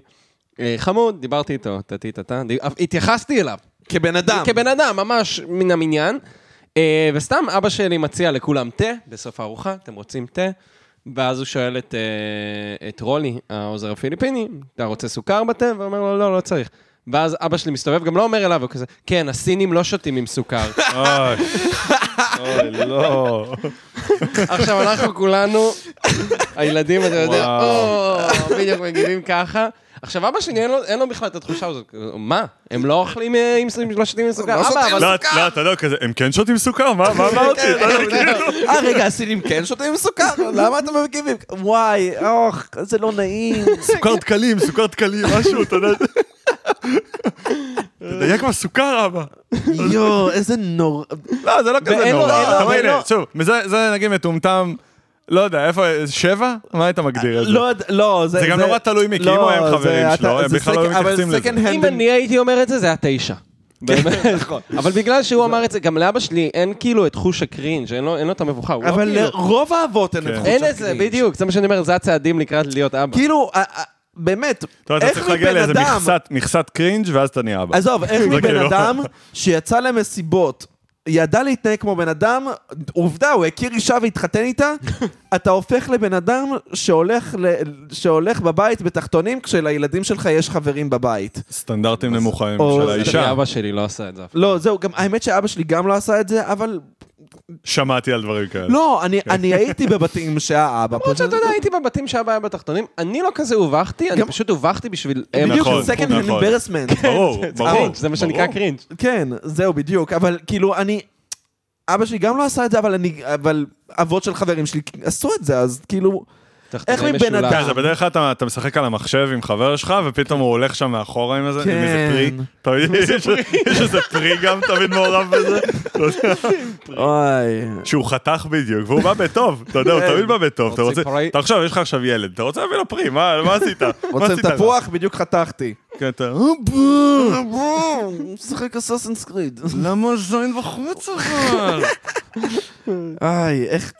S3: אה, חמוד, דיברתי איתו, טטי טטה, די- אף- התייחסתי אליו.
S1: כבן אדם.
S3: כבן אדם, ממש מן המניין. אה, וסתם אבא שלי מציע לכולם תה בסוף הארוחה, אתם רוצים תה? ואז הוא שואל את, אה, את רולי, העוזר הפיליפיני, אתה רוצה סוכר בתה? ואומר לו, לא, לא צריך. ואז אבא שלי מסתובב, גם לא אומר אליו, הוא כזה, כן, הסינים לא שותים עם סוכר.
S2: אוי, אוי, לא.
S3: עכשיו אנחנו כולנו, הילדים, אתה יודע,
S2: וואו.
S3: או, בדיוק מגיבים ככה. עכשיו, אבא שלי, אין לו, אין לו בכלל את התחושה הזאת, מה? הם לא אוכלים אה, עם סינים, לא שותים עם סוכר?
S1: לא שותים
S3: אבא, אבל...
S2: לא, לא, אתה יודע, כזה, הם כן שותים סוכר? מה מה אמרתי? אתה יודע,
S1: כן, אה, רגע, הסינים כן שותים סוכר? למה אתם מגיבים? וואי, אוח, זה לא נעים.
S2: סוכר דקלים, סוכר דקלים, משהו, אתה יודע. תדייק בסוכר, אבא.
S1: <laughs> יואו, איזה נורא.
S2: לא, זה לא כזה
S3: ואין לו-
S2: נורא.
S3: אין לו-
S2: אתה מבין, אה,
S3: אין לו-
S2: שוב, מזה- זה נגיד מטומטם, לא יודע, איפה, שבע? מה היית מגדיר את זה?
S1: לא, יודע- לא, זה... לא,
S2: זה גם נורא תלוי מי, כי אם הוא היה עם
S1: זה
S2: חברים
S1: אתה-
S2: שלו, הם
S1: זה
S2: בכלל לא היו
S1: second- אבל
S2: מתייחסים
S1: second
S2: לזה.
S1: hand
S3: אם אני הייתי אומר את זה, זה היה תשע.
S1: כן. <laughs>
S3: באמת.
S1: נכון.
S3: אבל בגלל שהוא אמר את זה, גם לאבא שלי אין כאילו את חוש הקרינג', אין לו אין לו את המבוכה. הוא לא
S1: אבל
S3: כאילו-
S1: לרוב האבות אין את
S2: כן.
S1: חוש
S3: אין את זה,
S1: הקרינג'.
S3: בדיוק, זה מה שאני אומר, זה הצעדים לקראת להיות אבא.
S1: כאילו, אה, אה, באמת,
S2: אתה יודע, אתה
S1: איך
S2: צריך להגיע
S1: מבן
S2: לאיזה
S1: אדם...
S2: מכסת- מכסת קרינג' ואז אתה נהיה אבא.
S1: עזוב, איך
S2: זה
S1: מבן
S2: כאילו-
S1: אדם שיצא למסיבות, ידע להתנהג כמו בן אדם, עובדה, הוא הכיר אישה והתחתן <laughs> איתה, אתה הופך לבן אדם שהולך ל- שהולך בבית בתחתונים כשלילדים שלך יש חברים בבית.
S2: סטנדרטים נמוכים
S1: או-
S2: של
S1: זה
S2: האישה.
S3: תראי, אבא שלי לא עשה את זה אף פעם.
S1: לא, זהו, גם, האמת שאבא שלי גם לא עשה את זה, אבל
S2: שמעתי על דברים כאלה.
S1: לא, אני, אני הייתי בבתים שהאבא
S3: למרות
S1: פשוט...
S3: שאתה יודע, הייתי בבתים שאבא היה בתחתונים, אני לא כזה הובכתי, אני
S1: גם-
S3: פשוט הובכתי בשביל... אבא.
S1: בדיוק,
S2: נכון,
S1: זה second hand
S2: נכון.
S1: embarrassment.
S2: ברור, ברור.
S3: קרינג', זה מה שנקרא
S2: ברור.
S3: קרינג'.
S1: כן, זהו, בדיוק, אבל כאילו, אני... אבא שלי גם לא עשה את זה, אבל אני... אבל אבות של חברים שלי עשו את זה, אז כאילו... איך
S3: תחתונים
S1: מבן
S3: משולש.
S2: כן,
S1: אדם?
S2: זה בדרך כלל אתה אתה משחק על המחשב עם חבר שלך, ופתאום הוא הולך שם מאחורה עם איזה עם איזה
S1: כן.
S2: פרי. אתה מבין? יש איזה פרי גם תמיד מעורב בזה. אתה יודע,
S1: אוי...
S2: שהוא חתך בדיוק, והוא בא בטוב, אתה יודע, הוא
S1: כן.
S2: תמיד בא בטוב. אתה
S3: רוצים
S2: רוצה,
S3: פרי?
S2: אתה עכשיו, יש לך עכשיו ילד, אתה רוצה להביא לו פרי, מה מה עשית? מה
S1: רוצים
S2: עשית לו?
S1: תפוח? בדיוק חתכתי.
S2: כן, אתה...
S1: הוא משחק אסאסינס קריד.
S2: למה זין וחוץ אבל?
S1: איי, איך...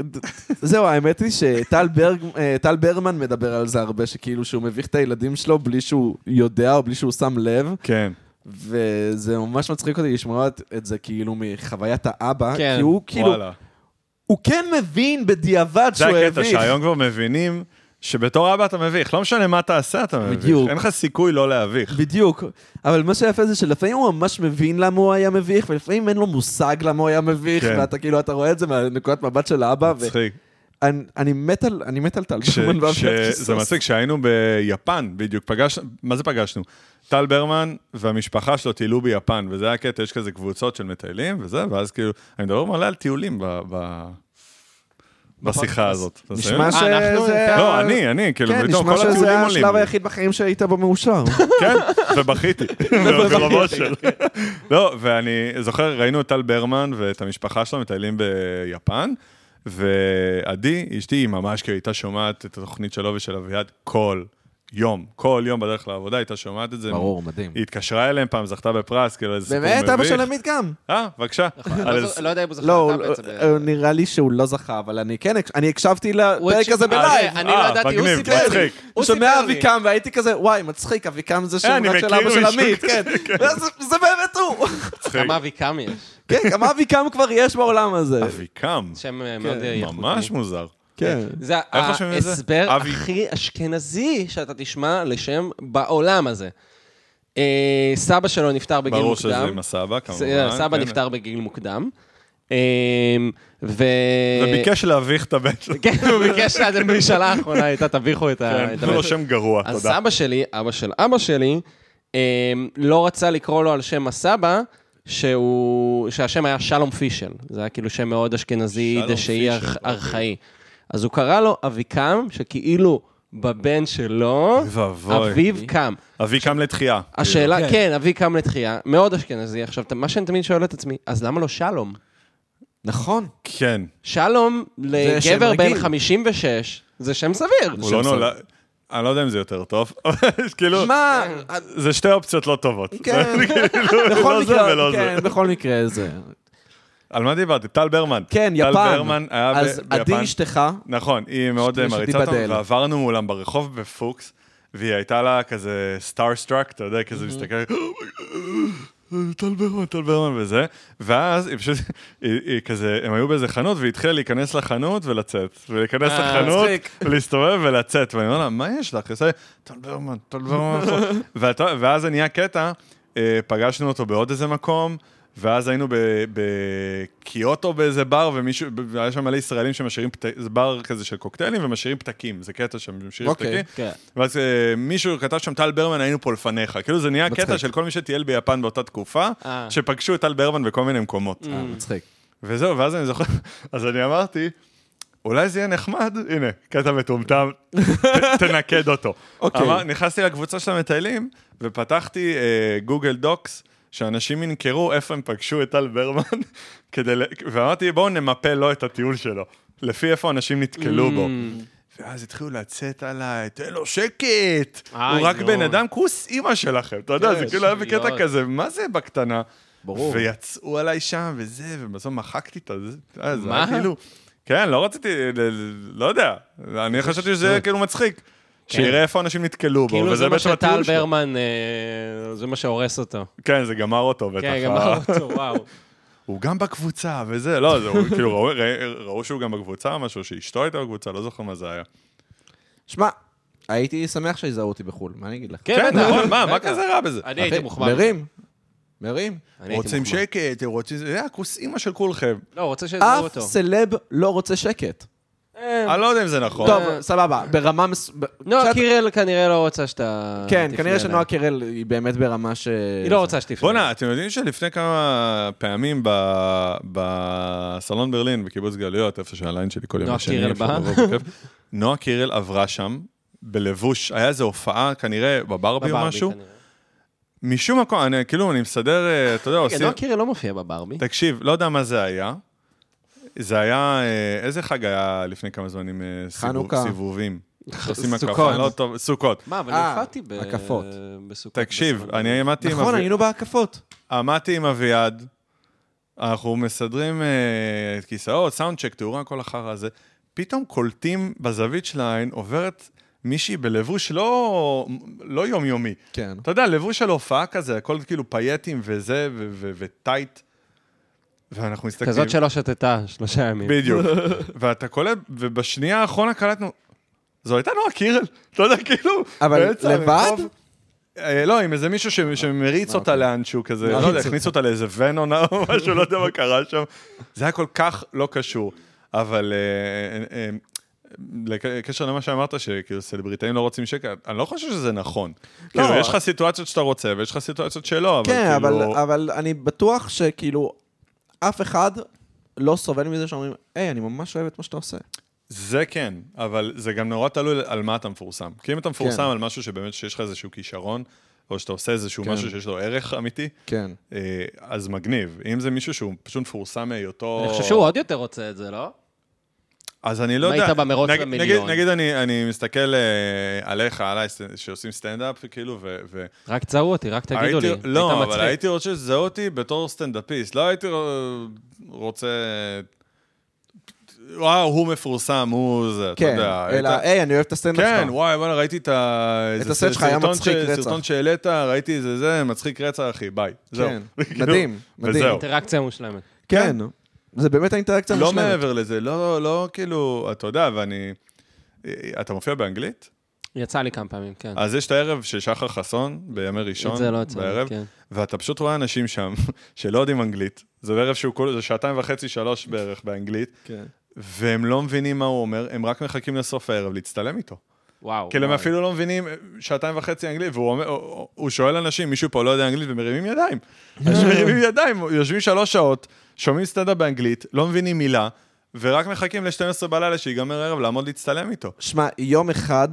S1: זהו, האמת היא שטל ברג- אה, טל ברמן מדבר על זה הרבה, שכאילו שהוא מביך את הילדים שלו בלי שהוא יודע או בלי שהוא שם לב.
S2: <laughs> כן.
S1: וזה ממש מצחיק אותי לשמוע את- את זה כאילו מחוויית האבא,
S3: כן,
S1: כי הוא כאילו,
S2: וואלה.
S1: הוא כן מבין בדיעבד
S2: זה
S1: שהוא
S2: הקטע
S1: הביך.
S2: שהיום כבר מבינים שבתור אבא אתה מביך, לא משנה מה תעשה, אתה מביך.
S1: בדיוק. אה,
S2: אין לך סיכוי לא להביך.
S1: בדיוק. אבל מה שיפה זה שלפעמים הוא ממש מבין למה הוא היה מביך, ולפעמים אין לו מושג למה הוא היה מביך,
S2: כן.
S1: ואתה כאילו, אתה רואה את זה מהנקודת מבט של האבא,
S2: מצחיק.
S1: ואני מת על, אני מת על טל
S2: כש-
S1: ברמן
S2: כש-
S1: ואביעד
S2: זה
S1: קיסוס.
S2: מצחיק, כשהיינו ביפן, בדיוק, פגשנו, מה זה פגשנו? טל ברמן והמשפחה שלו טיילו ביפן, וזה היה קטע, יש כזה קבוצות של מטיילים וזה, ואז כאילו, אני מדבר מלא על טיולים ב- ב- בשיחה הזאת. אתה מבין?
S1: נשמע
S3: אה, אנחנו-
S1: שזה...
S2: לא, אני, אני, כאילו,
S1: כן,
S2: פתאום
S1: נשמע
S2: כל
S1: שזה
S2: הטיולים עולים.
S1: השלב
S2: לי.
S1: היחיד בחיים שהיית בו מאושר.
S2: כן, ובכיתי, ברוב אושר. לא, ואני זוכר, ראינו את טל ברמן ואת המשפחה שלו מטיילים ביפן, ועדי, אשתי, היא ממש כאילו הייתה שומעת את התוכנית שלו ושל אביעד כל יום, כל יום בדרך לעבודה, הייתה שומעת את זה.
S1: מדהים.
S2: היא התקשרה אליהם פעם, זכתה בפרס, כאילו איזה סיפור מביך.
S1: באמת, אבא של עמית גם.
S2: אה, בבקשה. על
S3: לא
S2: איזה-
S3: זו- לא יודע אם הוא זכר
S1: לא, הוא-
S3: אותה בעצם. אה,
S1: הוא- נראה לי שהוא לא זכה, אבל אני כן, הקש- אני הקשבתי
S3: הוא
S1: לפרק
S3: הקשיב-
S1: הזה
S3: אה,
S1: בלייב. כן.
S3: אני לא
S2: אה,
S3: ידעתי, הוא
S2: מגניב,
S3: סיפר לי.
S2: מצחיק. אה,
S3: הוא
S1: הוא
S3: סיפר
S1: שומע
S3: לי.
S1: אביקם, והייתי כזה, וואי, מצחיק, אביקם זה שם
S2: אני
S1: רק של
S2: מכיר
S1: אבא של
S2: מישהו
S1: עמית, כן. ואז זה באמת הוא. <laughs>
S2: מצחיק.
S3: כמה אביקם יש.
S1: כן, כמה אביקם כבר יש בעולם הזה.
S2: אביקם,
S3: שם אה, מאוד אה, איכותי.
S2: ממש מוזר.
S1: כן.
S3: זה
S2: איך חושבים לזה?
S3: ההסבר
S2: אבי.
S3: הכי אשכנזי שאתה תשמע לשם בעולם הזה. אה, סבא שלו נפטר בגיל
S2: ברור
S3: מוקדם.
S2: שזה עם הסבא, כמובן.
S3: זה- סבא
S2: כן.
S3: נפטר בגיל מוקדם. אה, ו...
S2: וביקש להביך את הבן שלו.
S3: אה, כן, הוא ביקש שעד הממשלה האחרונה הייתה, תביכו את ה...
S2: כן,
S3: את
S2: תנו לו
S3: הבן."
S2: שם גרוע,
S3: אז
S2: תודה.
S3: סבא שלי, אבא של אבא שלי, אה, לא רצה לקרוא לו על שם הסבא, שהוא, שהשם היה שלום פישל. זה היה כאילו שם מאוד אשכנזי,
S2: שלום
S3: דשאי
S2: פישל,
S3: ארכ-
S2: אוקיי.
S3: ארכאי. אז הוא קרא לו אביקם, שכאילו בבן שלו,
S2: אוי ואבוי. אוקיי.
S3: אביו קם.
S2: אבי קם לתחייה.
S3: השאלה, כן, אבי קם לתחייה, מאוד אשכנזי. עכשיו, ת- מה שאני תמיד שואל את עצמי, אז למה לא שלום?
S1: נכון.
S2: כן.
S3: שלום
S1: שם
S3: לגבר בן
S1: רגיל.
S3: 56, זה שם סביר.
S2: הוא לא נולד... אני לא יודע אם זה יותר טוב, אבל <laughs> כאילו,
S1: מה,
S2: זה שתי אופציות לא טובות. <laughs>
S1: כן,
S2: לא
S1: אה, בכל
S2: זה ולא
S1: מקרה,
S2: זה.
S1: כן, בכל מקרה זה.
S2: על מה דיברתי? טל ברמן.
S1: כן, יפן.
S2: טל ברמן היה ב-
S1: אז עדי
S2: ביפן.
S1: אשתך, אה,
S2: נכון, היא מאוד
S1: שתיבדל.
S2: מריצה אותנו, ועברנו מולם ברחוב בפוקס, והיא הייתה לה כזה סטארסטראק, אתה יודע, כזה מסתכלת, טל ברמן, טל ברמן וזה, ואז היא פשוט, היא היא כזה, הם היו באיזה חנות, והיא התחילה להיכנס לחנות ולצאת, ולהיכנס
S1: אה,
S2: לחנות,
S1: מצחיק.
S2: ולהסתובב ולצאת, ואני אומר לה, מה יש לך? היא עושה לי, טל ברמן, טל ברמן, ואתה- ואז זה נהיה קטע, אה, פגשנו אותו בעוד איזה מקום, ואז היינו ב- בקיוטו באיזה בר, ומישהו, היה שם מלא ישראלים שמשאירים, פת- זה בר כזה של קוקטיילים, ומשאירים פתקים, זה קטע שם, משאירים
S1: אוקיי,
S2: פתקים,
S1: כן.
S2: ואז אה, מישהו כתב שם, טל ברמן, היינו פה לפניך. כאילו זה נהיה
S1: מצחיק.
S2: קטע של כל מי שטייל ביפן באותה תקופה,
S3: אה.
S2: שפגשו את טל ברמן בכל מיני מקומות.
S1: אה.
S3: Mm.
S1: מצחיק.
S2: וזהו, ואז אני זוכר, <laughs> אז אני אמרתי, אולי זה יהיה נחמד, הנה, קטע מטומטם, ת-
S3: <laughs>
S2: תנקד אותו.
S1: אוקיי.
S2: אמר- נכנסתי לקבוצה של המטיילים, ופתחתי אה, גוגל דוקס, שאנשים ינקרו איפה הם פגשו את טל ברמן, <laughs> כדי ל- ואמרתי, בואו נמפה לו את הטיול שלו, לפי איפה אנשים נתקלו בו.
S3: Mm.
S2: ואז התחילו לצאת עליי, תן לו שקט,
S3: איי,
S2: הוא רק
S3: נו.
S2: בן אדם, כוס אימא שלכם, אתה יודע, זה
S3: כן,
S2: כאילו היה
S3: שטויות.
S2: בקטע כזה, מה זה בקטנה?
S1: ברור.
S2: ויצאו עליי שם וזה, ובסוף מחקתי את זה. אה, זה
S3: מה?
S2: היה כאילו... כן, לא רציתי, ל- ל- לא יודע. אני חשבתי שזה יהיה כאילו מצחיק. שנראה איפה אנשים נתקלו בו,
S3: כן. כאילו זה
S2: וזה
S3: מה
S2: בעצם
S3: שטל
S2: הטיול שלו.
S3: ברמן, אה, זה מה שהורס אותו.
S2: כן, זה גמר אותו בטח. אה.
S3: כן, גם
S2: ה- <laughs>
S3: אותו, וואו. כן,
S2: הוא גם בקבוצה וזה, לא, זה הוא כאילו ראו- רא- ראו שהוא גם בקבוצה או משהו, שאשתו הייתה בקבוצה, לא זוכר מה זה
S3: כן,
S2: היה.
S1: שמע, הייתי שמח שיזהו אותי בחו"ל, מה אני אגיד לך?
S2: כן,
S3: בטח.
S2: נכון, מה, מה
S3: בטח.
S2: כזה רע בזה?
S3: אני הייתי
S1: אחי,
S3: מוחמד.
S1: מרים, מרים.
S3: אני הייתי
S2: רוצים
S3: מוחמד.
S2: שקט, רוצים... זה היה כוס אימא של כולכם.
S3: לא, רוצה שיזהו
S1: אף
S3: אותו.
S1: סלב לא רוצה שקט.
S2: אני לא יודע אם זה נכון.
S1: טוב, סבבה, ברמה מס... ב-
S3: אה, נועה
S1: קצת-
S3: קירל כנראה לא רוצה שאתה...
S1: כן,
S2: אה,
S3: תפנה
S1: כנראה
S3: אליה. אה,
S1: שנועה קירל היא באמת ברמה ש... נכון,
S3: היא לא רוצה שתפנה.
S2: בואנה, אתם יודעים שלפני כמה פעמים ב- בסלון ברלין, בקיבוץ גלויות, איפה שהליין שלי כל יום
S3: נועה קירל
S2: אפשר
S3: באה?
S2: לבוא
S3: <laughs>
S2: בכיף, נועה קירל עברה שם בלבוש, היה איזו הופעה כנראה בברבי או
S3: בברבי
S2: משהו.
S3: כנראה. כן,
S2: משום מקום, אני כאילו, אני מסדר, אה, אתה יודע,
S3: רגע,
S2: עושים...
S3: נועה קירל לא מופיעה בברבי.
S2: תקשיב, לא יודע מה זה היה. זה היה, אה, איזה חג היה לפני כמה זמן עם אה, סיבוב-
S1: חנוכה.
S3: <laughs>
S2: סיבובים? עושים
S3: סוכות.
S2: הקפה, לא טוב, סוכות.
S3: מה, אבל
S1: אה,
S3: הופעתי ב...
S1: הקפות.
S3: בסוכות.
S2: תקשיב,
S3: בסוכות.
S2: אני עמדתי עם
S1: נכון,
S2: אבי-
S1: היינו בהקפות.
S2: עמדתי עם אביעד, אנחנו מסדרים אה, כיסאות, סאונדצ'ק, תאורה, כל החרא הזה. פתאום קולטים בזווית של העין, עוברת מישהי בלבוש לא, לא יומיומי.
S1: כן.
S2: אתה יודע, לבוש של הופעה כזה, הכל כאילו פייטים וזה, ו- ו- וטייט. ואנחנו מסתכלים...
S3: כזאת שלא שתתה שלושה ימים.
S2: בדיוק. ואתה קולט, ובשנייה האחרונה קלטנו, זו הייתה נועה קירל, <laughs> אתה יודע, כאילו,
S1: אבל
S2: באמצע
S1: לבד?
S2: הרחוב. אה, לא, עם איזה מישהו ש- שמריץ אותה לאנשהו כזה, לא יודע,
S1: מריץ
S2: הכניס אותה לאיזה ונון או <laughs> משהו, לא יודע מה קרה שם. זה היה כל כך לא קשור. אבל אה, אה, אה, בקשר למה שאמרת, שכאילו סלבריטאים לא רוצים שקר, אני לא חושב שזה נכון.
S1: לא.
S2: כאילו, יש לך סיטואציות שאתה רוצה ויש לך סיטואציות שלא, אבל
S1: כן, אבל,
S2: כאילו...
S1: אבל אני בטוח שכאילו, אף אחד לא סובל מזה שאומרים, היי, אני ממש אוהב את מה שאתה עושה.
S2: זה כן, אבל זה גם נורא תלוי על מה אתה מפורסם. כי אם אתה מפורסם
S1: כן.
S2: על משהו שבאמת שיש לך איזשהו כישרון, או שאתה עושה איזשהו
S1: כן.
S2: משהו שיש לו ערך אמיתי,
S1: כן.
S2: אה, אז מגניב. אם זה מישהו שהוא פשוט מפורסם מהיותו...
S3: אני חושב שהוא עוד יותר רוצה את זה, לא?
S2: אז אני לא
S3: אם
S2: יודע.
S3: היית במרוץ
S2: נג-
S3: למיליון.
S2: נגיד, נגיד אני, אני מסתכל אה, עליך, עליי, ס- שעושים סטנדאפ, כאילו, ו... ו...
S3: רק תזהו אותי, רק תגידו לי.
S2: הייתי- לא,
S3: היית
S2: אבל
S3: מצחיק.
S2: הייתי רוצה שזה אותי בתור סטנדאפיסט. לא הייתי ר- רוצה... וואו, הוא מפורסם, הוא זה, אתה
S1: כן,
S2: יודע.
S1: אלא,
S2: היית-
S1: היי, אני אוהב את הסטנדאפ
S2: כן,
S1: שלך.
S2: וואי, וואלה, ראיתי את ה... איזה
S1: נכון. הסט שלך היה
S2: סרטון
S1: מצחיק
S2: ש-
S1: רצח.
S2: סרטון שהעלית, ראיתי איזה זה, מצחיק רצח, אחי, ביי. זהו.
S1: כן,
S2: <laughs> כאילו,
S1: מדהים, מדהים.
S2: וזהו.
S3: אינטראקציה מושלמת.
S1: כן. זה באמת האינטראקציה
S2: לא
S1: המושלמת.
S2: מעבר לזה, לא, לא, כאילו, אתה יודע, ואני... אתה מופיע באנגלית?
S3: כן. יצא לי כמה פעמים, כן.
S2: אז יש את הערב של שחר חסון, בימי ראשון,
S3: את זה לא יצא לי,
S2: בערב,
S3: כן.
S2: ואתה פשוט רואה אנשים שם <laughs> שלא יודעים אנגלית. זה בערב שהוא כולו, זה שעתיים וחצי, שלוש בערך באנגלית,
S1: כן.
S2: והם לא מבינים מה הוא אומר, הם רק מחכים לסוף הערב להצטלם איתו.
S3: וואו.
S2: כאילו, הם
S3: וואו.
S2: אפילו לא מבינים אה, שעתיים וחצי אנגלית, והוא אומר, הוא- הוא שואל אנשים, מישהו פה לא יודע אנגלית, ומרימים ידיים. אנשים מרימים ידיים, יושבים שלוש שעות, שומעים סטנדאפ באנגלית, לא מבינים מילה, ורק מחכים ל-12 בלילה שיגמר הערב לעמוד להצטלם איתו.
S1: שמע, יום אחד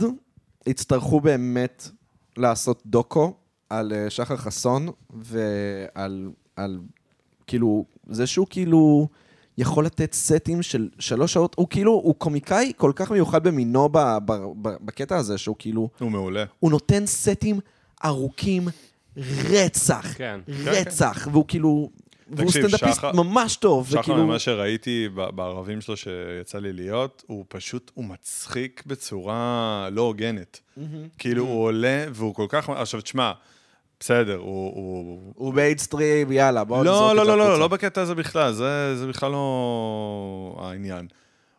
S1: יצטרכו באמת לעשות דוקו על אה, שחר חסון ועל על, כאילו, זה שהוא כאילו יכול לתת סטים של שלוש שעות, הוא כאילו, הוא קומיקאי כל כך מיוחד במינו ב, ב, ב, בקטע הזה, שהוא כאילו,
S2: הוא מעולה.
S1: הוא נותן סטים ארוכים רצח,
S3: כן.
S1: רצח, והוא כאילו, והוא
S2: תקשיב,
S1: סטנדאפיסט
S2: שחר-
S1: ממש טוב,
S2: שחר,
S1: וכאילו,
S2: ממה שראיתי ב- בערבים שלו שיצא לי להיות, הוא פשוט, הוא מצחיק בצורה לא הוגנת. כאילו, הוא עולה והוא כל כך... עכשיו, תשמע, בסדר, הוא- הוא
S1: הוא מיינסטרים, יאללה, בואו נזרוק
S2: לא,
S1: את
S2: לא,
S1: זה
S2: לא, לא,
S1: החוצה.
S2: לא בקטע הזה בכלל, זה, זה בכלל לא העניין.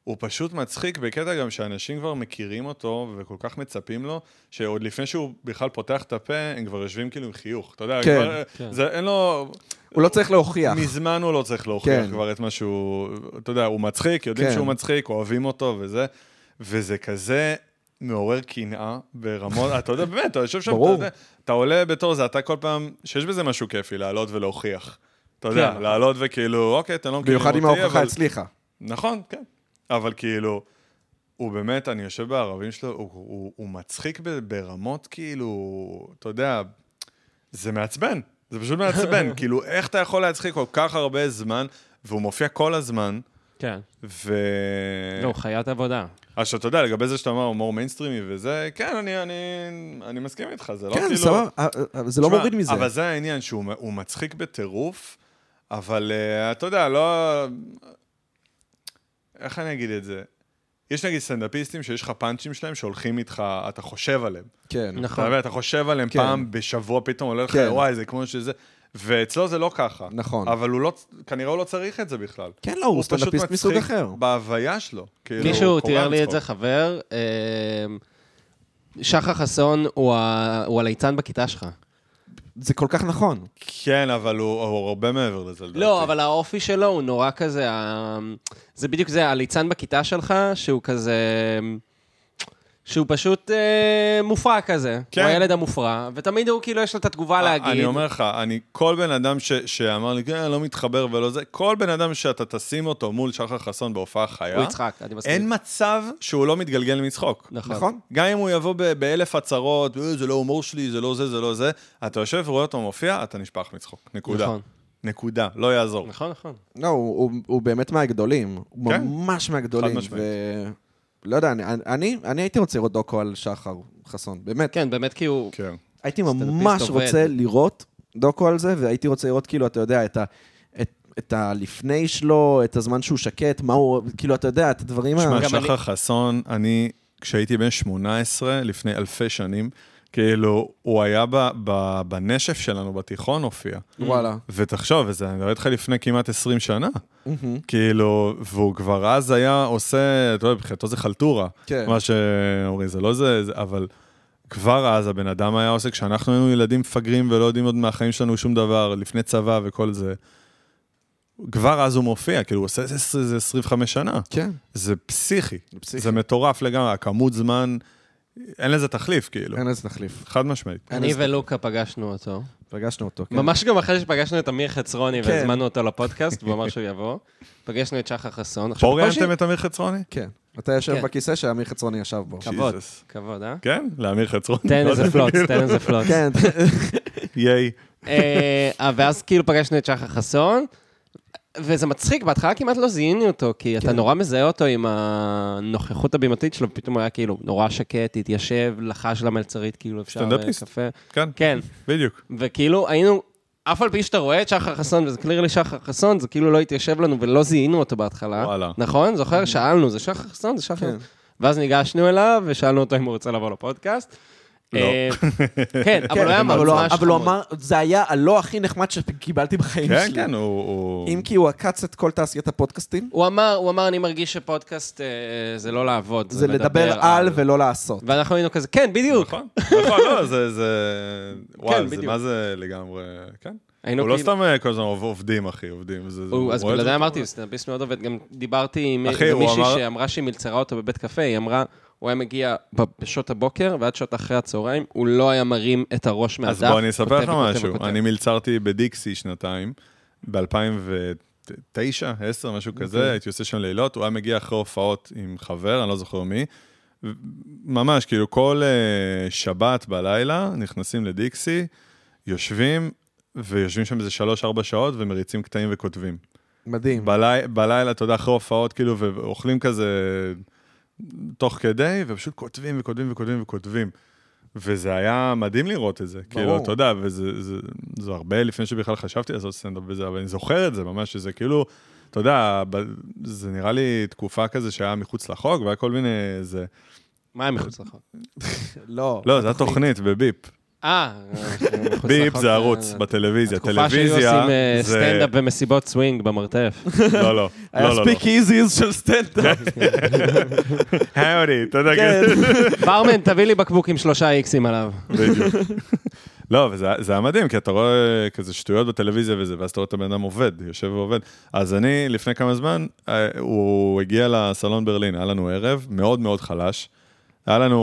S2: הוא פשוט מצחיק בקטע גם שאנשים כבר מכירים אותו וכל כך מצפים לו, שעוד לפני שהוא בכלל פותח את הפה, הם כבר יושבים כאילו עם חיוך. אתה יודע,
S1: כן,
S2: כבר,
S3: כן.
S2: זה, אין לו...
S1: הוא לא צריך להוכיח.
S2: מזמן הוא לא צריך להוכיח
S1: כן.
S2: כבר את מה שהוא... אתה יודע, הוא מצחיק, יודעים
S1: כן.
S2: שהוא מצחיק, אוהבים אותו וזה, וזה כזה מעורר קנאה ברמות... אתה יודע, באמת, אתה יושב שם,
S1: ברור.
S2: אתה, יודע, אתה עולה בתור זה, אתה כל פעם... שיש בזה משהו כיפי, לעלות ולהוכיח. אתה יודע,
S3: כן.
S2: לעלות וכאילו, אוקיי, אתם לא מכירים
S1: במיוחד
S2: אותי,
S1: אם ההוכחה
S2: אבל...
S1: הצליחה.
S2: נכון, כן. אבל כאילו, הוא באמת, אני יושב בערבים שלו, הוא, הוא, הוא מצחיק ב- ברמות כאילו, אתה יודע, זה מעצבן. זה פשוט מעצבן. כאילו, איך אתה יכול להצחיק כל כך הרבה זמן, והוא מופיע כל הזמן,
S3: כן.
S2: ו...
S3: לא, חיית עבודה.
S2: עכשיו, אה. אתה יודע, לגבי זה שאתה אומר הומור מיינסטרימי וזה, כן, אני, אני, אני מסכים איתך, זה לא
S1: כן,
S2: כאילו...
S1: סבבה, אה, אה, זה לא
S2: תשמע,
S1: מוריד מזה.
S2: אבל זה העניין, שהוא מ- הוא מצחיק בטירוף, אבל אה, אתה יודע, לא... איך אני אגיד את זה? יש נגיד סטנדאפיסטים שיש לך פאנצ'ים שלהם שהולכים איתך, אתה חושב עליהם.
S1: כן.
S3: נכון.
S2: אתה מבין, אתה חושב עליהם
S1: כן.
S2: פעם בשבוע, פתאום עולה לך,
S1: כן.
S2: וואי, זה כמו שזה... ואצלו זה לא ככה.
S1: נכון.
S2: אבל הוא לא, כנראה הוא לא צריך את זה בכלל.
S1: כן, לא, הוא
S2: פשוט
S1: סטנדאפיסט
S2: מצחיק
S1: מסוג אחר.
S2: בהוויה שלו. כאילו,
S3: מישהו
S2: הוא קורע
S3: תיאר לי את
S2: מצחוק.
S3: זה, חבר. אמ, שחר חסון הוא ה- הוא הליצן בכיתה שלך.
S1: זה כל כך נכון.
S2: כן, אבל הוא הוא הרבה מעבר לזה, לדעתי.
S3: לא, אבל האופי שלו הוא נורא כזה, ה- זה בדיוק זה, הליצן בכיתה שלך, שהוא כזה... שהוא פשוט אה, מופרע כזה.
S2: כן. אה,
S3: הוא הילד המופרע, ותמיד הוא כאילו יש לו את התגובה להגיד.
S2: אני אומר לך, אני, כל בן אדם ש, שאמר לי, כן, לא מתחבר ולא זה, כל בן אדם שאתה תשים אותו מול שחר חסון בהופעה חיה,
S3: הוא יצחק, אני מסכים.
S2: אה? אין מצב שהוא לא מתגלגל מצחוק.
S1: נכון?
S2: גם אם הוא יבוא ב- באלף הצהרות, "אה, זה לא הומור שלי, זה לא זה, זה לא זה, אתה יושב ורואה אותו מופיע, אתה נשפך מצחוק. נקודה.
S3: נכון.
S2: נקודה, לא יעזור.
S3: נכון, נכון.
S1: לא, הוא הוא- הוא באמת מהגדולים. הוא
S2: כן.
S1: ממש מהגדולים.
S2: חד משמעית.
S1: ו- לא יודע, אני- אני- אני הייתי רוצה לראות דוקו על שחר חסון, באמת.
S3: כן, באמת, כי הוא...
S2: כן.
S1: הייתי
S3: סטנדאפיסט
S1: ממש
S3: עובד.
S1: רוצה לראות דוקו על זה, והייתי רוצה לראות, כאילו, אתה יודע, את ה... את- את הלפני שלו, את הזמן שהוא שקט, מה הוא, כאילו, אתה יודע, את הדברים ה...
S2: תשמע,
S3: גם
S2: שחר חסון, אני, כשהייתי בן 18, לפני אלפי שנים, כאילו, הוא היה ב, ב, בנשף שלנו בתיכון הופיע.
S1: וואלה.
S2: ותחשוב, וזה, אני מדבר איתך לפני כמעט 20 שנה. כאילו, והוא כבר אז היה עושה, אתה יודע, מבחינתו זה חלטורה.
S1: כן.
S2: מה שאומרים, זה לא זה, זה- אבל כבר אז הבן אדם היה עושה, כשאנחנו היינו ילדים מפגרים ולא יודעים עוד מהחיים שלנו שום דבר, לפני צבא וכל זה, כבר אז הוא מופיע, כאילו, הוא עושה את זה איזה 25 שנה.
S1: כן.
S2: זה פסיכי.
S1: פסיכי.
S2: זה מטורף לגמרי, הכמות זמן, אין לזה תחליף, כאילו.
S1: אין איזה תחליף.
S2: חד משמעית.
S1: אין
S3: אני
S1: איזה-
S3: ולוקה פגשנו אותו.
S1: פגשנו אותו. כן.
S3: ממש גם אחרי שפגשנו את אמיר חצרוני
S1: כן.
S3: והזמנו אותו לפודקאסט, והוא אמר שהוא יבוא. פגשנו את שחר חסון. עכשיו,
S2: פה
S3: הקושי-
S2: ראיינתם את אמיר חצרוני?
S1: כן. אתה יושב
S3: כן.
S1: בכיסא שאמיר חצרוני ישב בו.
S3: כבוד.
S2: Jesus.
S3: כבוד, אה?
S2: כן, לאמיר חצרוני.
S3: תן
S2: לא
S3: איזה
S2: יודע,
S3: פלוץ,
S2: כאילו.
S3: תן איזה פלוץ.
S1: כן.
S2: ייי.
S3: אה, ואז כאילו פגשנו את שחר חסון, וזה מצחיק, בהתחלה כמעט לא זיהינו אותו, כי אתה
S1: כן.
S3: נורא מזהה אותו עם הנוכחות הבימתית שלו, ופתאום הוא היה כאילו נורא שקט, התיישב, לחש למלצרית, כאילו אפשר אה,
S2: סטנדאפיסט.
S3: קפה.
S2: כן,
S3: כן,
S2: בדיוק.
S3: וכאילו היינו, אף על פי שאתה רואה את שחר חסון, וזה קלירלי שחר חסון, זה כאילו לא התיישב לנו ולא זיהינו אותו בהתחלה.
S2: וואלה.
S3: נכון? זוכר? שאלנו, זה שחר חסון? זה שחר
S1: Mm-hmm. כן.
S3: חסון. ואז ניגשנו אליו, ושאלנו אותו אם הוא רוצה לבוא לפודקאסט.
S2: לא.
S3: אה, כן, אבל הוא היה
S1: אבל הוא-
S3: ממש
S1: אבל הוא
S3: חמוד.
S1: אמר, זה היה הלא הכי נחמד שקיבלתי בחיים
S2: כן,
S1: שלי.
S2: כן, הוא- הוא...
S1: אם כי הוא עקץ את כל תעשיית הפודקאסטים,
S3: הוא אמר, הוא אמר, אני מרגיש שפודקאסט אה, זה לא לעבוד,
S1: זה לדבר על ולא לעשות.
S3: ואנחנו היינו כזה, כן, בדיוק.
S2: נכון, נכון, לא,
S3: <laughs>
S2: זה, זה, וואי, זה
S3: כן, בדיוק.
S2: מה זה לגמרי, כן.
S3: היינו
S2: הוא לא
S3: כאילו-
S2: סתם אה, כל הזמן עוב- עובדים, אחי, עובדים. זה- זה-
S3: הוא-
S2: הוא
S3: אז
S2: רואה את
S3: בגלל זה
S2: זה
S3: אמרתי,
S2: בטוח.
S3: סטנדאפיסט מאוד עובד, גם דיברתי עם
S2: אחי,
S3: עם
S2: הוא
S3: מישהי
S2: אמר-
S3: שאמרה שהיא מלצרה אותו בבית קפה, היא אמרה, הוא היה מגיע ב- בשעות הבוקר ועד שעות אחרי הצהריים, הוא לא היה מרים את הראש מהדף.
S2: אז בוא אני
S3: כותב
S2: אספר לך
S3: וכותב
S2: משהו.
S3: וכותב.
S2: אני מלצרתי בדיקסי שנתיים, ב-2009, 10, משהו
S3: אוקיי.
S2: כזה, הייתי עושה שם לילות, הוא היה מגיע אחרי הופעות עם חבר, אני לא זוכר מי. ו- ממש, כאילו, כל אה, שבת בלילה נכנסים לדיקסי, יושבים, ויושבים שם איזה 3-4 שעות ומריצים קטעים וכותבים.
S1: מדהים.
S2: בלי, בלילה, אתה יודע, אחרי הופעות, כאילו, ואוכלים כזה תוך כדי, ופשוט כותבים וכותבים וכותבים וכותבים. וזה היה מדהים לראות את זה.
S1: ברור.
S2: כאילו, אתה יודע, וזה זה, זה הרבה לפני שבכלל חשבתי לעשות סטנדאפ וזה, אבל אני זוכר את זה ממש, שזה כאילו, אתה יודע, ב, זה נראה לי תקופה כזה שהיה מחוץ לחוק, והיה כל מיני, זה...
S3: מה היה מחוץ לחוק?
S1: לא.
S2: לא, זה היה תוכנית בביפ.
S3: אה, מחוץ
S2: ביפ
S3: לחוק,
S2: זה
S3: אה,
S2: ערוץ בטלוויזיה.
S3: התקופה שהיו
S2: טלוויזיה
S3: עושים אה,
S2: זה-
S3: סטנדאפ במסיבות סווינג במרתף. <laughs>
S2: לא, לא.
S1: היה
S2: לא, כן. לא, לא.
S1: ספיק איזיז של סטנדאפ.
S2: האודי, אתה <laughs> יודע,
S1: כן.
S2: כזה.
S3: ברמן, תביא לי בקבוק עם שלושה איקסים עליו.
S2: בדיוק. <laughs> לא, וזה זה היה מדהים, כי אתה רואה כזה שטויות בטלוויזיה וזה, ואז אתה רואה את הבן אדם עובד, יושב ועובד. אז אני, לפני כמה זמן, אה, הוא הגיע לסלון ברלין, היה לנו ערב, מאוד מאוד חלש. היה לנו...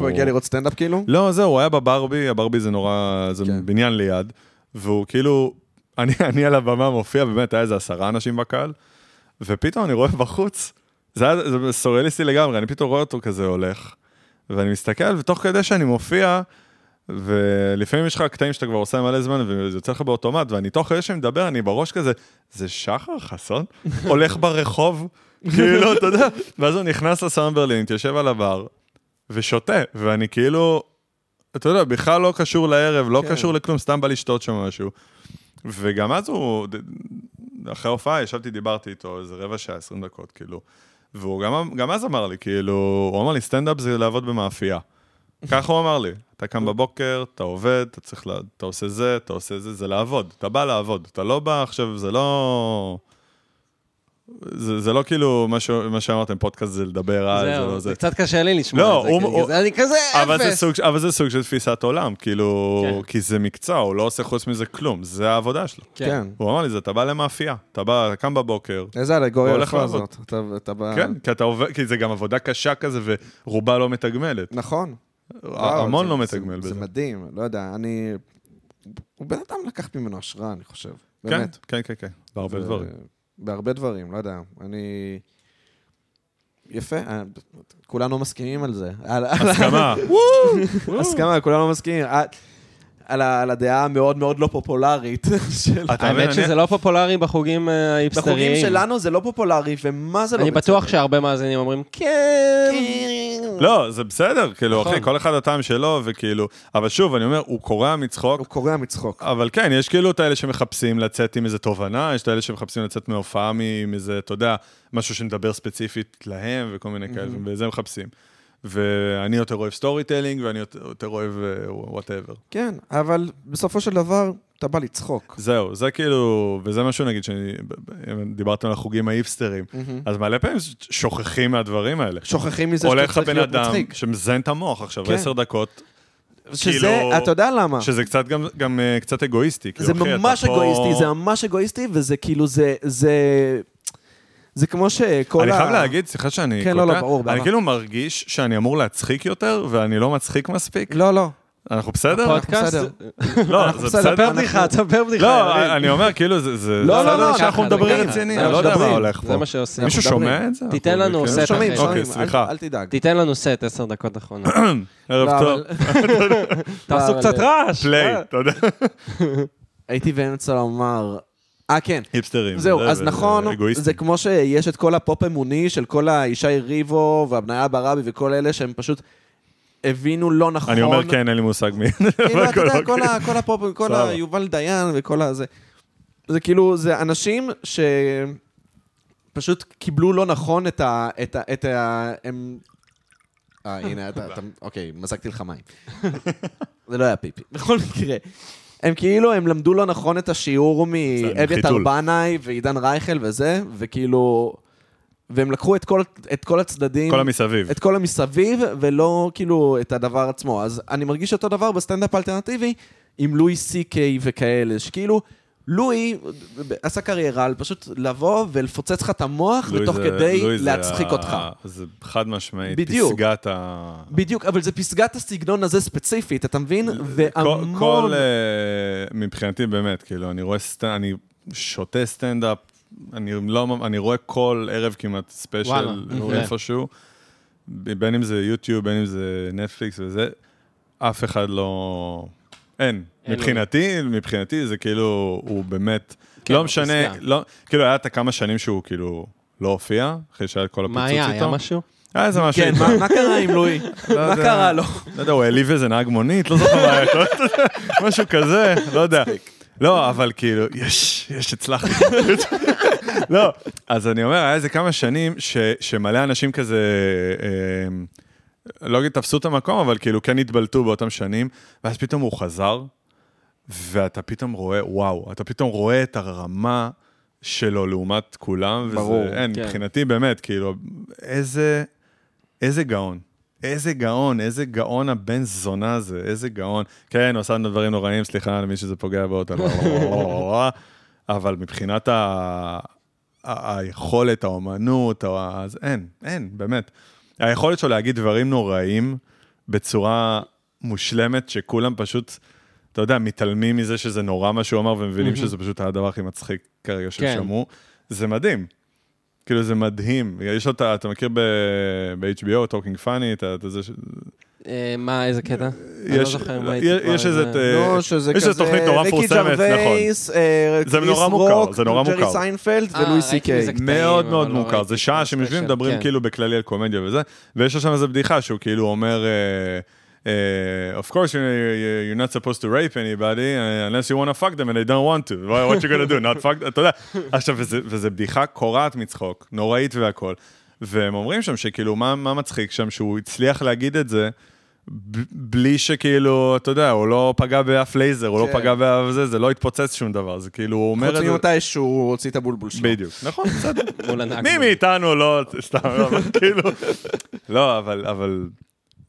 S1: הוא הגיע לראות סטנדאפ כאילו?
S2: לא, זהו, הוא היה בברבי, הברבי זה נורא, זה
S1: כן.
S2: בניין ליד, והוא כאילו, אני, <laughs> אני על הבמה מופיע, באמת היה איזה עשרה אנשים בקהל, ופתאום אני רואה בחוץ, זה היה זה סוריאליסטי לגמרי, אני פתאום רואה אותו כזה הולך, ואני מסתכל, ותוך כדי שאני מופיע, ולפעמים יש לך קטעים שאתה כבר עושה מלא זמן, וזה יוצא לך באוטומט, ואני תוך כדי שאני מדבר, אני בראש כזה, זה שחר חסון? <laughs> הולך ברחוב, <laughs> כאילו, אתה יודע, ואז הוא נכנס לסלון ברלין, התיישב על הבר, ושותה, ואני כאילו, אתה יודע, בכלל לא קשור לערב, לא
S1: כן.
S2: קשור לכלום, סתם בא לשתות שם משהו. וגם אז הוא, אחרי ההופעה ישבתי, דיברתי איתו איזה רבע שעה, 20 דקות, כאילו. והוא גם, גם אז אמר לי, כאילו, הוא אמר לי, סטנדאפ זה לעבוד במאפייה. ככה הוא אמר לי, אתה קם בבוקר, אתה עובד, אתה צריך, לה, אתה עושה זה, אתה עושה זה, זה לעבוד, אתה בא לעבוד, אתה לא בא עכשיו, זה לא... זה, זה לא כאילו מה, ש, מה שאמרתם, פודקאסט זה לדבר על, זה
S3: זהו,
S2: לא
S3: זה
S2: זה.
S3: קצת קשה לי לשמוע
S2: לא,
S3: את זה,
S2: הוא-
S3: כי אני
S2: הוא-
S3: כזה- אני כזה
S2: אבל זה,
S3: אפס.
S2: סוג, אבל זה סוג של תפיסת עולם, כאילו,
S3: כן.
S2: כי זה מקצוע, הוא לא עושה חוץ מזה כלום, זה העבודה שלו.
S1: כן.
S2: הוא אמר לי, זה אתה בא למאפייה, אתה בא, קם בבוקר,
S1: איזה אלגוריה
S2: הוא הולך
S1: יפה
S2: לעבוד.
S1: זאת. אתה- אתה
S3: אה.
S1: בא...
S2: כן, כי, אתה עובד, כי זה גם עבודה קשה כזה, ורובה לא מתגמלת.
S1: נכון. וואו,
S2: המון
S1: זה-
S2: לא
S1: זה-
S2: מתגמל בזה.
S1: זה מדהים, לא יודע, אני... הוא בן אדם לקח ממנו השראה, אני חושב. באמת.
S2: כן, כן, כן, כן, בהרבה
S1: ו-
S2: דברים.
S1: בהרבה דברים, לא יודע. אני... יפה, אה, כולנו מסכימים על זה. על-
S2: אה, <laughs>
S1: על-
S2: הסכמה,
S1: <laughs> הסכמה, כולנו מסכימים. אה, על ה- על הדעה המאוד מאוד לא פופולרית <laughs> של...
S2: אתה מבין,
S3: האמת שזה
S2: אני-
S3: לא פופולרי בחוגים אה, האיפסטריים.
S1: בחוגים שלנו זה לא פופולרי, ומה זה לא...
S3: אני בטוח שהררבה מאזינים אומרים, כן.
S2: לא, זה בסדר, כאילו,
S3: נכון.
S2: אחי, כל אחד הטעם שלו, וכאילו, אבל שוב, אני אומר, הוא קורע מצחוק,
S1: הוא קורע מצחוק.
S2: אבל כן, יש כאילו את האלה שמחפשים לצאת עם איזה תובנה, יש את האלה שמחפשים לצאת מהופעה מ- עם איזה, אתה יודע, משהו שמדבר ספציפית להם וכל מיני כאלה, וזה מחפשים. ואני יותר אוהב סטורי טלינג, ואני יותר יותר אוהב אה, וואטאבר.
S4: כן, אבל בסופו של דבר, אתה בא לצחוק.
S2: זהו, זה כאילו, וזה משהו נגיד, שאני- אם דיברתם על החוגים האיפסטרים, אז מלא פעמים שוכחים מהדברים האלה.
S4: שוכחים מזה שאתה
S2: הולך
S4: צריך
S2: הבן
S4: להיות
S2: אדם
S4: מצחיק.
S2: שמזיין את המוח עכשיו
S4: כן.
S2: עשר דקות,
S4: שזה,
S2: כאילו-
S4: אתה יודע למה.
S2: שזה קצת גם- גם אה, קצת אגואיסטי. כאילו,
S1: זה
S2: אחי, אתה
S1: ממש
S2: פה-
S1: אגואיסטי, זה ממש אגואיסטי, וזה כאילו, זה... זה- זה כמו שכל
S2: אני
S1: ה...
S2: חייב להגיד, סליחה שאני
S1: כן, לא, לא,
S2: קוטע,
S1: ברור,
S2: אני
S1: ברור.
S2: כאילו מרגיש שאני אמור להצחיק יותר, ואני לא מצחיק מספיק.
S4: לא, לא.
S2: אנחנו בסדר?
S3: פודקאסט?
S4: בסדר.
S2: <laughs> לא, זה
S4: בסדר,
S2: בסדר.
S3: ספר בדיחה, ספר בדיחה. יריב.
S2: לא, אני אומר, כאילו, זה- זה...
S1: לא,
S2: בסדר
S1: לא, לא,
S2: שאנחנו
S3: ככה,
S2: מדברים
S3: ככה.
S2: רציני, אני
S3: אנחנו
S2: לא יודע מה
S3: מדברים.
S2: הולך
S3: זה
S2: פה.
S3: מה שעושים.
S2: מישהו
S4: אנחנו מדברים.
S2: שומע את זה?
S3: תיתן
S2: אנחנו-
S3: לנו
S2: כן.
S3: סט.
S4: שומעים,
S3: אחי.
S4: שומעים,
S2: אוקיי,
S4: אל-
S2: סליחה.
S4: אל תדאג.
S3: תיתן לנו סט, עשר
S2: <coughs>
S3: דקות אחרונות.
S2: ערב
S1: לא,
S2: <laughs> טוב. לא,
S1: אבל-
S3: תעשו
S1: אבל-
S3: קצת רעש.
S2: פליי, תודה.
S1: הייתי באמצע לומר... אה, כן.
S2: היפסטרים.
S1: זהו,
S2: זה-
S1: אז
S2: זה-
S1: נכון,
S2: אגואיסטי.
S1: זה כמו שיש את כל הפופ אמוני של כל הישי ריבו והבניה ברבי וכל אלה שהם פשוט הבינו לא נכון.
S2: אני אומר כן, אין לי מושג מי.
S1: כאילו, אתה יודע,
S2: הכל
S1: כל
S2: אוקיי.
S1: ה- כל הפופ, כל
S2: סבבה.
S1: היובל דיין וכל הזה. זה כאילו, זה אנשים שפשוט קיבלו לא נכון את ה... את ה... את ה... הם...
S2: <laughs>
S1: אה, הנה, אתה... אתה- אוקיי, מזגתי לך מים. זה לא היה פיפי. <laughs> בכל מקרה. הם כאילו, הם למדו לא נכון את השיעור מאביתר
S2: חיתול.
S1: בנאי ועידן רייכל וזה, וכאילו... והם לקחו את כל, את כל הצדדים.
S2: כל המסביב.
S1: את כל המסביב, ולא כאילו את הדבר עצמו. אז אני מרגיש אותו דבר בסטנדאפ האלטרנטיבי עם לואי סי קיי וכאלה, שכאילו, לואי עשה קריירה על פשוט לבוא ולפוצץ לך את המוח,
S2: לואי
S1: ותוך
S2: זה-
S1: כדי
S2: לואי זה
S1: להצחיק
S2: ה-
S1: אותך.
S2: זה חד משמעית.
S1: בדיוק.
S2: פסגת ה...
S1: בדיוק, אבל זה פסגת הסגנון הזה ספציפית, אתה מבין?
S2: כל, כל
S1: והמון...
S2: אה, מבחינתי באמת, כאילו, אני רואה סטנדאפ, אני שותה סטנדאפ, אני, לא, אני רואה כל ערב כמעט
S3: וואלה,
S2: ספיישל
S3: מעולה.
S2: איפשהו, בין אם זה יוטיוב, בין אם זה נטפליקס וזה, אף אחד לא... אין.
S3: אין לו.
S2: מבחינתי, מבחינתי זה כאילו, הוא באמת,
S3: כן,
S2: לא
S3: הוא
S2: משנה,
S3: פסגה.
S2: לא, כאילו היה את הכמה שנים שהוא כאילו לא הופיע, אחרי שהיה את כל הפיצוץ
S3: מה
S2: איתו.
S3: היה? היה משהו?
S2: היה איזה משהו.
S1: כן,
S2: איתו.
S1: מה- מה קרה עם לואי? מה
S2: לא יודע.
S1: קרה לו?
S2: לא יודע, הוא העליב איזה נהג מונית, לא זוכר מה היה,
S1: <laughs>
S2: לא יודע, משהו כזה, לא יודע. לא, אבל כאילו, יש, יש, הצלחתי. <laughs> לא, אז אני אומר, היה איזה כמה שנים ש, שמלא אנשים כזה, אה, לא אגיד תפסו את המקום, אבל כאילו כן התבלטו באותם שנים, ואז פתאום הוא חזר, ואתה פתאום רואה, וואו, אתה פתאום רואה את הרמה שלו לעומת כולם,
S1: ברור,
S2: וזה, אין,
S3: כן.
S2: מבחינתי באמת, כאילו, איזה, איזה גאון. איזה גאון, איזה גאון הבן זונה הזה, איזה גאון. כן, הוא עשה לנו דברים נוראים, סליחה למי שזה פוגע בו, אתה לא- אבל <laughs> מבחינת ה... ה- היכולת, האומנות, ה- אז אין, אין, באמת. היכולת שלו להגיד דברים נוראים בצורה מושלמת, שכולם פשוט, אתה יודע, מתעלמים מזה שזה נורא מה שהוא אמר, ומבינים שזה פשוט היה הדבר הכי מצחיק כרגע שהם
S3: כן.
S2: שמעו. זה מדהים. כאילו, זה מדהים. יש לו את ה... אתה מכיר ב- ב-HBO, Talking Funny, את ה- את זה ש...
S3: אה, מה, איזה קטע? אני לא
S2: יש-
S3: זוכר מה הייתי
S2: יש-
S3: כבר
S2: יש איזה...
S3: איזה-
S2: אה,
S1: לא, שזה
S2: יש
S1: כזה...
S2: איזו תוכנית נורא מפורסמת, נכון.
S1: ריקי ג'רווייס, אה,
S2: זה
S1: קריס
S2: נורא מוכר,
S1: רוק,
S2: זה נורא
S1: ג'רי
S2: מוכר.
S1: סיינפלד
S3: אה,
S1: ולואי סי
S3: ראיתי
S1: קיי.
S3: מזה קטעים,
S2: מאוד
S3: אבל
S2: מאוד
S3: לא
S2: מוכר,
S3: ראיתי
S2: זה שעה
S3: את
S2: שהם יושבים
S3: הספיישל,
S2: מדברים
S3: כן.
S2: כאילו בכללי על קומדיה וזה, ויש לו שם איזו בדיחה שהוא כאילו אומר, אה, אה, of course you- you're not supposed to rape anybody uh, unless you want to fuck them and they don't want to, what what you gonna do, not fuck, אתה יודע, <laughs> עכשיו וזה- וזה בדיחה קורעת מצחוק, נוראית והכל, והם אומרים שם שכאילו מה מה מצחיק שם, שהוא הצליח להגיד את זה. ב- בלי שכאילו, אתה יודע, הוא לא פגע באף לייזר, הוא לא
S1: כן.
S2: פגע באף זה, זה לא התפוצץ שום דבר, זה כאילו, הוא אומר את
S1: חוץ
S2: זה...
S1: ממתי שהוא הוציא את הבולבול שלו.
S2: בדיוק, נכון, בסדר.
S3: מול הנהג.
S2: מי מאיתנו לא, סתם, לא, אבל כאילו, לא, אבל, אבל,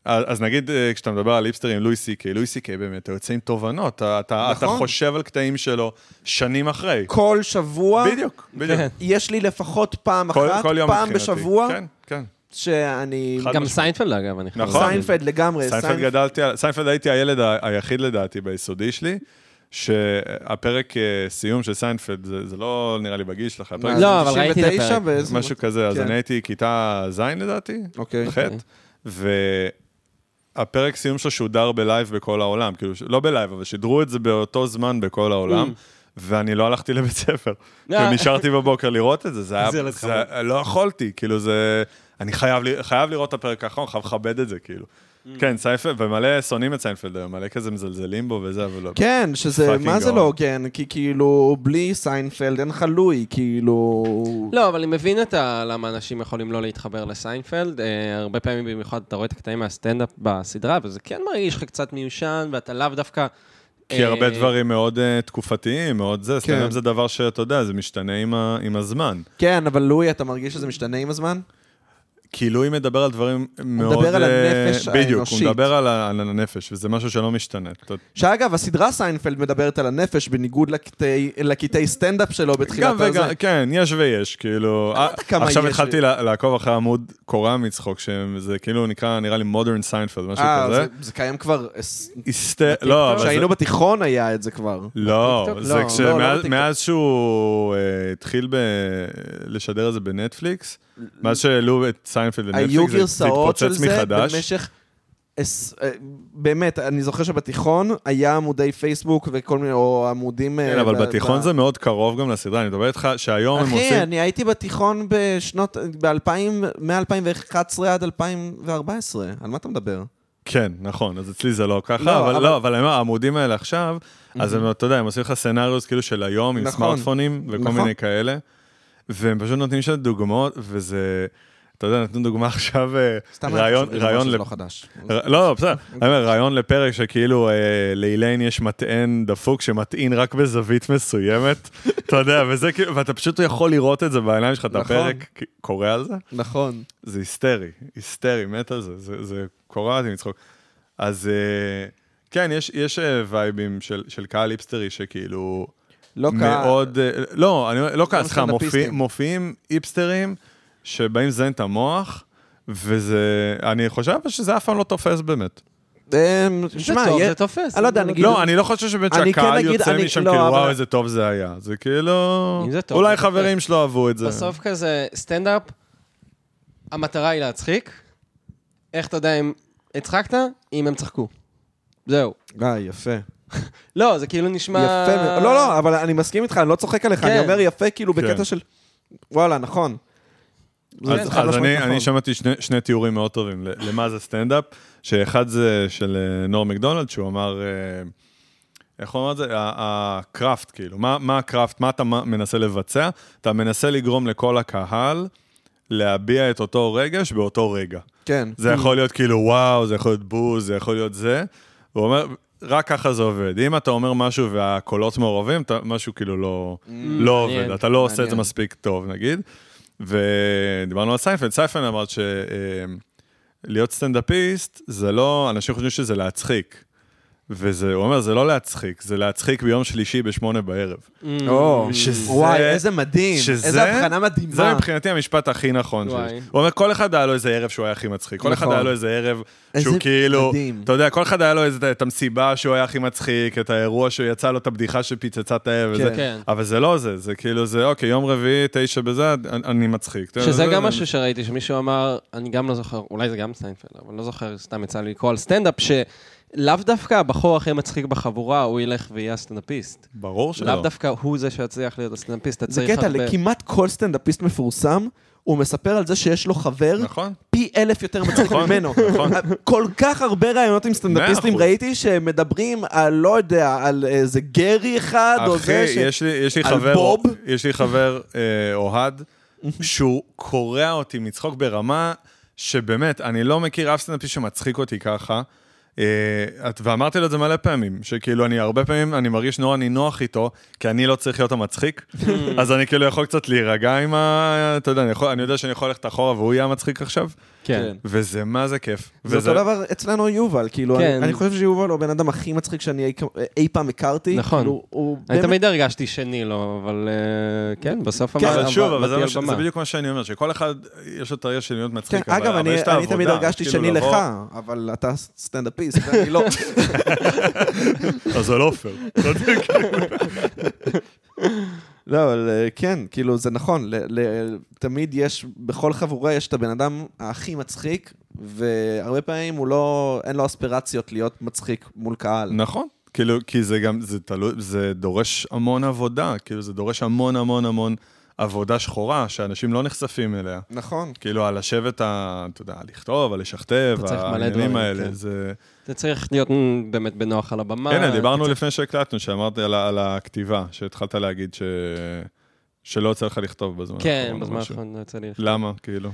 S2: אז אז נגיד אה, כשאתה מדבר על היפסטרים, לואי סי קיי, לואי סי קיי באמת, אתה יוצא עם תובנות, אתה- אתה אתה
S1: נכון.
S2: חושב על קטעים שלו שנים אחרי.
S1: כל שבוע,
S2: בדיוק, בדיוק.
S3: כן.
S1: יש לי לפחות פעם
S2: כל-
S1: אחת,
S2: כל יום
S1: פעם
S2: מבחינתי.
S1: בשבוע,
S2: כן, כן.
S1: שאני...
S2: חד
S3: גם
S2: משמעית.
S3: סיינפלד, אגב, אני חושב.
S2: נכון.
S1: אה, סיינפלד לגמרי.
S2: סיינפלד גדלתי, על- סיינפלד הייתי הילד ה- היחיד לדעתי ביסודי שלי, שהפרק אה, סיום של סיינפלד, זה זה לא נראה לי בגיל שלך, הפרק
S3: לא, אבל ראיתי את הפרק.
S1: הפרק.
S2: משהו כזה, אז
S1: כן.
S2: אני הייתי כיתה ז' לדעתי,
S1: אוקיי.
S2: ח', והפרק סיום שלו שודר בלייב בכל העולם, כאילו, ש- לא בלייב, אבל שידרו את זה באותו זמן בכל העולם. ואני לא הלכתי לבית ספר,
S3: אה.
S2: ונשארתי בבוקר לראות את זה, זה היה,
S3: זה ילד
S2: זה- לא יכולתי, כאילו זה, אני חייב ל- חייב לראות את הפרק האחרון, חייב לכבד את זה, כאילו. כן, סיינפלד, ומלא שונאים את סיינפלד היום, מלא כזה מזלזלים בו וזה, אבל לא.
S1: כן, שזה,
S2: Fucking
S1: מה זה
S2: גאון.
S1: לא הוגן? כי כאילו, בלי סיינפלד אין לך לואי, כאילו...
S3: לא, אבל אני מבין את ה... למה אנשים יכולים לא להתחבר לסיינפלד. אה, הרבה פעמים במיוחד אתה רואה את הקטעים מהסטנדאפ בסדרה, וזה כן מרגיש לך קצת מיושן, ואתה לאו דווקא...
S2: כי הרבה
S3: אה,
S2: דברים מאוד אה, תקופתיים, מאוד זה, סטנדאפ זה דבר שאתה יודע, זה משתנה עם ה- עם הזמן.
S1: כן, אבל לואי, אתה מרגיש שזה משתנה עם הזמן?
S2: כי לואי כאילו, מדבר על דברים מאוד...
S1: מדבר על
S2: אה,
S1: הנפש
S2: בדיוק,
S1: האנושית.
S2: הוא מדבר על ה- על הנפש, וזה משהו שלא משתנה. אתה-
S1: שאגב, הסדרה סיינפלד מדברת על הנפש, בניגוד לקטעי- לקטעי סטנדאפ שלו בתחילת
S2: גם
S1: הזה.
S2: וגם, כן, יש ויש, כאילו... אה,
S1: לא יודעת כמה
S2: עכשיו
S1: יש
S2: התחלתי לה- לעקוב אחרי עמוד קורע מצחוק, שזה כאילו נקרא, נראה לי מודרן סיינפלד, משהו
S1: אה,
S2: כזה.
S1: זה- זה קיים כבר... אס-
S2: היסטר... לא, אבל זה...
S1: כשהיינו בתיכון היה את זה כבר.
S2: לא,
S3: בטיקטוק?
S2: זה
S3: לא,
S1: לא, לא
S2: כשמאז
S1: בטיקטוק.
S2: מאז שהוא אה, התחיל ב- לשדר את זה בנטפליקס, מאז שהעלו את סיינפלד
S1: היו
S2: לנטפליקס, זה- זה
S1: גרסאות של
S2: התפוצץ
S1: זה
S2: מחדש.
S1: במשך... אס- אה, באמת, אני זוכר שבתיכון היה עמודי פייסבוק וכל מיני, או עמודים... אה,
S2: כן, אבל בתיכון זה מאוד קרוב גם לסדרה, אני מדבר איתך שהיום הם
S1: אחי,
S2: עושים...
S1: אני הייתי בתיכון בשנות... ב-2000... מ-2011 עד 2014. על מה אתה מדבר?
S2: כן, נכון, אז אצלי זה לא
S1: לא,
S2: ככה, אבל
S1: אבל-
S2: לא, אבל אני אומר, העמודים האלה עכשיו, אז הם, אתה יודע, הם עושים לך סצנריוס כאילו של היום, עם
S1: נכון.
S2: סמארטפונים וכל
S1: נכון.
S2: מיני כאלה, והם פשוט נותנים שם דוגמאות, וזה, אתה יודע, נתנו דוגמה <laughs> עכשיו, אה,
S1: סתם היה
S2: רעיון,
S1: חשוב לי לומר
S2: רעיון
S1: שזה
S2: לפ-
S1: לא אוקיי. חדש.
S2: ר- לא, בסדר. אני אומר, רעיון לפרק שכאילו אה, לאילן יש מטען דפוק שמטעין רק בזווית מסוימת, <laughs> אתה יודע, וזה כאילו, ואתה פשוט יכול לראות את זה בעיניים שלך, את
S1: נכון.
S2: הפרק כ- קורא על זה,
S1: נכון.
S2: זה היסטרי, היסטרי, מת על זה, זה- זה קורע אותי מצחוק. אז אה, כן, יש- יש אה, וייבים של של קהל היפסטרי שכאילו...
S1: לא קרה.
S2: מאוד... אה, לא, אני אומר- לא כעס, סליחה,
S1: סטנדאפיסטים.
S2: מופיע- מופיעים היפסטרים שבאים לזיין את המוח, וזה... אני חושב שזה אף פעם לא תופס באמת.
S1: אמ, שמע,
S3: זה טוב,
S1: יה-
S3: זה תופס.
S1: אני לא יודע, נגיד-
S2: לא, אני לא חושב שבאמת
S1: אני כן
S2: שהקהל
S1: אגיד,
S2: יוצא
S1: אני-
S2: משם
S1: לא,
S2: כאילו,
S1: אבל-
S2: וואו, איזה טוב זה היה. זה כאילו...
S3: אם זה טוב,
S2: אולי
S3: זה תופס.
S2: חברים שלו אהבו את זה.
S3: בסוף כזה, סטנדאפ, המטרה היא להצחיק. איך אתה יודע אם הצחקת? אם הם צחקו. זהו.
S1: אה, יפה.
S3: לא, זה כאילו נשמע...
S1: יפה. מאוד. לא, לא, אבל אני מסכים איתך, אני לא צוחק עליך, אני
S3: כן.
S1: אומר יפה כאילו
S2: כן.
S1: בקטע של... וואלה, נכון. זה
S2: אז,
S1: חד
S2: אז
S1: משמעית
S2: אני,
S1: נכון.
S2: אני שמעתי שני, שני תיאורים מאוד טובים ל- למה זה סטנדאפ, שאחד זה של אה, נור מקדונלד, שהוא אמר, אה, איך הוא אמר את זה? ה- הקראפט, כאילו, מה, מה הקראפט, מה אתה מ- מנסה לבצע? אתה מנסה לגרום לכל הקהל להביע את אותו רגש באותו רגע.
S1: כן.
S2: זה יכול להיות כאילו וואו, זה יכול להיות בוז, זה יכול להיות זה. הוא אומר, רק ככה זה עובד. אם אתה אומר משהו והקולות מעורבים, אתה, משהו כאילו לא, לא
S3: מעניין,
S2: עובד, אתה לא עושה את זה
S1: מעניין.
S2: מספיק טוב, נגיד. ודיברנו על סייפלד, סייפלד אמרת ש... אה, להיות סטנדאפיסט, זה לא, אנשים חושבים שזה להצחיק. וזה, הוא אומר, זה לא להצחיק, זה להצחיק ביום שלישי בשמונה בערב.
S3: Mm.
S1: או,
S2: שזה-
S1: וואי, איזה מדהים.
S2: שזה-
S1: איזה הבחנה מדהימה.
S2: זה מבחינתי המשפט הכי נכון
S3: וואי.
S2: שיש. הוא אומר, כל אחד היה לו איזה ערב שהוא היה הכי מצחיק. כל אחד
S1: נכון.
S2: היה לו איזה ערב
S1: איזה
S2: שהוא כאילו,
S1: מדהים.
S2: אתה יודע, כל אחד היה לו איזה- את המסיבה שהוא היה הכי מצחיק, את האירוע שיצא לו, את הבדיחה שפיצצה את האב וזה.
S3: כן.
S2: אבל זה לא זה, זה כאילו, זה אוקיי, יום רביעי, תשע בזה, אני- אני מצחיק.
S3: שזה גם משהו שראיתי, שמישהו אמר, אני גם לא זוכר, אולי זה גם סיינפלד, אבל לא זוכר, סתם יצא לי לקרוא על סטנדאפ, שלאו דווקא הבחור הכי מצחיק בחבורה, הוא ילך ויהיה הסטנדאפיסט.
S2: ברור שלא.
S3: לאו דווקא הוא זה שיצליח להיות הסטנדאפיסט, אתה
S1: זה
S3: צריך
S1: קטע,
S3: הרבה...
S1: לכמעט כל סטנדאפיסט מפורסם, הוא מספר על זה שיש לו חבר
S2: נכון.
S1: פי אלף יותר מצחיק
S2: נכון,
S1: ממנו.
S2: נכון.
S1: כל כך הרבה ראיונות עם סטנדאפיסטים
S2: מאה אחוז.
S1: ראיתי שמדברים על, לא יודע, על איזה גרי אחד, או
S2: אחי,
S1: זה ש...
S2: יש לי- יש לי
S1: על
S2: חבר,
S1: בוב?
S2: יש לי חבר אה, אוהד, שהוא קורע אותי מצחוק ברמה שבאמת, אני לא מכיר אף סטנדאפיסט שמצחיק אותי ככה. אה, את- ואמרתי לו את זה מלא פעמים, שכאילו אני הרבה פעמים, אני מרגיש נורא נינוח איתו, כי אני לא צריך להיות המצחיק, אז אני כאילו יכול קצת להירגע עם ה... אתה יודע, אני, יכול, אני יודע שאני יכול ללכת אחורה והוא יהיה המצחיק עכשיו,
S3: כן.
S2: וזה מה זה כיף.
S1: זה
S2: וזה-
S1: אותו דבר אצלנו יובל, כאילו,
S3: כן.
S1: אני, אני חושב שיובל הוא הבן אדם הכי מצחיק שאני אי, אי פעם הכרתי.
S3: נכון.
S1: כאילו, הוא
S3: אני
S1: באמת-
S3: תמיד הרגשתי שני לו, אבל אה, כן, בסוף
S1: כן,
S3: אמר...
S2: אבל שוב, אבל זה
S3: באתי
S2: מה
S3: על
S2: ש-
S3: במה.
S2: זה בדיוק מה שאני אומר, שכל אחד יש לו את הרגע של להיות
S1: כן,
S2: מצחיק, אבל
S1: אגב,
S2: אבל
S1: אני,
S2: יש את
S1: אני
S2: העבודה,
S1: תמיד הרגשתי
S2: כאילו
S1: שני
S2: לבוא-
S1: לך, אבל אתה סטנדאפיסט, ואני לא.
S2: אז זה לא פייר.
S1: <laughs> לא, אבל אה, כן, כאילו, זה נכון. ל- ל- תמיד יש, בכל חבורה יש את הבן אדם הכי מצחיק, והרבה פעמים הוא לא, אין לו אספירציות להיות מצחיק מול קהל.
S2: <laughs> נכון. כאילו, כי זה גם, זה תלוי, זה דורש המון עבודה, כאילו, זה דורש המון המון המון עבודה שחורה שאנשים לא נחשפים אליה.
S4: נכון.
S2: כאילו, על לשבת, ה- אתה יודע, לכתוב, על לשכתב,
S3: אתה צריך מלא דברים,
S2: העניינים האלה,
S3: כן.
S2: זה...
S3: אתה צריך להיות מ, באמת בנוח על הבמה.
S2: הנה, דיברנו לפני שהקלטנו, שאמרת על ה- על הכתיבה, שהתחלת להגיד ש... שלא יוצא לך לכתוב בזמן
S3: כן,
S2: האחרון או
S3: בזמן
S2: משהו.
S3: האחרון לא יצא לי
S2: למה, כאילו?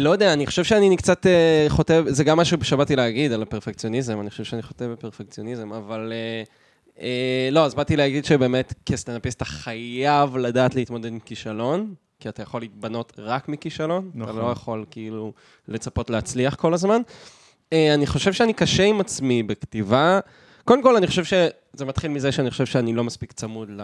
S3: לא יודע, אני חושב שאני קצת אה, חוטא, זה גם משהו שבאתי להגיד על הפרפקציוניזם, אני חושב שאני חוטא בפרפקציוניזם, אבל... אה, אה, לא, אז באתי להגיד שבאמת כסטנדאפיסט אתה חייב לדעת להתמודד עם כישלון, כי אתה יכול להתבנות רק מכישלון,
S2: נכון.
S3: אתה לא יכול כאילו לצפות להצליח כל הזמן. אה, אני חושב שאני קשה עם עצמי בכתיבה. קודם כל, אני חושב שזה מתחיל מזה שאני חושב שאני לא מספיק צמוד ל...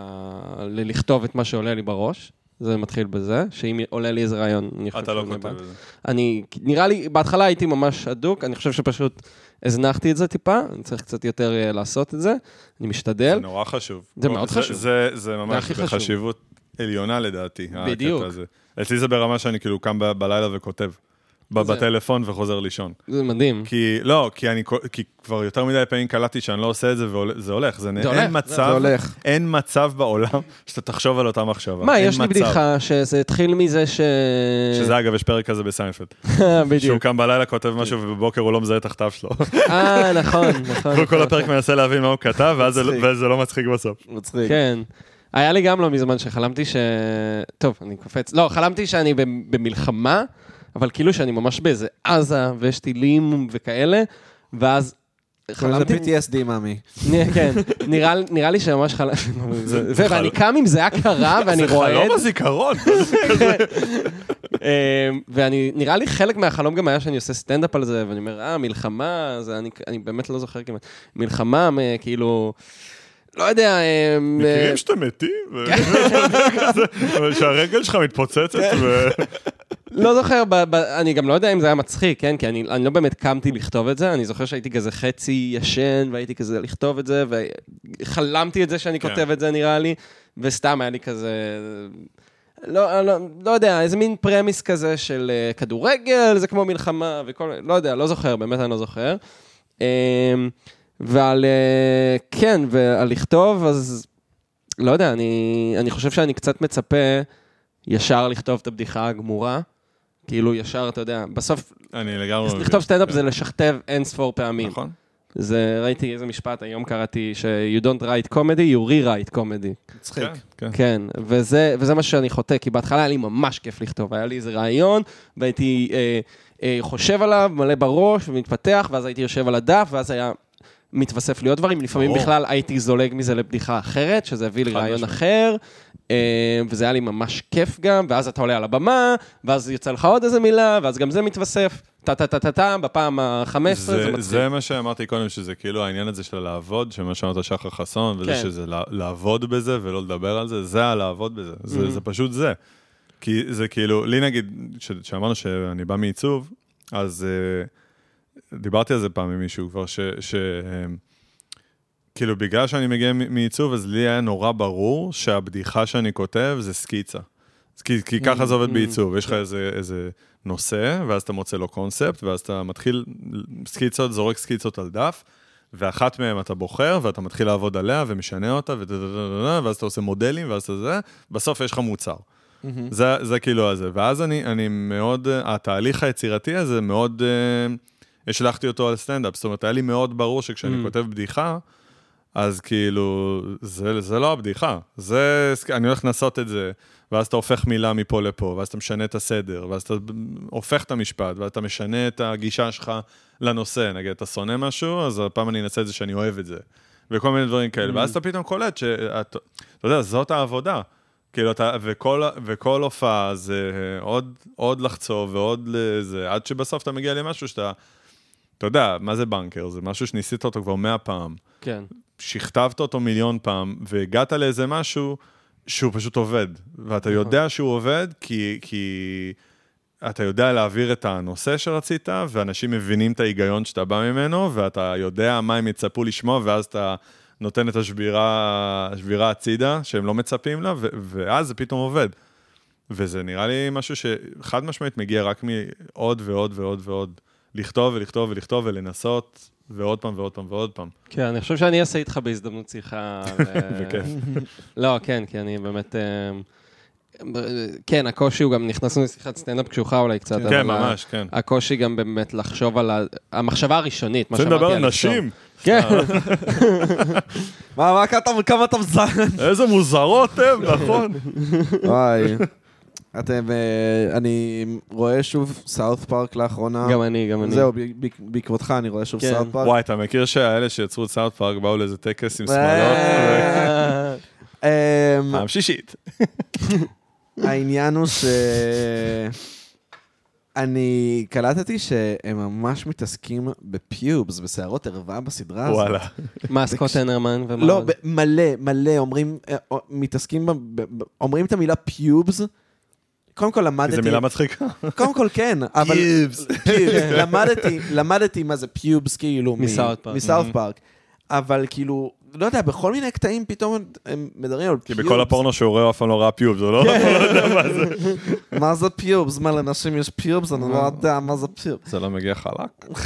S3: ללכתוב את מה שעולה לי בראש. זה מתחיל בזה, שאם עולה לי איזה רעיון, אני חושב
S2: אתה לא
S3: שאני
S2: כותב
S3: בעד.
S2: את זה.
S3: אני, נראה לי, בהתחלה הייתי ממש אדוק, אני חושב שפשוט הזנחתי את זה טיפה, אני צריך קצת יותר אה, לעשות את זה, אני
S2: זה
S3: משתדל.
S2: נורא חשוב.
S3: כן? זה מאוד חשוב.
S2: זה, זה ממש
S3: הכי חשוב.
S2: בחשיבות עליונה לדעתי,
S3: בדיוק.
S2: הקטע הזה. אצלי זה ברמה שאני כאילו קם ב- בלילה וכותב. ב-
S3: זה-
S2: בטלפון וחוזר לישון.
S3: זה מדהים.
S2: כי, לא, כי אני, כל- כי כבר יותר מדי פעמים קלטתי שאני לא עושה את זה, וזה הולך. זה, נ-
S3: זה
S2: אין
S3: הולך,
S2: מצב,
S4: זה הולך.
S2: אין מצב בעולם <laughs> שאתה תחשוב על אותה מחשבה.
S3: מה,
S2: אין
S3: יש לי
S2: מצב.
S3: בדיחה שזה התחיל מזה ש... <laughs>
S2: שזה אגב, יש פרק כזה בסיינפלד. שהוא
S3: בדיוק.
S2: קם בלילה, כותב משהו, ובבוקר הוא לא מזהה את הכתב שלו.
S3: אה, נכון,
S2: <laughs>
S3: נכון.
S2: הוא כל
S3: נכון.
S2: הפרק מנסה להבין מה הוא כתב, ואז זה-
S4: מצחיק.
S2: וזה לא מצחיק בסוף.
S4: מצחיק.
S3: כן. היה לי גם לא מזמן שחלמתי ש... טוב, אני קופץ. לא, חלמתי שאני במ- במלחמה, אבל כאילו שאני ממש באיזה עזה, ויש טילים וכאלה, ואז
S1: זה
S3: חלמתי...
S1: PTSD, מאמי.
S3: נ- כן, נראה, לי- נראה לי שממש חלם...
S2: זה-
S3: זה, ואני קם עם זה היה קרה, אה, ואני
S2: <laughs> זה
S3: רואה
S2: חלום
S3: את זה.
S2: הזיכרון.
S3: <laughs> אמ, ואני, נראה לי חלק מהחלום גם היה שאני עושה סטנדאפ על זה, ואני אומר, אה, מלחמה, זה, אני, אני באמת לא זוכר כמעט. מלחמה, מ- כאילו, לא יודע, אמ,
S2: מכירים שאתם מתים? ו-
S3: כן.
S2: <laughs> כזה, אבל שהרגל שלך מתפוצצת, ו-
S3: לא זוכר, ב, ב, אני גם לא יודע אם זה היה מצחיק, כן? כי אני, אני לא באמת קמתי לכתוב את זה, אני זוכר שהייתי כזה חצי ישן, והייתי כזה לכתוב את זה, וחלמתי את זה שאני
S2: כן.
S3: כותב את זה, נראה לי, וסתם היה לי כזה... לא, לא, לא יודע, איזה מין פרמיס כזה של אה, כדורגל, זה כמו מלחמה וכל... לא יודע, לא זוכר, באמת אני לא זוכר. אמ, ועל... אה, כן, ועל לכתוב, אז... לא יודע, אני, אני חושב שאני קצת מצפה ישר לכתוב את הבדיחה הגמורה. כאילו, ישר, אתה יודע, בסוף,
S2: אני לגמרי מבין.
S3: לכתוב סטנדאפ
S2: כן.
S3: זה לשכתב אין ספור פעמים.
S2: נכון.
S3: זה, ראיתי איזה משפט, היום קראתי ש- you don't write comedy, you rewrite comedy.
S4: מצחיק.
S2: כן, כן.
S3: כן, וזה, וזה מה שאני חוטא, כי בהתחלה היה לי ממש כיף לכתוב, היה לי איזה רעיון, והייתי אה, אה, חושב עליו, מלא בראש, ומתפתח, ואז הייתי יושב על הדף, ואז היה מתווסף לי עוד דברים, לפעמים
S2: ברור.
S3: בכלל הייתי זולג מזה לבדיחה אחרת, שזה הביא לי
S2: חד
S3: רעיון
S2: משמעית.
S3: אחר, אה, וזה היה לי ממש כיף גם, ואז אתה עולה על הבמה, ואז יוצא לך עוד איזה מילה, ואז גם זה מתווסף, טה-טה-טה-טה, בפעם ה-15,
S2: זה,
S3: זה
S2: זה,
S3: מצחיק.
S2: מה שאמרתי קודם, שזה כאילו העניין הזה של לעבוד, שמה שאמרת שחר חסון, וזה
S3: כן.
S2: שזה לע- לעבוד בזה ולא לדבר על זה, זה הלעבוד בזה. זה,
S3: Mhm.
S2: זה פשוט זה. כי זה כאילו, לי נגיד, כשאמרנו שאני בא מעיצוב, אז אה, דיברתי על זה פעם עם מישהו כבר, ש... ש אה, כאילו, בגלל שאני מגיע מ- מעיצוב, אז לי היה נורא ברור שהבדיחה שאני כותב זה סקיצה. אז כי, כי ככה זה עובד
S3: Mm,
S2: בעיצוב, יש לך איזה, איזה נושא, ואז אתה מוצא לו קונספט, ואז אתה מתחיל סקיצות, זורק סקיצות על דף, ואחת מהן אתה בוחר, ואתה מתחיל לעבוד עליה, ומשנה אותה, ודדדדדדד, ואז אתה עושה מודלים, ואז אתה זה, בסוף יש לך מוצר. זה, זה כאילו הזה. ואז אני, אני מאוד, אה, התהליך היצירתי הזה מאוד, אה, השלכתי אותו על סטנדאפ. זאת אומרת, היה לי מאוד ברור שכשאני
S3: Mm.
S2: כותב בדיחה, אז כאילו, זה, זה לא הבדיחה. זה, אני הולך לנסות את זה, ואז אתה הופך מילה מפה לפה, ואז אתה משנה את הסדר, ואז אתה הופך את המשפט, ואז אתה משנה את הגישה שלך לנושא. נגיד, אתה שונא משהו, אז הפעם אני אנסה את זה שאני אוהב את זה. וכל מיני דברים כאלה. ואז אתה פתאום קולט שאת, אתה יודע, זאת העבודה. כאילו, אתה, וכל, וכל הופעה זה עוד, עוד לחצוב ועוד לזה, עד שבסוף אתה מגיע למשהו שאתה, אתה יודע, מה זה בנקר? זה משהו שניסית אותו כבר מאה פעם,
S3: כן.
S2: שכתבת אותו מיליון פעם, והגעת לאיזה משהו שהוא פשוט עובד. ואתה יודע שהוא עובד כי, כי אתה יודע להעביר את הנושא שרצית, ואנשים מבינים את ההיגיון שאתה בא ממנו, ואתה יודע מה הם יצפו לשמוע, ואז אתה נותן את השבירה, השבירה הצידה, שהם לא מצפים לה, ו- ואז זה פתאום עובד. וזה נראה לי משהו שחד משמעית מגיע רק מעוד ועוד ועוד ועוד. לכתוב ולכתוב ולכתוב ולנסות, ועוד פעם ועוד פעם ועוד פעם.
S3: כן, אני חושב שאני
S2: <laughs>
S3: אעשה איתך בהזדמנות שיחה. אה, ו-
S2: בכיף.
S3: לא, כן, כי אני באמת... אמ, כן, הקושי הוא גם, נכנסנו לשיחת סטנדאפ קשוחה אולי קצת. אבל
S2: כן,
S3: ה-
S2: ממש, כן.
S3: הקושי גם באמת לחשוב על ה... המחשבה הראשונית, מה
S2: רוצים
S3: שאמרתי
S2: לדבר על
S3: לחשוב.
S2: נשים?
S3: כן, <laughs>
S4: מה, מה, כמה- כמה אתה מזן?
S2: איזה מוזרות
S1: <laughs>
S2: הן, נכון?
S1: וואי. <laughs> אתם, אה, אני רואה שוב סאוף פארק לאחרונה.
S3: גם אני, גם אני.
S1: זהו, ב- ב- בעקבותך אני רואה שוב
S3: כן.
S1: סאוף פארק.
S2: וואי, אתה מכיר שהאלה שיצרו את סאונד פארק באו לאיזה טקס עם שמאלות?
S1: אה.
S3: אה,
S1: אמ,
S2: פעם שישית.
S1: העניין הוא ש... אני קלטתי שהם ממש מתעסקים בפיובס, בשערות ערווה בסדרה הזאת.
S2: וואלה.
S3: מה, סקוט הנרמן ומה
S1: לא,
S3: עוד?
S1: ב- מלא, מלא, אומרים, אה, אה, מתעסקים, ב- ב- ב- אומרים את המילה פיובס. קודם כל למדתי...
S2: זו מילה מצחיקה.
S1: קודם כל
S2: <laughs>
S1: כן, אבל...
S2: פיובס.
S1: פיובס. למדתי, למדתי מה זה פיובס, כאילו... מ-
S3: מסאוט פארק.
S1: מסאוט
S2: Mm-hmm.
S1: פארק. אבל כאילו, לא יודע, בכל מיני קטעים פתאום הם מדברים על
S2: כי
S1: פיובס. כן.
S2: בכל הפורנו שהוא רואה הוא אף פעם לא ראה פיובס, הוא לא...
S1: מה זה פיובס? מה, לנשים יש פיובס? אני לא יודע מה זה
S2: <laughs>
S1: פיובס.
S2: זה לא מגיע חלק.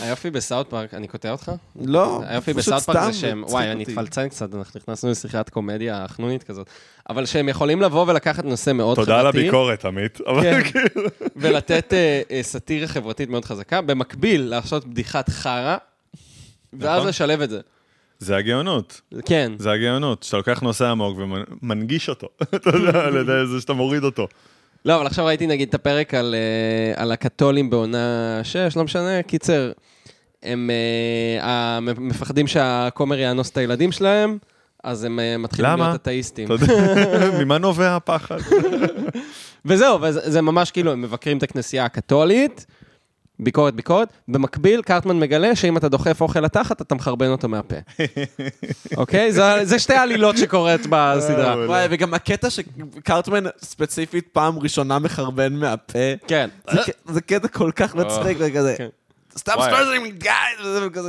S3: היופי בסאוט פארק, אני קוטע אותך?
S1: <laughs> לא,
S3: היופי
S1: פשוט
S3: בסאוט אה, פארק זה
S1: סתם
S3: שהם,
S1: מצחיק
S3: וואי, אני
S1: אותי.
S3: התפלצן קצת, אנחנו נכנסנו לשיחת קומדיה חנונית כזאת, אבל שהם יכולים לבוא ולקחת נושא מאוד חברתי.
S2: תודה על הביקורת, עמית.
S1: כן.
S2: אבל כאילו...
S3: כן. <laughs> ולתת אה, אה, סאטירה חברתית מאוד חזקה, במקביל לעשות בדיחת חרא, ואז
S2: נכון.
S3: לשלב את זה.
S2: <laughs> זה הגאונות.
S3: כן.
S2: זה הגאונות. שאתה לוקח נושא עמוק ומנגיש אותו. <laughs> אתה יודע, על ידי זה שאתה מוריד אותו.
S3: לא, אבל עכשיו ראיתי נגיד את הפרק על, אה, על הקתולים בעונה 6, לא משנה, קיצר, הם אה, ה- מפחדים שהכומר יאנוס את הילדים שלהם, אז הם אה, מתחילים
S2: למה?
S3: להיות אתאיסטים.
S2: אתה יודע,
S1: <laughs>
S2: ממה נובע הפחד?
S3: וזהו, וזה זה ממש כאילו, הם מבקרים את הכנסייה הקתולית, ביקורת ביקורת. במקביל, קרטמן מגלה שאם אתה דוחף אוכל לתחת, אתה מחרבן אותו מהפה. אוקיי? זה, זה שתי העלילות שקורית בסדרה.
S2: מעולה.
S1: וואי, וגם הקטע שקרטמן ספציפית פעם ראשונה מחרבן מהפה,
S3: כן.
S1: זה ק- זה קטע כל כך מצחיק וכזה.
S3: כן.
S1: סתם
S2: וואי.
S1: סטרזרים, גייז, וזה כזה,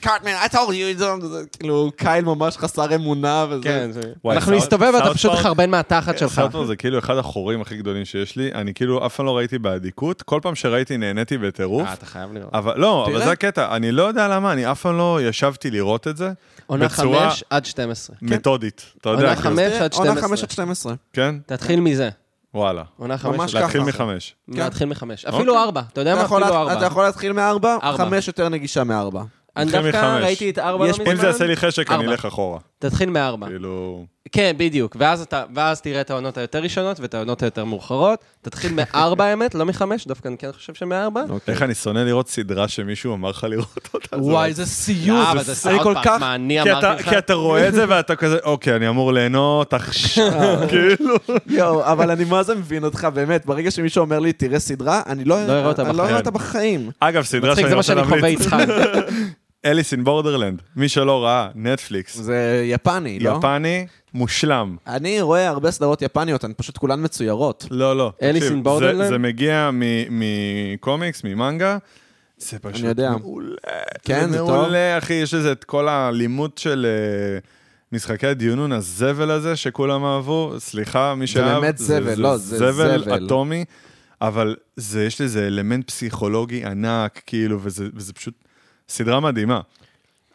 S1: קרטמן, I told you, it's on", וזה כאילו, קייל ממש חסר אמונה, וזה...
S3: כן, זה...
S2: וואי,
S3: אנחנו
S2: סאוט-
S3: נסתובב ואתה
S2: סאוט
S3: פשוט
S2: פארק-
S3: מחרבן מהתחת שלך. אה,
S2: סאוטפארק זה כאילו אחד החורים הכי גדולים שיש לי. אני כאילו אף פעם לא ראיתי באדיקות. כל פעם שראיתי נהניתי בטירוף.
S3: אה, אתה חייב לראות.
S2: אבל לא, אבל
S1: תראה.
S2: זה הקטע. אני לא יודע למה, אני אף פעם לא ישבתי לראות את זה
S3: עונה
S2: בצורה
S3: 5 עד 12.
S2: מתודית. אתה יודע,
S3: עונה
S2: כאילו,
S3: 5 עד
S1: עונה 5
S3: 12.
S1: עד 12.
S2: כן?
S3: תתחיל מזה.
S2: וואלה.
S3: עונה 5 עד
S1: ממש
S3: 12.
S2: להתחיל
S1: ככה.
S2: מחמש.
S3: להתחיל מחמש. אפילו 4. אתה יודע
S1: אתה
S3: מה?
S1: יכול
S3: אפילו
S1: לה-
S3: 4.
S1: אתה יכול להתחיל מארבע,
S3: ארבע.
S1: חמש יותר נגישה מארבע.
S3: אני
S2: נתחיל
S3: דווקא
S2: מחמש.
S3: ראיתי את 4 לא
S1: יש-
S3: מזמן.
S2: אם זה יעשה לי חשק, אני
S3: ארבע.
S2: אלך אחורה.
S3: תתחיל מארבע.
S2: כאילו...
S3: כן, בדיוק. ואז, אתה, ואז תראה את העונות היותר ראשונות ואת העונות היותר מאוחרות. תתחיל מארבע, <laughs> האמת, לא מחמש, דווקא אני כן חושב שמארבע.
S2: איך אני שונא לראות סדרה שמישהו אמר לך לראות אותה. זה
S1: וואי,
S2: לא-
S1: זה סיוט,
S3: אה, אבל
S1: זה
S3: סאוט
S1: סיוט כל
S3: פארק,
S1: כך...
S3: מה, אני
S2: כי אתה-
S3: אמרתי לך?
S2: כי אתה רואה את זה ואתה כזה, אוקיי, אני אמור ליהנות, עכשיו,
S3: אה, אוקיי.
S2: כאילו.
S1: יואו, אבל אני מה זה מבין אותך, באמת. ברגע שמישהו אומר לי, תראה סדרה, אני לא
S3: לא אראה אותה
S1: אני לא
S3: בחיים.
S1: אראה אותה בחיים.
S2: אגב, סדרה
S3: מצחיק,
S2: שאני
S3: זה מה
S2: רוצה
S3: שאני חווה
S2: להמליץ, <laughs>
S3: איתך.
S2: אליס אין בורדרלנד. מי שלא ראה, נטפליקס.
S1: זה יפני, לא?
S2: יפני, מושלם.
S1: אני רואה הרבה סדרות יפניות, הן פשוט כולן מצוירות.
S2: לא, לא.
S3: אליס
S2: תקשיב,
S3: in Borderland?
S2: זה- זה מגיע מ- מקומיקס, ממנגה. זה פשוט
S1: יודע.
S2: מעולה.
S1: כן, זה
S2: זה
S1: טוב.
S2: מעולה, אחי, יש לזה את כל האלימות של אה, משחקי הדיונון, הזבל הזה שכולם אהבו. סליחה, מי שאהב.
S1: באמת זבל, לא, זה
S2: זבל
S1: זבל.
S2: אטומי, אבל זה, יש לזה אלמנט פסיכולוגי ענק, כאילו, וזה וזה פשוט סדרה מדהימה.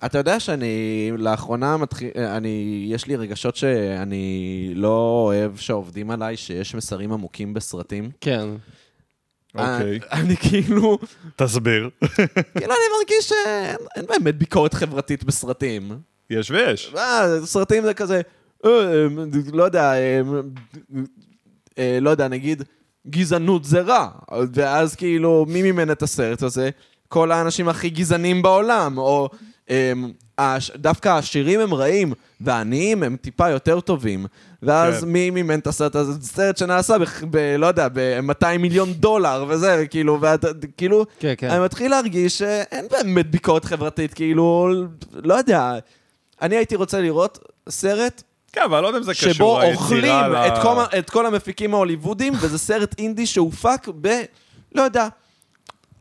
S1: אתה יודע שאני לאחרונה מתחיל, אני, יש לי רגשות שאני לא אוהב שעובדים עליי, שיש מסרים עמוקים בסרטים.
S3: כן.
S2: אוקיי,
S1: אה, אני כאילו,
S2: תסביר.
S1: כאילו אני מרגיש שאין אין באמת ביקורת חברתית בסרטים.
S2: יש ויש.
S1: אה, סרטים זה כזה, אה, אה, לא יודע, אה, אה, לא יודע, נגיד, גזענות זה רע. ואז כאילו, מי מימן את הסרט הזה? כל האנשים הכי גזענים בעולם, או אה, הש- דווקא העשירים הם רעים, והעניים הם טיפה יותר טובים. ואז
S2: כן.
S1: מי מימן את הסרט הזה? זה סרט שנעשה, בח- ב... לא יודע, ב-200 מיליון דולר, וזה, כאילו, ואתה, כאילו,
S3: כן, כן.
S1: אני מתחיל להרגיש שאין באמת ביקורת חברתית, כאילו, לא יודע. אני הייתי רוצה לראות סרט
S2: כן, אבל לא יודע אם זה קשור.
S1: שבו
S2: היצירה
S1: אוכלים
S2: ל-
S1: את כל ה- את כל המפיקים ההוליוודים, <laughs> וזה סרט אינדי שהופק ב... לא יודע,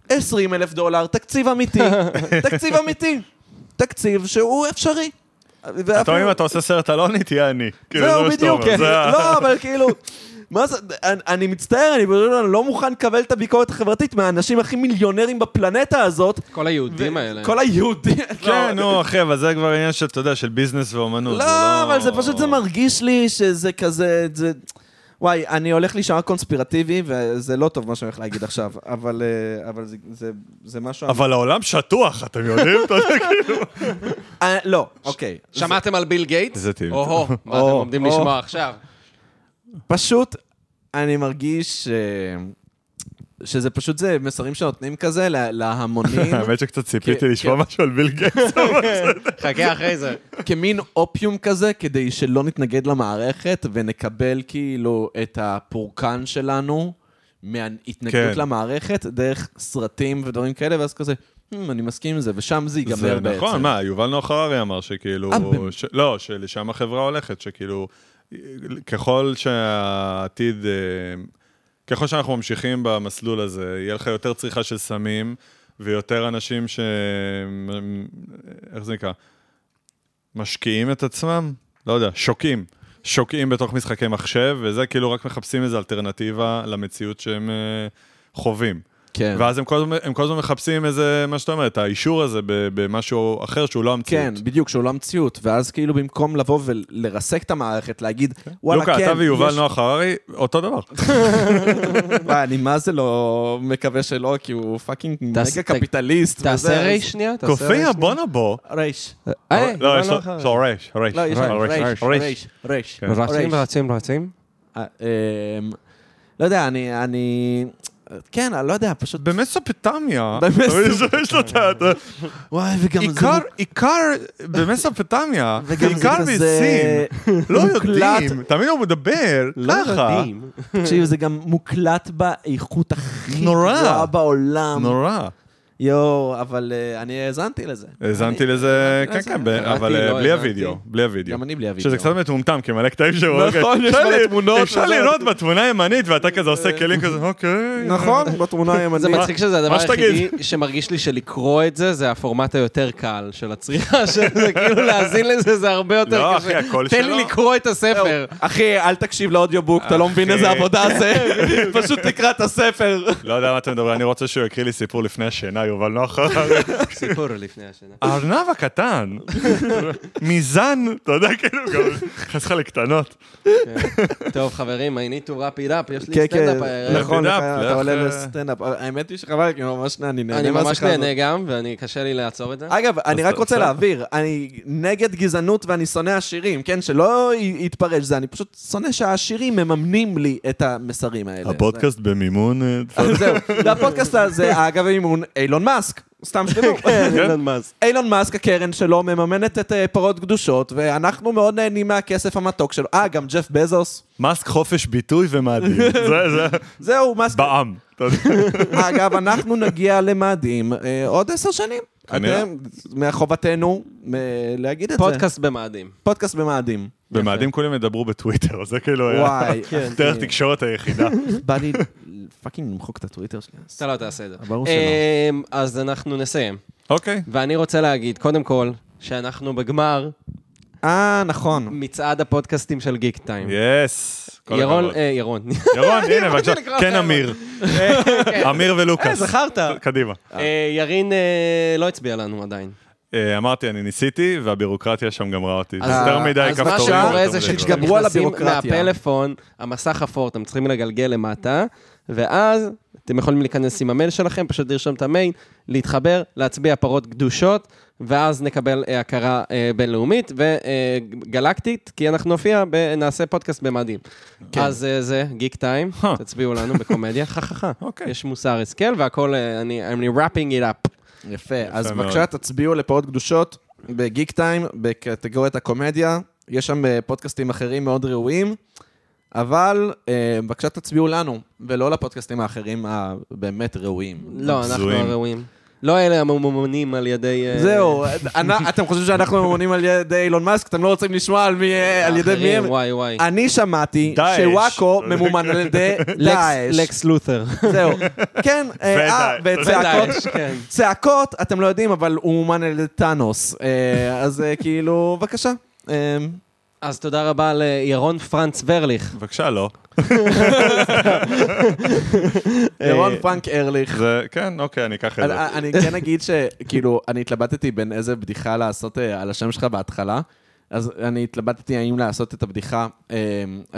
S1: 20 אלף דולר,
S2: <laughs>
S1: תקציב אמיתי, תקציב אמיתי, תקציב שהוא אפשרי.
S2: אתה אומר, אם אתה עושה סרט אלוני, תהיה אני. כאילו, זה
S1: זהו,
S2: מה שאתה
S1: בדיוק.
S2: אומר, זה ה-
S1: לא, אבל כאילו... מה זה, אני, אני מצטער, אני, פשוט לא מוכן לקבל את הביקורת החברתית מהאנשים הכי מיליונרים בפלנטה הזאת.
S3: כל היהודים האלה.
S1: כל היהודים.
S2: כן, נו, אחי, אבל זה כבר עניין של, לא,
S4: לא,
S2: אתה יודע, של ביזנס ואומנות.
S1: לא, אבל זה פשוט, זה מרגיש לי שזה כזה, זה...
S4: וואי, אני הולך להישמע קונספירטיבי, וזה לא טוב מה שאני הולך להגיד עכשיו, <laughs> אבל, אה, אבל זה, זה, זה משהו...
S2: אבל העולם שטוח, אתם יודעים? אתה יודע, כאילו.
S4: אה, לא, אוקיי.
S3: שמעתם על ביל גייטס?
S2: זה טבעי.
S3: או-הו,
S2: <laughs>
S3: מה אתם
S4: או,
S3: עומדים
S4: או.
S3: לשמוע עכשיו?
S4: פשוט, אני מרגיש... אה,
S1: שזה פשוט זה מסרים שנותנים כזה לה- <laughs> להמונים,
S2: כאילו. <laughs> האמת שקצת ציפיתי
S1: כן,
S2: לשמוע משהו על ביל גייטס.
S3: חכה אחרי
S2: <laughs>
S3: זה.
S1: כמין אופיום כזה, כדי שלא נתנגד למערכת ונקבל כאילו את הפורקן שלנו מההתנגדות
S2: כן.
S1: למערכת דרך סרטים ודברים כאלה, ואז כזה, "Hmm, אני מסכים עם זה, ושם זה ייגמר
S2: זה
S1: בעצם.
S2: נכון, מה, יובל נוח הררי אמר שכאילו...
S1: אה, באמת?
S2: ש- לא, שלשם החברה הולכת, שכאילו... ככל שהעתיד... אה, ככל שאנחנו ממשיכים במסלול הזה, יהיה לך יותר צריכה של סמים, ויותר אנשים ש... איך זה נקרא? משקיעים את עצמם? לא יודע, שוקעים. שוקעים בתוך משחקי מחשב, וזה כאילו רק מחפשים איזו אלטרנטיבה למציאות שהם אה, חווים.
S1: כן.
S2: ואז הם כל, הזמן- הם כל הזמן מחפשים איזה, מה שאתה אומר, את האישור הזה ב- במשהו אחר שהוא לא המציאות.
S1: כן, בדיוק, שהוא לא המציאות, ואז כאילו במקום לבוא ולרסק את המערכת, להגיד, וואלה,
S2: לוקה,
S1: כן,
S2: אתה ויובל
S1: יש-
S2: נוח הררי, אותו דבר.
S1: וואי, אני מה זה לא מקווה שלא, כי הוא פאקינג
S3: תעש-
S1: מגה קפיטליסט. וזה-
S3: תעשה רייש שנייה, תעשה אה,
S2: קופיה, בואנה בוא.
S1: רייש.
S3: היי,
S2: לא, יש
S3: יובל
S2: לו,
S3: נוח
S2: יש
S3: הררי.
S2: לו רייש, רייש.
S1: לא, יש
S2: רייש, רייש.
S1: רייש, רייש, רייש.
S2: כן.
S3: רצים,
S1: רייש.
S3: רצים, רצים.
S1: אה, אמ, לא יודע, אני... אני... כן, אני לא יודע, פשוט...
S2: במסופטמיה,
S1: <laughs> במסופ-
S2: <laughs> יש לו את ה...
S1: וואי, וגם
S2: עיקר, עיקר במסופטמיה,
S1: <laughs> וגם זה
S2: עיקר
S1: כזה-
S2: בסין,
S1: <laughs>
S2: לא
S1: מוקלט. לא
S2: יודעים, תמיד הוא מדבר,
S3: לא
S2: ככה,
S1: תקשיב, זה גם מוקלט באיכות הכי
S2: נורא.
S1: גבוהה בעולם.
S2: נורא.
S1: יואו, אבל אה, אני האזנתי לזה.
S2: האזנתי
S1: אני-
S2: לזה, כן,
S1: האזנתי
S2: כן, ב-
S1: לזה.
S3: קראתי,
S2: אבל אה,
S3: לא
S2: בלי
S3: האזנתי.
S2: הוידאו, בלי הוידאו.
S1: גם אני בלי הווידאו.
S2: שזה קצת מטומטם, כי מלא קטעים שהוא...
S1: נכון,
S2: אוקיי,
S1: יש
S2: אפשר
S1: מלא
S2: לי-
S1: תמונות, אה.
S2: אפשר
S1: וזה-
S2: לראות בתמונה הימנית, ואתה כזה עושה כלים כזה, אוקיי.
S4: נכון, <laughs> בתמונה הימנית.
S3: זה מצחיק שזה הדבר
S2: מה שתגיד.
S3: היחידי שמרגיש לי שלקרוא את זה, זה הפורמט היותר קל של הצריכה <laughs> של זה, כאילו להאזין לזה זה הרבה יותר קשה.
S2: לא, אחי, הקול
S3: תן
S2: שלו.
S3: לי לקרוא את הספר.
S1: אחי, אל תקשיב לאודיובוק, אתה לא מבין איזה עבודה
S4: <laughs>
S1: זה. פשוט תקרא את הספר.
S2: לא יודע מה אתם מדברים, אני רוצה שהוא יקריא לי סיפור לפני השינה, יובל נוח.
S3: <laughs> סיפור לפני השנה.
S2: הארנב הקטן, מיזן, אתה יודע, כאילו, גם נכנס לך לקטנות.
S3: טוב, חברים, I need to wrap it up, יש
S4: כן,
S3: לי
S4: כן,
S3: סטנדאפ הערב.
S4: נכון,
S2: Wrap it up,
S4: אתה
S2: לך,
S4: אתה
S2: אה.
S4: עולה לסטנדאפ. האמת היא שחבל, כי ממש אני
S3: אני
S4: נהנה
S3: ממש
S4: מהשיחה הזאת.
S3: נהנה גם, ואני, קשה לי לעצור את זה.
S4: אגב, אני רק רוצה
S2: בסדר.
S4: להבהיר, אני נגד גזענות ואני שונא עשירים, כן? שלא י- יתפרש זה, אני פשוט שונא שהעשירים מממנים לי את המסרים האלה.
S2: הפודקאסט במימון... אה,
S4: אז זהו, והפודקאסט הזה, אגב, מימון אילון מאסק, סתם שתדעו. כן.
S3: אילון מאסק.
S4: אילון מאסק, הקרן שלו, מממנת את אה, פרות קדושות, ואנחנו מאוד נהנים מהכסף המתוק שלו. אה, גם ג'ף בזוס.
S2: מאסק חופש ביטוי ומאדים. זה, זה,
S4: זהו, מאסק.
S2: בעם. אתה יודע.
S4: אגב, אנחנו נגיע למאדים אה, עוד עשר שנים.
S2: כנראה.
S4: אתם, מחובתנו אה, להגיד את זה.
S3: פודקאסט במאדים.
S4: פודקאסט במאדים.
S2: במאדים כולם ידברו בטוויטר, זה כאילו היה
S4: וואי,
S2: דרך תקשורת היחידה.
S4: בא לי פאקינג למחוק את הטוויטר שלי.
S3: אתה לא תעשה את זה.
S4: אה, ברור שלא.
S3: אמ, אז אנחנו נסיים.
S2: אוקיי.
S3: ואני רוצה להגיד, קודם כל, שאנחנו בגמר
S4: אה, נכון.
S3: מצעד הפודקאסטים של גיק טיים.
S2: יס. כל
S3: ירון,
S2: הכבוד.
S3: אה, ירון. <laughs>
S2: ירון, הנה, בבקשה.
S3: לקרוא
S2: כן,
S3: אחר.
S2: אמיר. <laughs> אמיר ולוקאס.
S3: אה, זכרת.
S2: קדימה.
S3: אה, ירין אה, לא הצביע לנו עדיין.
S2: אה, אמרתי, אני ניסיתי, והבירוקרטיה שם גמרה אותי.
S3: אז-
S2: זה יותר מדי
S3: אה, אז
S2: כפתורים.
S3: מה
S2: יותר
S3: שקורה
S2: מדי
S3: זה
S2: דברים.
S3: שכשאתם
S4: תתגברו על
S3: נכנסים
S4: הבירוקרטיה.
S3: מהפלאפון, המסך אפור, אתם צריכים לגלגל למטה, ואז אתם יכולים להיכנס עם המייל שלכם, פשוט לרשום את המייל, להתחבר, להצביע פרות קדושות, ואז נקבל אה, הכרה אה, בינלאומית וגלקטית, כי אנחנו נופיע, ב- נעשה פודקאסט במאדים. אז אה, זה גיק טיים,
S2: Huh.
S3: תצביעו לנו בקומדיה, חככה.
S2: אוקיי.
S3: יש מוסר השכל והכל, אה, אני I'm wrapping it up.
S4: יפה. אז
S2: מאוד.
S4: בבקשה, תצביעו לפעות קדושות בגיק טיים, בקטגוריית הקומדיה. יש שם אה, פודקאסטים אחרים מאוד ראויים, אבל אה, בבקשה תצביעו לנו, ולא לפודקאסטים האחרים הבאמת ראויים.
S3: לא, אנחנו
S2: בזויים.
S3: הראויים. לא אלה הממומנים על ידי... אה,
S4: זהו, אנ- אתם חושבים שאנחנו ממונים על ידי אילון מאסק? אתם לא רוצים לשמוע על מי, אה, על ידי מי
S3: האחרים,
S4: הם?
S3: וואי וואי.
S4: אני שמעתי
S2: דאעש.
S4: שוואקו ממומן על ידי
S3: לקס-
S4: דאעש. <laughs>
S3: לקס לותר.
S4: זהו. כן, אה, אה,
S2: ודאעש.
S4: וצעקות.
S3: ודאעש, כן.
S4: צעקות, אתם לא יודעים, אבל הוא מומן על ידי טאנוס. אה, אז אה, כאילו, בבקשה. אה,
S3: אז תודה רבה לירון פרנץ ורליך.
S2: בבקשה, לא.
S4: ירון פרנק ארליך.
S2: זה, כן, אוקיי, אני אקח את זה.
S1: כאילו, אה,
S4: אני אני כן אגיד שכאילו, אני התלבטתי בין איזה בדיחה לעשות אה, על השם שלך בהתחלה,
S1: אז אני התלבטתי האם לעשות את הבדיחה אה,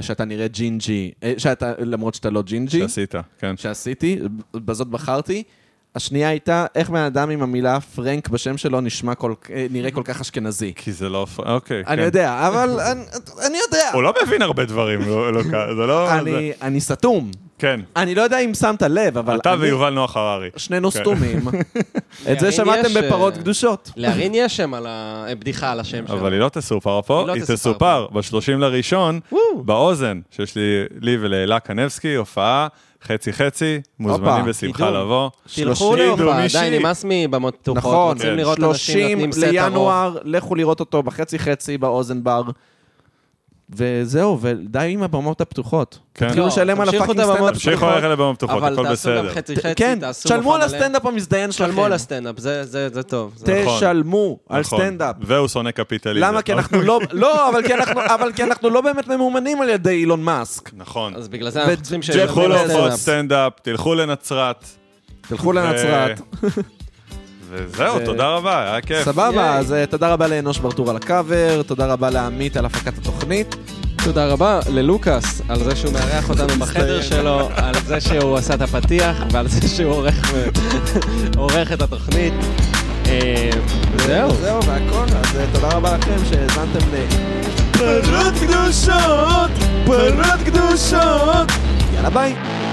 S1: שאתה נראה ג'ינג'י, אה, שאתה, למרות שאתה לא ג'ינג'י,
S2: שעשית, כן.
S1: שעשיתי, בזאת בחרתי. השנייה הייתה, איך בן אדם עם המילה פרנק בשם שלו נשמע כל, אה, נראה כל כך אשכנזי.
S2: כי זה לא... הפר- אוקיי,
S1: אני
S2: כן.
S1: יודע, אבל אני, אני יודע.
S2: הוא לא מבין הרבה דברים, לא- לא כ- זה לא... זה-
S1: אני, אני סתום.
S2: כן.
S1: אני לא יודע אם שמת לב, אבל
S2: אתה
S1: אני,
S2: ויובל נוח הררי.
S1: שנינו
S2: כן.
S1: סתומים. <laughs> את
S3: ירין,
S1: זה שמעתם
S3: יש,
S1: בפרות
S3: אה,
S1: קדושות.
S3: להרין יש שם על ה... בדיחה על השם שלו.
S2: אבל היא לא תסופר פה,
S3: היא לא
S2: היא
S3: תסופר
S2: תסופר ב-30 לראשון,
S3: וואו.
S2: באוזן, שיש לי, לי ולאלה קנבסקי, הופעה, חצי-חצי, מוזמנים
S1: הופה,
S2: בשמחה
S3: קידום.
S2: לבוא.
S3: תלכו
S2: שלושים,
S3: להופעה,
S2: מישהי.
S3: די, נמאס מבמות פתוחות.
S1: נכון,
S2: כן.
S3: רוצים לראות אנשים
S1: 30
S3: נותנים סט ארוך.
S1: לינואר, לכו לראות אותו בחצי חצי באוזן בר. וזהו, ודי עם הבמות הפתוחות.
S2: כן.
S1: תתחילו
S3: לא,
S1: לשלם על
S3: תמשיכו את
S1: הפאקינג סטנדאפ
S3: הבמות הפתוחות.
S2: תמשיכו ללכת לבמות פתוחות,
S3: אבל
S2: הכל
S3: תעשו גם
S2: בסדר.
S3: חצי
S1: ת-
S3: חצי,
S1: כן,
S3: תעשו
S1: תשלמו
S3: מופע
S1: על
S3: מלא.
S1: הסטנדאפ המזדיין שלכם.
S3: תשלמו על הסטנדאפ, זה- זה זה טוב. זה-
S2: נכון.
S1: תשלמו על
S2: נכון.
S1: סטנדאפ.
S2: והוא שונא קפיטליזם.
S1: למה? כי אנחנו לא, לא, אבל כי אנחנו- אבל כי אנחנו לא באמת ממומנים על ידי אילון מאסק.
S2: נכון.
S3: אז בגלל זה אנחנו
S1: ו-
S3: צריכים
S1: תלכו
S3: שישלמו
S2: תלכו
S3: על
S2: להופעות
S3: הסטנדאפ.
S2: סטנדאפ, תלכו לנצרת.
S1: תלכו לנצרת.
S2: ו- וזהו,
S1: ו-
S2: תודה רבה, היה כיף.
S1: סבבה,
S3: ייי.
S1: אז אה, תודה רבה לאנוש ברטור על הקאבר, תודה רבה לעמית על הפקת התוכנית.
S3: תודה רבה ללוקאס על זה שהוא מארח אותנו בחדר שלו, על זה שהוא עשה את הפתיח ועל זה שהוא עורך ו- עורך את התוכנית. אה, זהו.
S1: זהו, והכל, אז אה, תודה רבה לכם שהאזנתם ל... פרות קדושות! פרות קדושות! יאללה ביי!